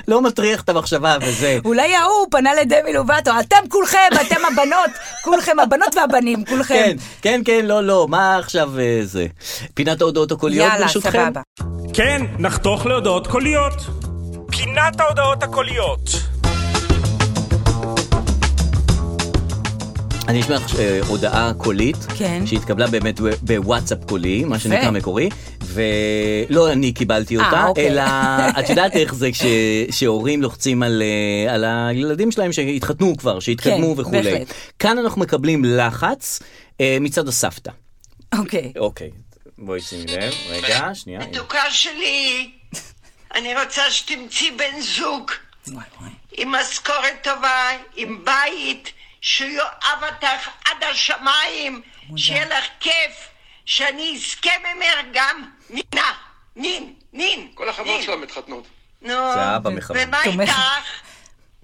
Speaker 2: לא מטריח את המחשבה וזה.
Speaker 3: אולי ההוא פנה לדמי לובטו, אתם כולכם, אתם הבנות, כולכם הבנות והבנים, כולכם.
Speaker 2: כן, כן, כן, לא, לא, מה עכשיו אה, זה? פינת ההודעות הקוליות
Speaker 3: יאללה,
Speaker 2: ברשותכם?
Speaker 3: סבבה.
Speaker 5: כן, נחתוך להודעות קוליות. פינת ההודעות הקוליות.
Speaker 2: אני אשמע לך אה, הודעה קולית,
Speaker 3: כן.
Speaker 2: שהתקבלה באמת ב- בוואטסאפ קולי, מה שנקרא
Speaker 3: יפה.
Speaker 2: מקורי, ולא אני קיבלתי
Speaker 3: אה,
Speaker 2: אותה,
Speaker 3: אוקיי.
Speaker 2: אלא את יודעת איך זה כש- שהורים לוחצים על, אה, על הילדים שלהם שהתחתנו כבר, שהתקדמו
Speaker 3: כן,
Speaker 2: וכולי.
Speaker 3: בהחלט.
Speaker 2: כאן אנחנו מקבלים לחץ אה, מצד הסבתא.
Speaker 3: אוקיי.
Speaker 2: אוקיי, בואי שימי לב, רגע, שנייה. הנה.
Speaker 6: מתוקה שלי, אני רוצה שתמצאי בן זוג
Speaker 3: וואי, וואי.
Speaker 6: עם משכורת טובה, עם בית, שיאהב אותך עד השמיים, שיהיה לך כיף, שאני אזכה ממך גם נינה, נין, נין.
Speaker 7: כל החברות שלהם מתחתנות.
Speaker 6: נו,
Speaker 2: זה אבא מכוון.
Speaker 6: ומה
Speaker 3: תומך.
Speaker 6: איתך?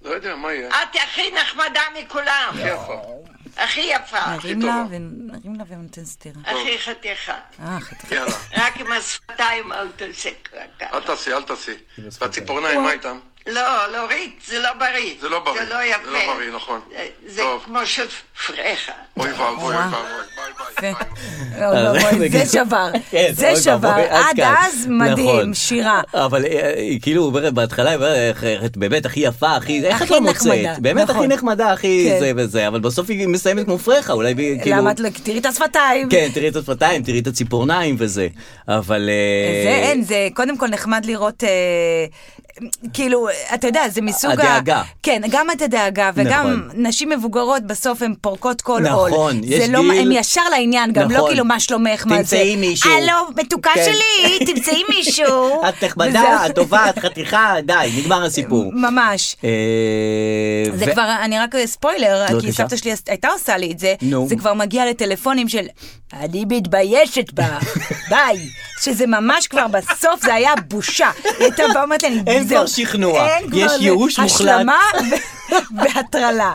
Speaker 7: לא יודע, מה יהיה?
Speaker 6: את הכי נחמדה מכולם,
Speaker 7: הכי יפה.
Speaker 6: הכי יפה,
Speaker 3: נרים לה ו- נרים לה ונותן סטירה.
Speaker 6: הכי חתיכה.
Speaker 3: אה, חתיכה.
Speaker 7: יאללה.
Speaker 6: רק עם השפתיים אל תעשה ככה.
Speaker 7: אל תעשי, אל תעשי. והציפורניים, מה איתם?
Speaker 6: לא, להוריד, זה לא בריא.
Speaker 7: זה לא בריא.
Speaker 6: זה לא יפה.
Speaker 7: זה לא בריא, נכון.
Speaker 6: זה- זה
Speaker 7: טוב.
Speaker 6: כמו של פרחה.
Speaker 7: אוי ואבוי, אוי
Speaker 3: וואו.
Speaker 7: ואבוי. ביי ביי.
Speaker 3: יפה.
Speaker 7: ביי.
Speaker 3: אוי ואבוי,
Speaker 2: כן,
Speaker 3: אה, לא, זה שבר,
Speaker 2: כן,
Speaker 3: זה
Speaker 2: אוי
Speaker 3: שבר,
Speaker 2: ואבוי,
Speaker 3: עד
Speaker 2: כאן.
Speaker 3: אז מדהים,
Speaker 2: נכון.
Speaker 3: שירה.
Speaker 2: אבל אה, אה, היא כאילו אומרת בהתחלה, היא אומרת, "איך- איך את באמת הכי יפה, הכי, איך את
Speaker 3: הכי
Speaker 2: לא
Speaker 3: נחמדה,
Speaker 2: מוצאת? באמת הכי
Speaker 3: נכון.
Speaker 2: נחמדה, הכי
Speaker 3: כן.
Speaker 2: זה וזה, אבל בסוף היא מסיימת כמו פרחה, אולי ב- כאילו...
Speaker 3: למה את לא, תראי את השפתיים.
Speaker 2: כן, תראי את השפתיים, תראי את הציפורניים וזה, אבל... אה,
Speaker 3: זה אין, זה קודם כל נחמד לראות, אה, כאילו, אתה יודע, זה מסוג
Speaker 2: הדאגה.
Speaker 3: כן, גם את הדאגה, וגם
Speaker 2: נכון.
Speaker 3: נשים מבוגרות בסוף הן פורקות כל
Speaker 2: נכון,
Speaker 3: עול.
Speaker 2: יש
Speaker 3: זה לא,
Speaker 2: גיל-
Speaker 3: הן ישר לעניין, גם לא
Speaker 2: נכון.
Speaker 3: כאילו מה שלומך, מה זה.
Speaker 2: תמצאי מישהו.
Speaker 3: הלו, מתוקה
Speaker 2: כן.
Speaker 3: שלי, תמצאי מישהו.
Speaker 2: את נחמדה,
Speaker 3: וזהו.
Speaker 2: את טובה, את חתיכה, די, נגמר הסיפור.
Speaker 3: ממש.
Speaker 2: אה,
Speaker 3: זה
Speaker 2: ו-
Speaker 3: כבר, אני רק ספוילר, כי
Speaker 2: בבקשה.
Speaker 3: סבתא שלי הייתה עושה לי את זה,
Speaker 2: נו.
Speaker 3: זה כבר מגיע לטלפונים של, אני מתביישת בה, ביי. שזה ממש כבר בסוף, זה היה בושה. היא הייתה באה ואומרת לי, "אני-
Speaker 2: אין
Speaker 3: זהו."
Speaker 2: כבר שכנוע.
Speaker 3: אין כבר
Speaker 2: יש
Speaker 3: זה.
Speaker 2: ייאוש מוחלט.
Speaker 3: השלמה ו- והטרלה,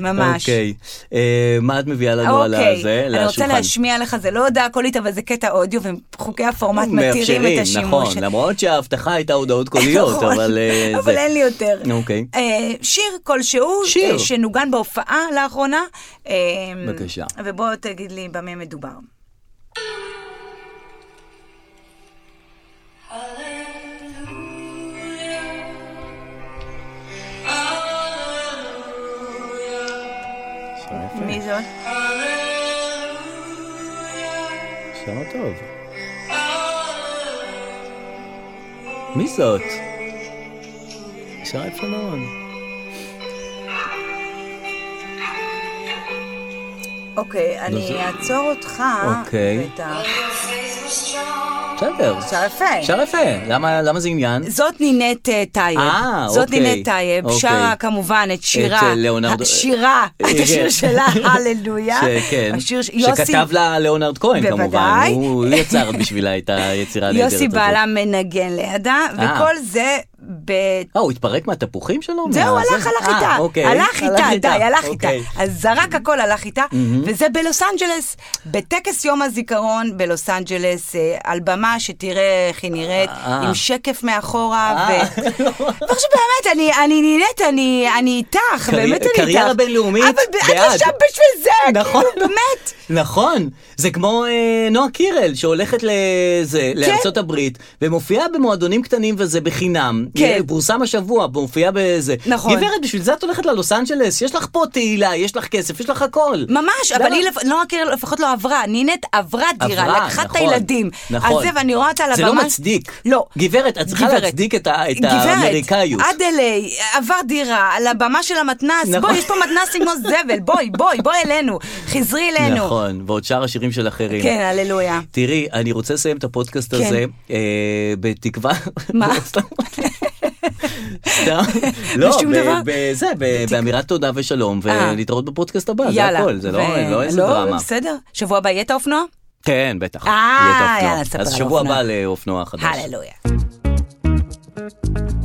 Speaker 3: ממש.
Speaker 2: אוקיי, אה, מה את מביאה לנו על
Speaker 3: אוקיי,
Speaker 2: הזה,
Speaker 3: אני רוצה
Speaker 2: לשולחן?
Speaker 3: להשמיע לך, זה לא הודעה קולית, אבל זה קטע אודיו, וחוקי הפורמט מתירים את השימוש.
Speaker 2: נכון, למרות שההבטחה הייתה הודעות קוליות,
Speaker 3: נכון.
Speaker 2: אבל אה, זה...
Speaker 3: אבל אין לי יותר.
Speaker 2: אוקיי.
Speaker 3: אה, שיר כלשהו,
Speaker 2: שיר.
Speaker 3: אה, שנוגן בהופעה לאחרונה. אה,
Speaker 2: בבקשה.
Speaker 3: ובוא תגיד לי במה מדובר. מי זאת?
Speaker 2: שמה טוב. מי זאת? שרה יפה מאוד.
Speaker 3: אוקיי, אני אעצור אותך.
Speaker 2: אוקיי.
Speaker 3: ואת ה-
Speaker 2: בסדר.
Speaker 3: שר יפה.
Speaker 2: שר יפה. למה למה זה עניין?
Speaker 3: זאת נינט אה, טייב.
Speaker 2: אה,
Speaker 3: זאת
Speaker 2: אוקיי.
Speaker 3: נינט טייב,
Speaker 2: אוקיי.
Speaker 3: שרה כמובן את שירה.
Speaker 2: אה, ליאונרדו-
Speaker 3: שירה,
Speaker 2: אה,
Speaker 3: את השיר
Speaker 2: כן.
Speaker 3: שלה, הללויה.
Speaker 2: שכן.
Speaker 3: השיר ש- יוסי-
Speaker 2: שכתב לה ליאונרד כהן כמובן.
Speaker 3: בוודאי.
Speaker 2: הוא יצר בשבילה את היצירה הנהדרת הזאת.
Speaker 3: יוסי בעלה מנגן לידה,
Speaker 2: אה.
Speaker 3: וכל זה ב...
Speaker 2: אה, הוא התפרק מהתפוחים שלו?
Speaker 3: זהו,
Speaker 2: מה-
Speaker 3: הלך,
Speaker 2: זה-
Speaker 3: הלך
Speaker 2: אה,
Speaker 3: איתה,
Speaker 2: אוקיי.
Speaker 3: הלך איתה, די, הלך איתה.
Speaker 2: אוקיי.
Speaker 3: אז זרק הכל, הלך איתה, וזה בלוס אנג'לס, בטקס יום הזיכרון בלוס אנג'לס, אה, על במה שתראה איך היא נראית,
Speaker 2: אה.
Speaker 3: עם שקף מאחורה,
Speaker 2: אה.
Speaker 3: ו... ועכשיו באמת, אני- אני נהנית, אני- אני איתך,
Speaker 2: קרי-
Speaker 3: באמת אני איתך.
Speaker 2: קריירה בינלאומית,
Speaker 3: אבל ב- את לא
Speaker 2: בעד.
Speaker 3: שם בשביל זה,
Speaker 2: נכון.
Speaker 3: כאילו, באמת.
Speaker 2: נכון, זה כמו אה, נועה קירל שהולכת לזה,
Speaker 3: כן.
Speaker 2: לארצות הברית ומופיעה במועדונים קטנים וזה בחינם.
Speaker 3: כן.
Speaker 2: היא פורסם השבוע, מופיעה בזה.
Speaker 3: נכון.
Speaker 2: גברת, בשביל זה את הולכת ללוס אנג'לס, יש לך פה תהילה, יש לך כסף, יש לך הכל.
Speaker 3: ממש,
Speaker 2: למה?
Speaker 3: אבל היא לפ- נועה קירל לפחות לא עברה, נינט עברה דירה,
Speaker 2: עברה,
Speaker 3: לקחה את
Speaker 2: נכון,
Speaker 3: הילדים.
Speaker 2: נכון.
Speaker 3: על זה, ואני רואה אותה על
Speaker 2: זה
Speaker 3: הבמה.
Speaker 2: לא מצדיק.
Speaker 3: לא.
Speaker 2: גברת, את צריכה
Speaker 3: גברת.
Speaker 2: להצדיק את ה- את
Speaker 3: גברת,
Speaker 2: האמריקאיות.
Speaker 3: עד אליי, עבר דירה, על הבמה של המתנס,
Speaker 2: נכון.
Speaker 3: בואי, יש פה מתנסים כמו זבל, בואי, בואי, בואי אלינו, חזרי אלינו.
Speaker 2: נכון, ועוד שאר השירים של אחרים.
Speaker 3: כן, הללויה.
Speaker 2: תראי, אני רוצה לסיים את הפודקאסט
Speaker 3: כן.
Speaker 2: הזה, אה, בתקווה... לא
Speaker 3: מה?
Speaker 2: סתם. סתם. לא,
Speaker 3: בשום
Speaker 2: ב-
Speaker 3: דבר?
Speaker 2: בזה, ב- באמירת תודה ושלום,
Speaker 3: אה.
Speaker 2: ולהתראות בפודקאסט הבא, זה
Speaker 3: יאללה.
Speaker 2: הכל, זה לא
Speaker 3: ו-
Speaker 2: לא איזה דרמה.
Speaker 3: בסדר, שבוע הבא יהיה את האופנוע?
Speaker 2: כן, בטח.
Speaker 3: אה,
Speaker 2: יהיה את האופנוע.
Speaker 3: יאללה, ספר על
Speaker 2: אז שבוע
Speaker 3: האופנוע.
Speaker 2: הבא לאופנוע חדש.
Speaker 3: הללויה.